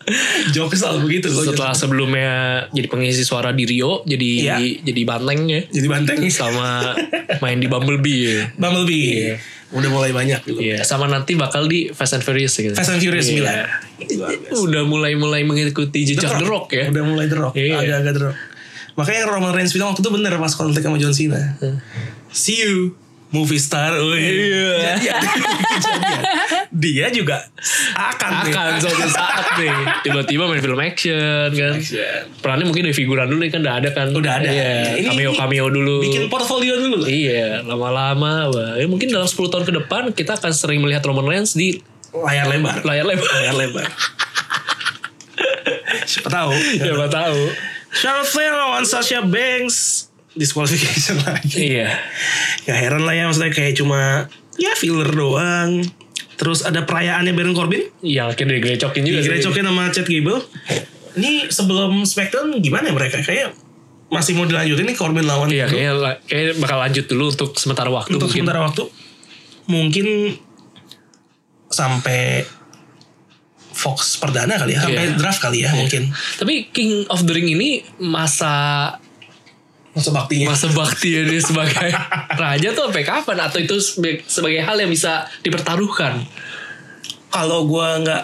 Speaker 2: Ada
Speaker 1: Jokes selalu begitu. kalau
Speaker 2: setelah sebelumnya jadi pengisi suara di Rio, jadi
Speaker 1: Iya.
Speaker 2: jadi bantengnya
Speaker 1: John- jadi banteng.
Speaker 2: sama main di Bumblebee. Ya.
Speaker 1: Bumblebee. Udah mulai banyak gitu.
Speaker 2: Iya, sama nanti bakal di Fast and Furious gitu.
Speaker 1: Fast and Furious
Speaker 2: Iya.
Speaker 1: 9. Luar biasa.
Speaker 2: Udah mulai-mulai mengikuti jejak The Rock, ya.
Speaker 1: Udah mulai The Rock.
Speaker 2: Iya.
Speaker 1: Agak-agak The Rock. Makanya yang Roman Reigns bilang waktu itu bener pas konflik sama John Cena. See you movie star, Oh, iya. wih.
Speaker 2: Iya.
Speaker 1: Kejadian. Kejadian. dia juga akan nih.
Speaker 2: akan suatu saat nih tiba-tiba main film action kan
Speaker 1: Action.
Speaker 2: perannya mungkin dari figuran dulu ya kan udah ada kan
Speaker 1: Udah ada.
Speaker 2: Iya,
Speaker 1: Ini-
Speaker 2: cameo cameo dulu
Speaker 1: bikin portfolio dulu lah.
Speaker 2: iya lama-lama wah, ya mungkin dalam 10 tahun ke depan kita akan sering melihat Roman Reigns di
Speaker 1: Layar lebar.
Speaker 2: layar lebar
Speaker 1: Layar lebar. Siapa tahu.
Speaker 2: siapa tahu
Speaker 1: Charlotte Flair lawan Sasha Banks disqualification lagi.
Speaker 2: iya
Speaker 1: Ya heran lah ya maksudnya kayak cuma ya filler doang. Terus ada perayaannya Baron Corbin.
Speaker 2: yang akhirnya digrecokin Iya, juga sih.
Speaker 1: Digerecokin sama Chad Gable. Ini sebelum SmackDown gimana ya mereka? Kayak masih mau dilanjutin nih Corbin lawan
Speaker 2: iya
Speaker 1: Gable.
Speaker 2: kayaknya, la- kayaknya bakal lanjut dulu untuk sementara waktu
Speaker 1: Untuk
Speaker 2: mungkin.
Speaker 1: sementara waktu. Mungkin sampai Fox perdana kali ya. Sampai
Speaker 2: Iya.
Speaker 1: draft kali ya mungkin.
Speaker 2: tapi King of the Ring ini masa
Speaker 1: Masa baktinya.
Speaker 2: masa bakti ya dia sebagai raja tuh sampai kapan atau itu sebe- sebagai hal yang bisa dipertaruhkan
Speaker 1: Kalau gua nggak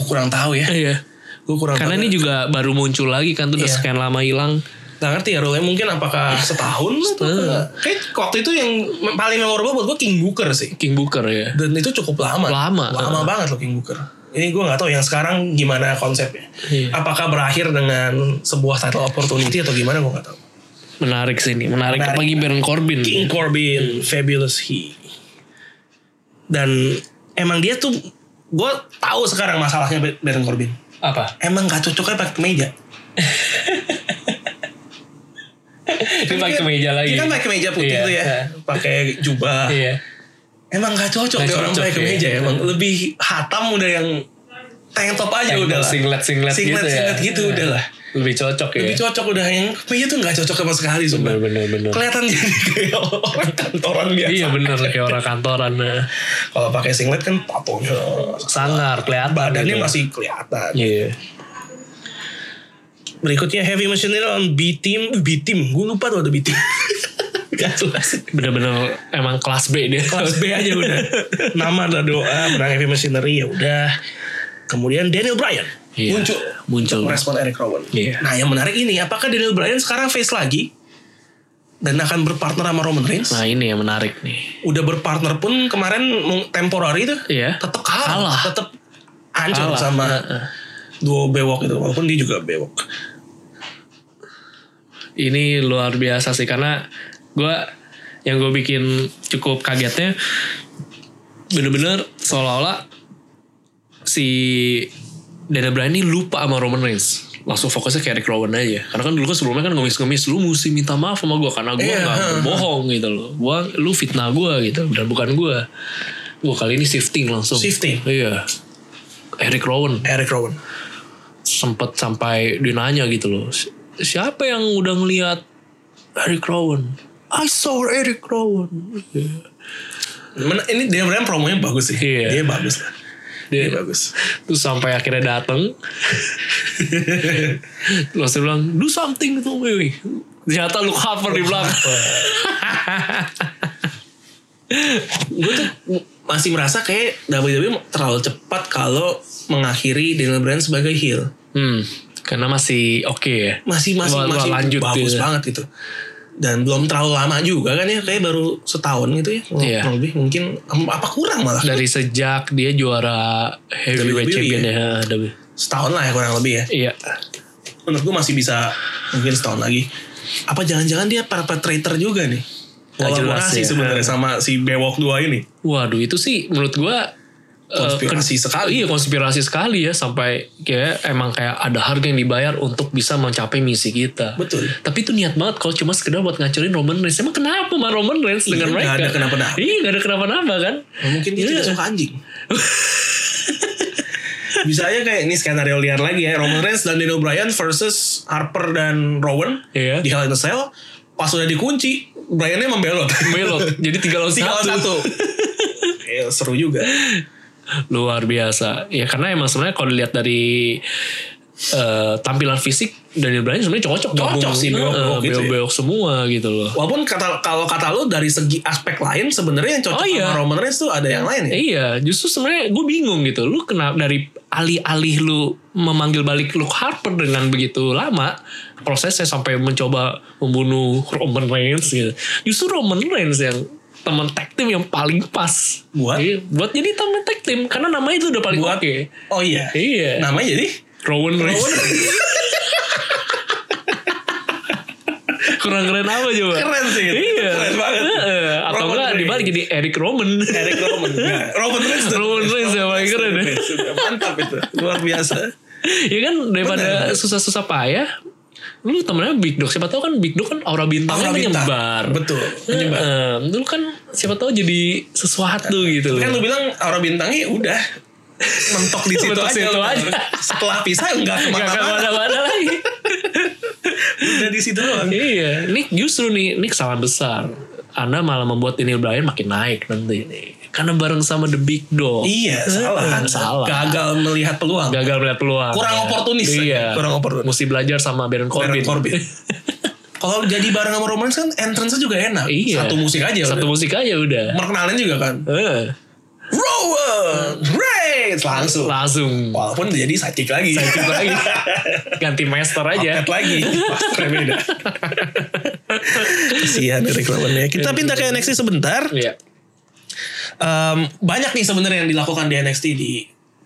Speaker 1: gua kurang tahu ya.
Speaker 2: iya
Speaker 1: Gua kurang
Speaker 2: karena
Speaker 1: tahu.
Speaker 2: ini juga baru muncul lagi kan tuh udah
Speaker 1: Iya.
Speaker 2: sekian lama hilang
Speaker 1: Nggak ngerti ya rule mungkin apakah setahun atau
Speaker 2: Setahun.
Speaker 1: apa. Kayak waktu itu yang me- paling memorable buat gue King Booker sih.
Speaker 2: King Booker ya
Speaker 1: Dan itu cukup lama.
Speaker 2: Lama.
Speaker 1: Lama banget loh King Booker. Ini gue nggak tahu yang sekarang gimana konsepnya.
Speaker 2: Iya.
Speaker 1: Apakah berakhir dengan sebuah title opportunity atau gimana gue nggak tahu.
Speaker 2: menarik sih ini menarik,
Speaker 1: Menarik.
Speaker 2: bagi Baron Corbin
Speaker 1: King Corbin, Fabulous He. Dan emang dia tuh gue tahu sekarang masalahnya Bar- Baron Corbin.
Speaker 2: apa
Speaker 1: Emang gak cocoknya pakai kemeja.
Speaker 2: dia pakai kemeja lagi
Speaker 1: Dia kan pakai kemeja Ya putih
Speaker 2: Iya.
Speaker 1: tuh ya. Pakai jubah.
Speaker 2: iya
Speaker 1: Emang gak cocok
Speaker 2: Nggak
Speaker 1: dia orang
Speaker 2: cocok,
Speaker 1: pakai
Speaker 2: iya.
Speaker 1: kemeja ya, emang lebih hatam udah yang tank top aja
Speaker 2: Tank
Speaker 1: udah
Speaker 2: top,
Speaker 1: lah.
Speaker 2: singlet- singlet gitu
Speaker 1: singlet,
Speaker 2: ya.
Speaker 1: singlet gitu
Speaker 2: Iya.
Speaker 1: udah lah.
Speaker 2: lebih cocok ya
Speaker 1: Lebih cocok udah yang kemeja tuh gak cocok sama sekali sumpah.
Speaker 2: bener bener bener
Speaker 1: Kelihatan jadi kayak orang kantoran biasa.
Speaker 2: iya bener kayak orang kantoran nah.
Speaker 1: Kalau pakai singlet kan patonya
Speaker 2: sangar kelihatan
Speaker 1: badannya
Speaker 2: gitu.
Speaker 1: masih kelihatan.
Speaker 2: iya
Speaker 1: Berikutnya Heavy Machinery on B Team, B Team. Gue lupa tuh ada B Team. Gak jelas.
Speaker 2: bener-bener emang kelas B dia
Speaker 1: Kelas B aja udah. Nama adalah doa, menang Heavy Machinery ya udah. Kemudian Daniel Bryan
Speaker 2: Iya,
Speaker 1: muncul
Speaker 2: muncul.
Speaker 1: untuk merespon Eric Rowan.
Speaker 2: Iya.
Speaker 1: Nah yang menarik ini, apakah Daniel Bryan sekarang face lagi dan akan berpartner sama Roman Reigns?
Speaker 2: nah ini yang menarik nih
Speaker 1: Udah berpartner pun kemarin mau temporary itu,
Speaker 2: Iya.
Speaker 1: tetap kalah,
Speaker 2: Kalah.
Speaker 1: tetap hancur
Speaker 2: Kalah.
Speaker 1: sama
Speaker 2: Heeh.
Speaker 1: duo bewok itu, walaupun dia juga bewok.
Speaker 2: ini luar biasa sih karena gue yang gue bikin cukup kagetnya bener-bener seolah-olah si Daniel Bryan ini lupa sama Roman Reigns langsung fokusnya ke Eric Rowan aja karena kan dulu kan sebelumnya kan ngemis-ngemis lu mesti minta maaf sama gue karena gue
Speaker 1: Iya,
Speaker 2: nggak
Speaker 1: heeh.
Speaker 2: bohong gitu loh gua lu fitnah gue gitu dan bukan gue Wah kali ini shifting langsung
Speaker 1: Shifting.
Speaker 2: iya Eric Rowan
Speaker 1: Eric Rowan.
Speaker 2: sempet sampai dia nanya gitu loh "Si- siapa yang udah ngeliat Eric Rowan I saw Eric Rowan
Speaker 1: Men- Ini Daniel Bryan promonya bagus sih,
Speaker 2: Iya.
Speaker 1: dia bagus lah. Dia
Speaker 2: dia
Speaker 1: bagus.
Speaker 2: terus sampai akhirnya dateng terus dia bilang do something tuh wih ternyata lu cover di belakang
Speaker 1: gue tuh masih merasa kayak WWE terlalu cepat kalau mengakhiri Daniel Bryan sebagai heel.
Speaker 2: hmm karena masih oke ya
Speaker 1: Masih masih
Speaker 2: Wah, wah,
Speaker 1: masih
Speaker 2: lanjut
Speaker 1: bagus
Speaker 2: gitu.
Speaker 1: banget gitu. Dan belum terlalu lama juga kan ya, kayak baru setahun gitu ya. kurang
Speaker 2: Iya.
Speaker 1: Lebih mungkin em, apa kurang malah.
Speaker 2: dari sejak dia juara heavyweight
Speaker 1: WWE,
Speaker 2: champion
Speaker 1: ya?
Speaker 2: ya WWE.
Speaker 1: Setahun lah ya kurang lebih ya.
Speaker 2: iya
Speaker 1: Menurut gue masih bisa mungkin setahun lagi. Apa jangan-jangan dia perpetrator juga nih?
Speaker 2: Gak jelas
Speaker 1: Kolaborasi
Speaker 2: ya.
Speaker 1: sebenarnya sama si Bewok 2 ini.
Speaker 2: Waduh itu sih menurut gua eh,
Speaker 1: Konspirasi
Speaker 2: ken-
Speaker 1: sekali.
Speaker 2: Iya konspirasi sekali ya sampai kayak emang kayak ada harga yang dibayar untuk bisa mencapai misi kita.
Speaker 1: Betul.
Speaker 2: Tapi itu niat banget kalau cuma sekedar buat ngacurin Roman Reigns. Emang kenapa sama Roman Reigns dengan
Speaker 1: nggak
Speaker 2: mereka?
Speaker 1: ada kenapa-napa. Ya,
Speaker 2: Iya gak ada kenapa-napa kan?
Speaker 1: Mungkin dia
Speaker 2: Iya.
Speaker 1: tidak suka anjing. Bisa aja kayak ini skenario liar lagi ya. Roman Reigns dan Daniel Bryan versus Harper dan Rowan
Speaker 2: Iya.
Speaker 1: di Hell in a Cell. Pas udah dikunci, Bryannya membelot.
Speaker 2: Belot. Jadi tiga lawan
Speaker 1: Tiga lawan
Speaker 2: satu.
Speaker 1: satu. Ya, seru juga.
Speaker 2: Luar biasa. Ya karena emang sebenarnya kalau dilihat dari eh, tampilan fisik Daniel Bryan sebenarnya cocok
Speaker 1: Cocok
Speaker 2: gabung.
Speaker 1: sih, bewok-bewok gitu ya.
Speaker 2: Eh, bewok-bewok semua gitu loh.
Speaker 1: Walaupun kata kalau kata lu dari segi aspek lain sebenarnya yang cocok
Speaker 2: Oh,
Speaker 1: sama
Speaker 2: iya.
Speaker 1: Roman Reigns tuh ada yang lain ya.
Speaker 2: Iya, justru sebenarnya gue bingung gitu. Lu kenapa dari alih-alih lu memanggil balik Luke Harper dengan begitu lama prosesnya sampai mencoba membunuh Roman Reigns gitu. Justru Roman Reigns yang teman tag team yang paling pas.
Speaker 1: Buat?
Speaker 2: Iya, buat jadi teman tag team karena namanya itu udah paling
Speaker 1: Buat-
Speaker 2: oke.
Speaker 1: Oh iya.
Speaker 2: Iya.
Speaker 1: Namanya jadi
Speaker 2: Rowan Reigns. Kurang keren apa coba?
Speaker 1: keren sih. itu.
Speaker 2: Iya.
Speaker 1: Keren banget.
Speaker 2: Heeh. Atau
Speaker 1: Roman
Speaker 2: enggak
Speaker 1: Reigns.
Speaker 2: dibalik jadi Eric Roman.
Speaker 1: Eric Roman. Nah, Roman Reigns. tuh.
Speaker 2: Roman Reigns ya, yang paling keren.
Speaker 1: Roman Reigns. Sudah Mantap itu. Luar biasa.
Speaker 2: ya kan daripada susah-susah payah lu temennya Big Dog siapa tahu kan Big Dog kan aura bintangnya
Speaker 1: Aura bintang.
Speaker 2: menyebar
Speaker 1: Betul, menyebar.
Speaker 2: Heeh. lu kan siapa tahu jadi sesuatu gitu
Speaker 1: Kan lu bilang Aura Bintangnya udah mentok di situ
Speaker 2: Mentok
Speaker 1: aja.
Speaker 2: situ
Speaker 1: lu.
Speaker 2: aja.
Speaker 1: Setelah pisah enggak
Speaker 2: Gak
Speaker 1: kemana-mana.
Speaker 2: kemana-mana lagi
Speaker 1: Udah di situ doang.
Speaker 2: iya ini justru nih ini kesalahan besar anda malah membuat Daniel Bryan makin naik nanti nih karena bareng sama The Big Dog
Speaker 1: Iya, salah.
Speaker 2: Heeh, salah
Speaker 1: Gagal melihat peluang.
Speaker 2: gagal melihat peluang
Speaker 1: Kurang
Speaker 2: Ya.
Speaker 1: oportunis aja,
Speaker 2: iya
Speaker 1: kurang oportunis.
Speaker 2: mesti belajar sama Baron Corbin
Speaker 1: Baron Corbin. Kalau jadi bareng sama Roman Reigns kan entrance-nya juga enak.
Speaker 2: iya
Speaker 1: Satu musik aja.
Speaker 2: satu
Speaker 1: udah.
Speaker 2: musik aja udah
Speaker 1: Perkenalan juga kan.
Speaker 2: Heeh.
Speaker 1: Rowan Reigns langsung.
Speaker 2: langsung
Speaker 1: Walaupun jadi sidekick lagi.
Speaker 2: Ganti lagi. iya. Ganti master aja.
Speaker 1: Angkat lagi. Master beda. Kasihan Eric Rowan ya. Kita pindah ke NXT sebentar.
Speaker 2: Iya.
Speaker 1: Em, banyak nih sebenarnya yang dilakukan di NXT di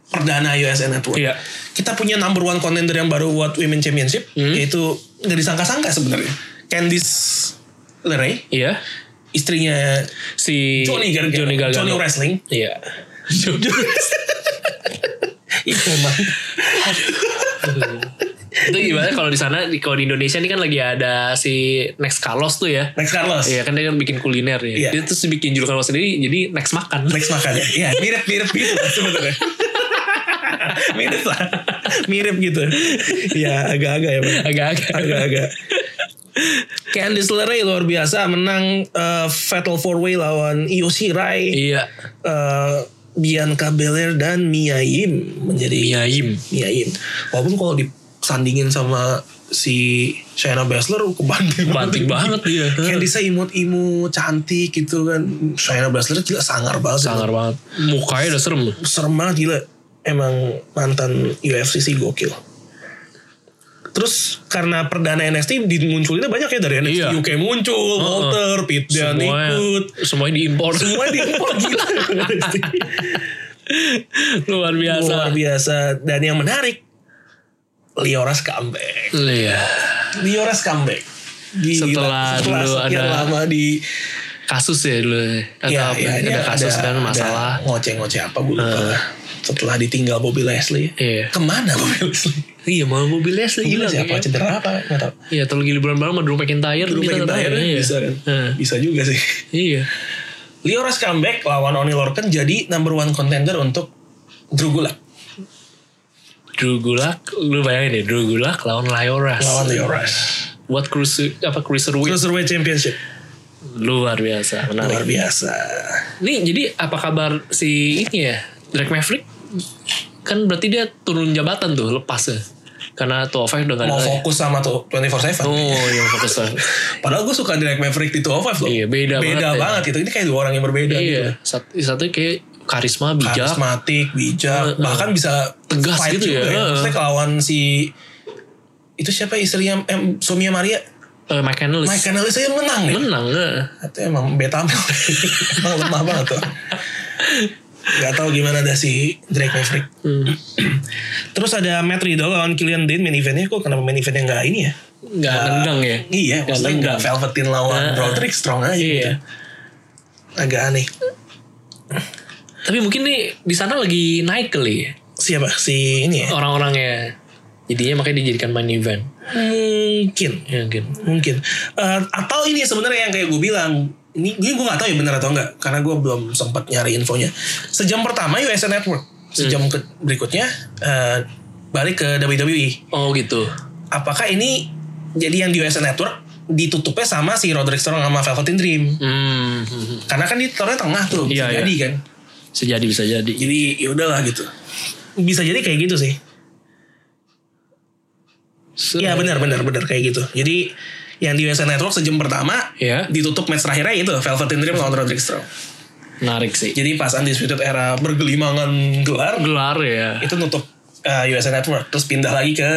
Speaker 1: perdana USA Network.
Speaker 2: Iya.
Speaker 1: Kita punya number one contender yang baru buat Women Championship
Speaker 2: Hmm.
Speaker 1: yaitu nggak disangka-sangka sebenarnya. Candice LeRae,
Speaker 2: Iya.
Speaker 1: istrinya
Speaker 2: Si
Speaker 1: Johnny Gargano,
Speaker 2: Johnny Gargano.
Speaker 1: Johnny Wrestling.
Speaker 2: Iya.
Speaker 1: Itu emang.
Speaker 2: Itu gimana kalau di sana di- kalau di Indonesia ini kan lagi ada si Next Carlos tuh ya.
Speaker 1: Next Carlos.
Speaker 2: Iya kan dia kan bikin kuliner
Speaker 1: Iya.
Speaker 2: ya. Dia terus bikin julukan sendiri jadi Next Makan.
Speaker 1: Next makan ya. Iya, mirip-mirip gitu lah sebenarnya. mirip lah. Mirip gitu. Ya, agak-agak ya. Bang.
Speaker 2: Agak-agak.
Speaker 1: Agak-agak. Candice LeRae luar biasa menang eh, Fatal 4-Way lawan Io Shirai,
Speaker 2: Iya.
Speaker 1: eh, Bianca Belair dan Mia Yim menjadi
Speaker 2: Miaim.
Speaker 1: Mia Yim. Walaupun kalau disandingin sama si Shayna Baszler kebanting
Speaker 2: Banting banget dia.
Speaker 1: Candice imut-imut cantik gitu kan. Shayna Baszler gila sangar banget.
Speaker 2: Sangar banget. Mukanya udah serem.
Speaker 1: serem banget gila emang mantan UFC sih gokil terus karena perdana NXT dimunculinnya banyak ya dari NXT
Speaker 2: Iya.
Speaker 1: UK muncul Walter Pete Dunne
Speaker 2: Semuanya,
Speaker 1: ikut
Speaker 2: semuanya diimpor.
Speaker 1: semua diimpor gila
Speaker 2: Luar biasa.
Speaker 1: luar biasa dan yang menarik Lioras comeback
Speaker 2: Iya.
Speaker 1: Lioras comeback Gila.
Speaker 2: Setelah
Speaker 1: Setelah
Speaker 2: dulu
Speaker 1: sekian
Speaker 2: ada-
Speaker 1: lama di
Speaker 2: Kasus ya dulu. Atau
Speaker 1: ya,
Speaker 2: apa?
Speaker 1: ya,
Speaker 2: ada,
Speaker 1: dia
Speaker 2: kasus
Speaker 1: ada- ada
Speaker 2: dan masalah.
Speaker 1: ngoceh-ngoceh apa gue lupa setelah ditinggal Bobby Leslie
Speaker 2: Iya.
Speaker 1: kemana Bobby Leslie
Speaker 2: Iya mau mobilnya sih
Speaker 1: Gila
Speaker 2: hilang
Speaker 1: siapa
Speaker 2: ya.
Speaker 1: cedera apa nggak tahu.
Speaker 2: Iya atau lagi liburan bareng sama Drew McIntyre
Speaker 1: Drew
Speaker 2: bisa
Speaker 1: McIntyre
Speaker 2: tetap, iya.
Speaker 1: bisa kan?
Speaker 2: Heeh.
Speaker 1: Bisa juga sih.
Speaker 2: Iya
Speaker 1: Lioras comeback lawan Oni Lorcan jadi number one contender untuk Drew Gulak
Speaker 2: Drew Gulak Lu bayangin ya Drew Gulak lawan Lioras
Speaker 1: lawan Lioras.
Speaker 2: Buat cruiser Apa cruiserweight
Speaker 1: Cruiserweight Championship
Speaker 2: Luar biasa Menarik
Speaker 1: luar biasa.
Speaker 2: Nih jadi apa kabar si ini ya Drake Maverick Kan berarti dia turun jabatan tuh Lepas ya Karena 205 udah gak
Speaker 1: Mau
Speaker 2: ada lagi.
Speaker 1: fokus sama tuh 24/7.
Speaker 2: Oh iya fokus banget.
Speaker 1: Padahal gue suka Drake Maverick di 205 loh.
Speaker 2: Iya, beda
Speaker 1: beda
Speaker 2: banget ya.
Speaker 1: banget itu. Ini kayak dua orang yang berbeda gitu.
Speaker 2: Iya satu, satu kayak karisma bijak
Speaker 1: Karismatik, bijak, bahkan bisa
Speaker 2: Tegas
Speaker 1: fight juga
Speaker 2: gitu ya. Heeh.
Speaker 1: Maksudnya lawan si itu siapa ya? istrinya em, suaminya Maria?
Speaker 2: Eh, Mike Kanellis
Speaker 1: Mike Canales saya menang ya? nih.
Speaker 2: Menang eh.
Speaker 1: Itu emang betamel. emang lemah banget tuh. Gak tau gimana ada si Drake Maverick.
Speaker 2: Hmm.
Speaker 1: Terus ada Matt Riddle lawan Killian Dane main eventnya. Kok kenapa main eventnya gak ini ya?
Speaker 2: Gak nendang ya
Speaker 1: Iya,
Speaker 2: Gak
Speaker 1: maksudnya
Speaker 2: nendang
Speaker 1: gak Velveteen lawan
Speaker 2: Ah.
Speaker 1: Roderick Strong aja gitu.
Speaker 2: Iya
Speaker 1: Agak aneh.
Speaker 2: Tapi mungkin nih di sana lagi naik kali ya,
Speaker 1: Siapa? Si ini ya?
Speaker 2: Oh. orang-orangnya. Jadinya makanya dijadikan main event.
Speaker 1: Mungkin.
Speaker 2: Ya mungkin.
Speaker 1: mungkin Eh, atau ini sebenarnya yang kayak gue bilang ini ini gue nggak tahu ya benar atau enggak karena gue belum sempat nyari infonya sejam pertama USA Network sejam
Speaker 2: Hmm.
Speaker 1: ke- berikutnya eh, balik ke E. WWE
Speaker 2: Oh gitu.
Speaker 1: apakah ini jadi yang di USA Network ditutupnya sama si Roderick Strong sama Velveteen Dream
Speaker 2: Hmm.
Speaker 1: karena kan di taruhnya tengah tuh bisa
Speaker 2: Iya, iya.
Speaker 1: jadi kan
Speaker 2: Sejadi bisa jadi.
Speaker 1: jadi ya udahlah gitu bisa jadi kayak gitu sih
Speaker 2: Se-
Speaker 1: Iya benar benar benar kayak gitu. Jadi yang di USA Network sejam pertama
Speaker 2: Iya.
Speaker 1: ditutup match terakhirnya itu Velveteen Dream lawan Roderick Strong.
Speaker 2: Menarik sih.
Speaker 1: Jadi pas Undisputed Era bergelimangan gelar
Speaker 2: Gelar ya.
Speaker 1: itu nutup uh, USA Network terus pindah lagi ke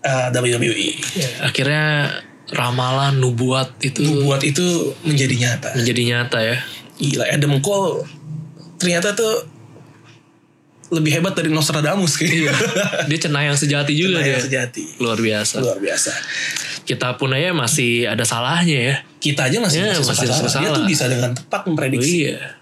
Speaker 1: uh, WWE.
Speaker 2: Akhirnya ramalan Iya. nubuat itu
Speaker 1: Buat itu menjadi nyata.
Speaker 2: menjadi nyata ya.
Speaker 1: gila Adam Cole ternyata tuh lebih hebat dari Nostradamus kayaknya.
Speaker 2: Dia cenayang sejati juga
Speaker 1: Cenayang
Speaker 2: Iya. dia. Iya.
Speaker 1: sejati.
Speaker 2: Luar biasa.
Speaker 1: Luar biasa.
Speaker 2: Kita pun aja masih ada salahnya ya.
Speaker 1: Kita aja masih,
Speaker 2: Ya,
Speaker 1: masih
Speaker 2: masih
Speaker 1: suka salah. Dia
Speaker 2: salah.
Speaker 1: tuh bisa dengan tepat memprediksi.
Speaker 2: iya.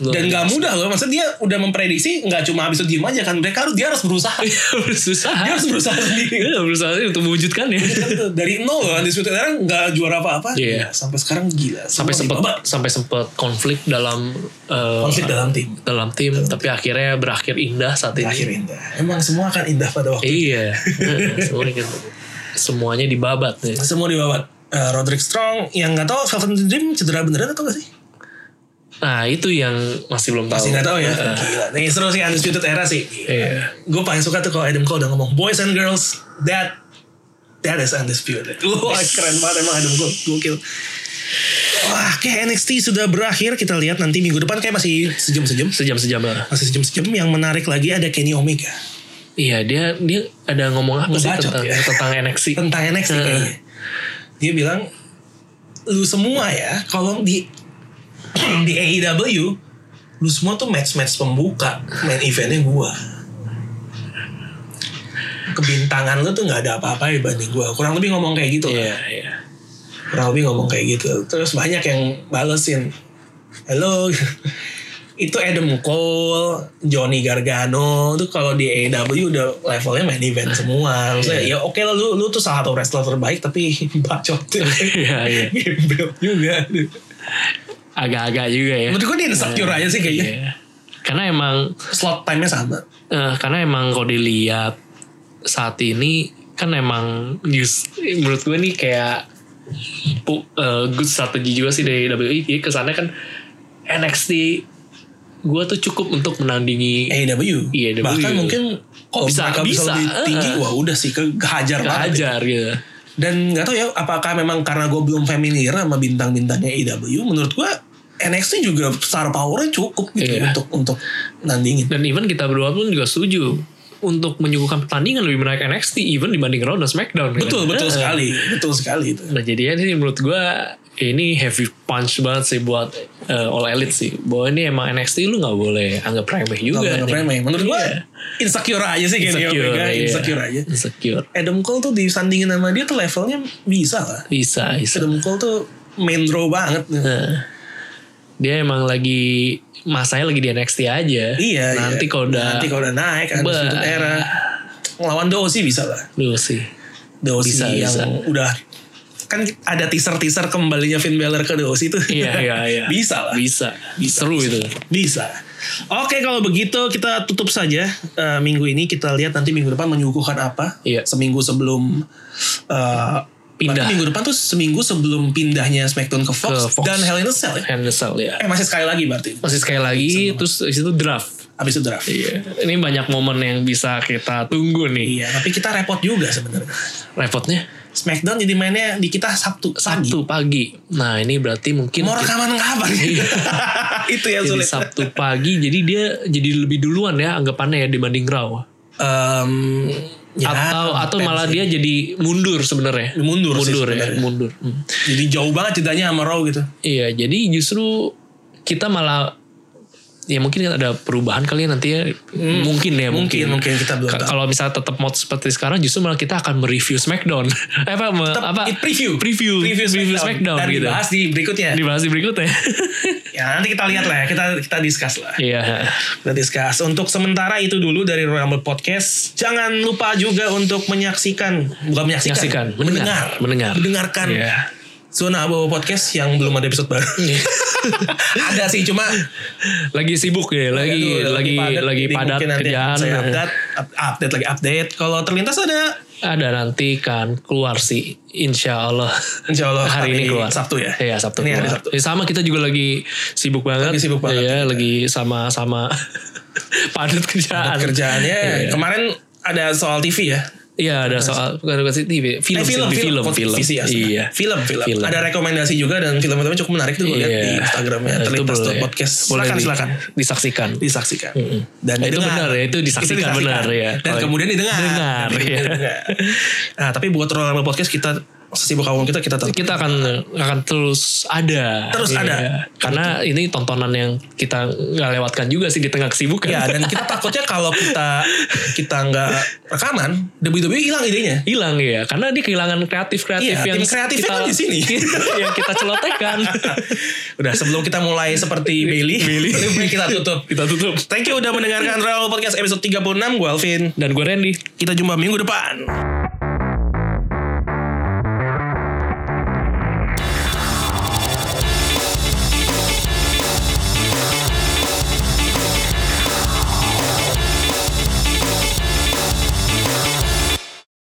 Speaker 2: Luar
Speaker 1: Dan nggak
Speaker 2: biasa.
Speaker 1: mudah loh, maksudnya dia udah memprediksi nggak cuma habis itu diem aja kan, mereka harus dia harus berusaha,
Speaker 2: Iya. berusaha.
Speaker 1: dia harus berusaha sendiri.
Speaker 2: Iya, berusaha untuk mewujudkan ya.
Speaker 1: Kan tuh, dari nol kan di sekarang nggak juara apa-apa, Ya,
Speaker 2: Iya.
Speaker 1: sampai sekarang gila, Semua
Speaker 2: sampai sempat
Speaker 1: dibabak.
Speaker 2: sampai sempat konflik dalam eh,
Speaker 1: konflik dalam tim,
Speaker 2: dalam tim tapi akhirnya berakhir indah saat ini.
Speaker 1: akhir indah. Emang semua akan indah pada waktu.
Speaker 2: Iya. Heeh, semuanya, gitu. semuanya dibabat ya.
Speaker 1: Semua dibabat. Eh, Roderick Strong yang nggak tahu Velvet Dream cedera beneran atau nggak sih?
Speaker 2: Nah, itu yang masih belum tahu.
Speaker 1: Masih nggak tahu ya. Gila. Nih seru sih Undisputed Era sih.
Speaker 2: Iya.
Speaker 1: Gue paling suka tuh kalau Adam Cole udah ngomong boys and girls that that is undisputed. Wah keren banget emang Adam Cole. Gokil. Wah kayak NXT sudah berakhir kita lihat nanti minggu depan kayak masih sejam-sejam.
Speaker 2: Sejam-sejam lah.
Speaker 1: Masih sejam-sejam yang menarik lagi ada Kenny Omega
Speaker 2: Iya, dia dia ada ngomong apa sih
Speaker 1: Ngebacot
Speaker 2: tentang
Speaker 1: ya.
Speaker 2: tentang NXT?
Speaker 1: tentang NXT
Speaker 2: Heeh.
Speaker 1: kayaknya. Dia bilang lu semua ya kalau di di AEW lu semua tuh match-match pembuka main eventnya gua kebintangan lu tuh nggak ada apa-apa dibanding gua kurang lebih ngomong kayak gitu lah.
Speaker 2: Iya, iya.
Speaker 1: kurang lebih ngomong kayak gitu terus banyak yang balesin halo itu Adam Cole, Johnny Gargano itu kalau di AEW udah levelnya main event semua. Maksudnya ya oke lah lu lu tuh salah satu wrestler terbaik tapi bacot.
Speaker 2: Iya, iya.
Speaker 1: Gembel juga.
Speaker 2: Agak-agak juga ya.
Speaker 1: Menurut gue dia insecure aja sih kayaknya.
Speaker 2: Iya. Karena emang
Speaker 1: Slot time-nya sama.
Speaker 2: Eh, karena emang kalau dilihat saat ini kan emang just, menurut gue nih kayak pu- eh, good strategi juga sih dari WWE jadi kesannya kan NXT gue tuh cukup untuk menandingi
Speaker 1: AEW.
Speaker 2: Iya,
Speaker 1: E
Speaker 2: AEW.
Speaker 1: Bahkan mungkin kalau
Speaker 2: Bisa,
Speaker 1: mereka bisa,
Speaker 2: bisa.
Speaker 1: lebih tinggi,
Speaker 2: Eh.
Speaker 1: wah udah sih kehajar banget. ya.
Speaker 2: kehajar gitu
Speaker 1: Dan nggak tahu ya apakah memang karena gue belum familiar sama bintang-bintangnya AEW, menurut gue NXT juga star powernya cukup gitu
Speaker 2: Iya.
Speaker 1: untuk untuk nandingin.
Speaker 2: dan even kita berdua pun juga setuju untuk menyuguhkan pertandingan lebih menarik NXT even dibanding Raw dan SmackDown gitu.
Speaker 1: Betul betul
Speaker 2: Eh,
Speaker 1: sekali, betul sekali itu.
Speaker 2: Nah jadinya sih menurut gue ini heavy punch banget sih buat eh, all elite sih. Bahwa ini emang NXT lu nggak boleh anggap remeh juga.
Speaker 1: Nggak
Speaker 2: nih.
Speaker 1: remeh. Menurut gue
Speaker 2: Iya.
Speaker 1: insecure aja sih Kenny
Speaker 2: Insecure,
Speaker 1: Omega,
Speaker 2: iya.
Speaker 1: insecure aja.
Speaker 2: Insecure.
Speaker 1: Adam Cole tuh disandingin sama dia tuh levelnya bisa lah.
Speaker 2: Bisa, bisa.
Speaker 1: Adam Cole tuh main draw banget.
Speaker 2: Nah, dia emang lagi masanya lagi di NXT aja.
Speaker 1: Iya.
Speaker 2: Nanti
Speaker 1: iya.
Speaker 2: kalau udah
Speaker 1: nanti kalau udah naik ada
Speaker 2: Bah.
Speaker 1: sudut era lawan Dosi bisa lah.
Speaker 2: lu sih.
Speaker 1: Dosi
Speaker 2: Bisa,
Speaker 1: yang
Speaker 2: bisa.
Speaker 1: udah kan ada teaser-teaser kembalinya Finn Balor ke Dosi itu.
Speaker 2: Iya, iya, iya.
Speaker 1: bisa lah.
Speaker 2: Bisa. Seru itu.
Speaker 1: Bisa. Oke kalau begitu kita tutup saja eh, minggu ini kita lihat nanti minggu depan menyuguhkan apa.
Speaker 2: Iya.
Speaker 1: Seminggu sebelum eh,
Speaker 2: Pindah.
Speaker 1: berarti Minggu depan tuh seminggu sebelum pindahnya SmackDown ke Fox,
Speaker 2: Ke Fox.
Speaker 1: dan Hell in a Cell ya.
Speaker 2: Hand in a Cell, ya.
Speaker 1: Eh masih sekali lagi berarti.
Speaker 2: Masih sekali lagi terus di situ draft.
Speaker 1: Abis itu draft.
Speaker 2: Iya. Ini banyak momen yang bisa kita tunggu nih.
Speaker 1: Iya, tapi kita repot juga sebenarnya.
Speaker 2: Repotnya
Speaker 1: Smackdown jadi mainnya di kita Sabtu. pagi.
Speaker 2: Sabtu pagi. Nah, ini berarti mungkin
Speaker 1: Mau rekaman kapan? itu yang
Speaker 2: Iya. jadi
Speaker 1: sulit.
Speaker 2: Sabtu pagi jadi dia jadi lebih duluan ya anggapannya ya dibanding Raw.
Speaker 1: Em, ya,
Speaker 2: atau atau
Speaker 1: depends
Speaker 2: malah
Speaker 1: sih.
Speaker 2: dia jadi mundur sebenarnya.
Speaker 1: Mundur sih
Speaker 2: mundur ya,
Speaker 1: sebenarnya.
Speaker 2: mundur. Hmm.
Speaker 1: jadi jauh banget jedanya sama Raw gitu.
Speaker 2: Iya, jadi justru kita malah ya mungkin kan ada perubahan kali ya nanti ya. mungkin ya
Speaker 1: Hmm. Mungkin
Speaker 2: mungkin.
Speaker 1: mungkin kita belum
Speaker 2: Ka-
Speaker 1: tahu.
Speaker 2: Kalau misalnya tetap mod seperti sekarang justru malah kita akan mereview Smackdown. Eh, apa me- apa
Speaker 1: It preview.
Speaker 2: Preview.
Speaker 1: Preview
Speaker 2: Preview Smackdown,
Speaker 1: Dan
Speaker 2: gitu.
Speaker 1: dibahas di berikutnya.
Speaker 2: dibahas di berikutnya.
Speaker 1: Ya nanti kita lihat lah ya. Kita kita discuss lah.
Speaker 2: Iya.
Speaker 1: Kita discuss. Untuk sementara itu dulu dari Royal Rumble Podcast. Jangan lupa juga untuk menyaksikan. Bukan menyaksikan.
Speaker 2: Menyaksikan, mendengar, mendengar.
Speaker 1: Mendengarkan.
Speaker 2: Iya.
Speaker 1: Zona Abu Podcast yang belum ada episode baru. ada sih cuma
Speaker 2: lagi sibuk ya, lagi
Speaker 1: Aduh,
Speaker 2: lagi
Speaker 1: padat,
Speaker 2: lagi
Speaker 1: jadi
Speaker 2: padat,
Speaker 1: mungkin nanti
Speaker 2: kerjaan.
Speaker 1: Saya update, up- update lagi update. Kalau terlintas ada
Speaker 2: Ada nanti kan keluar sih, insya Allah.
Speaker 1: Insya Allah
Speaker 2: hari ini keluar
Speaker 1: Sabtu ya.
Speaker 2: Iya Sabtu
Speaker 1: Ini hari
Speaker 2: keluar.
Speaker 1: Sabtu.
Speaker 2: Ya, sama kita juga lagi sibuk banget.
Speaker 1: Lagi sibuk banget.
Speaker 2: Iya lagi sama-sama padat kerjaan.
Speaker 1: Buat kerjaannya
Speaker 2: Iya.
Speaker 1: kemarin ada soal TV ya.
Speaker 2: Iya ada soal bukan bukan sih TV,
Speaker 1: Eh,
Speaker 2: film, film, film, Iya, film,
Speaker 1: Kok TV ya, sudah.
Speaker 2: Iya.
Speaker 1: film, film, Ada rekomendasi juga dan film-filmnya cukup menarik tuh gue lihat di Instagramnya.
Speaker 2: Iya. Itu
Speaker 1: Terlintas tuh
Speaker 2: boleh.
Speaker 1: podcast.
Speaker 2: Boleh
Speaker 1: Silakan,
Speaker 2: di-
Speaker 1: silakan.
Speaker 2: Disaksikan.
Speaker 1: Disaksikan.
Speaker 2: Dan itu
Speaker 1: didengar.
Speaker 2: benar ya, itu disaksikan, benar ya.
Speaker 1: Dan
Speaker 2: Kalau-
Speaker 1: kemudian didengar.
Speaker 2: Dengar,
Speaker 1: Dan kemudian
Speaker 2: iya.
Speaker 1: didengar. Nah, tapi buat Royal Rumble Podcast kita sesibuk apapun kita kita tetap
Speaker 2: kita akan akan terus ada
Speaker 1: Terus
Speaker 2: Iya.
Speaker 1: ada.
Speaker 2: karena ini tontonan yang kita nggak lewatkan juga sih di tengah kesibukan
Speaker 1: ya dan kita takutnya kalau kita kita nggak rekaman WWE hilang idenya
Speaker 2: hilang ya karena dia kehilangan kreatif kreatif
Speaker 1: Iya,
Speaker 2: yang
Speaker 1: tim kreatifnya
Speaker 2: kita
Speaker 1: kan di sini.
Speaker 2: yang kita celotekan
Speaker 1: udah sebelum kita mulai seperti Bailey
Speaker 2: Bailey.
Speaker 1: lebih baik kita tutup
Speaker 2: kita tutup
Speaker 1: thank you udah mendengarkan Raul Podcast episode 36 gue Alvin
Speaker 2: dan gue Randy
Speaker 1: kita jumpa minggu depan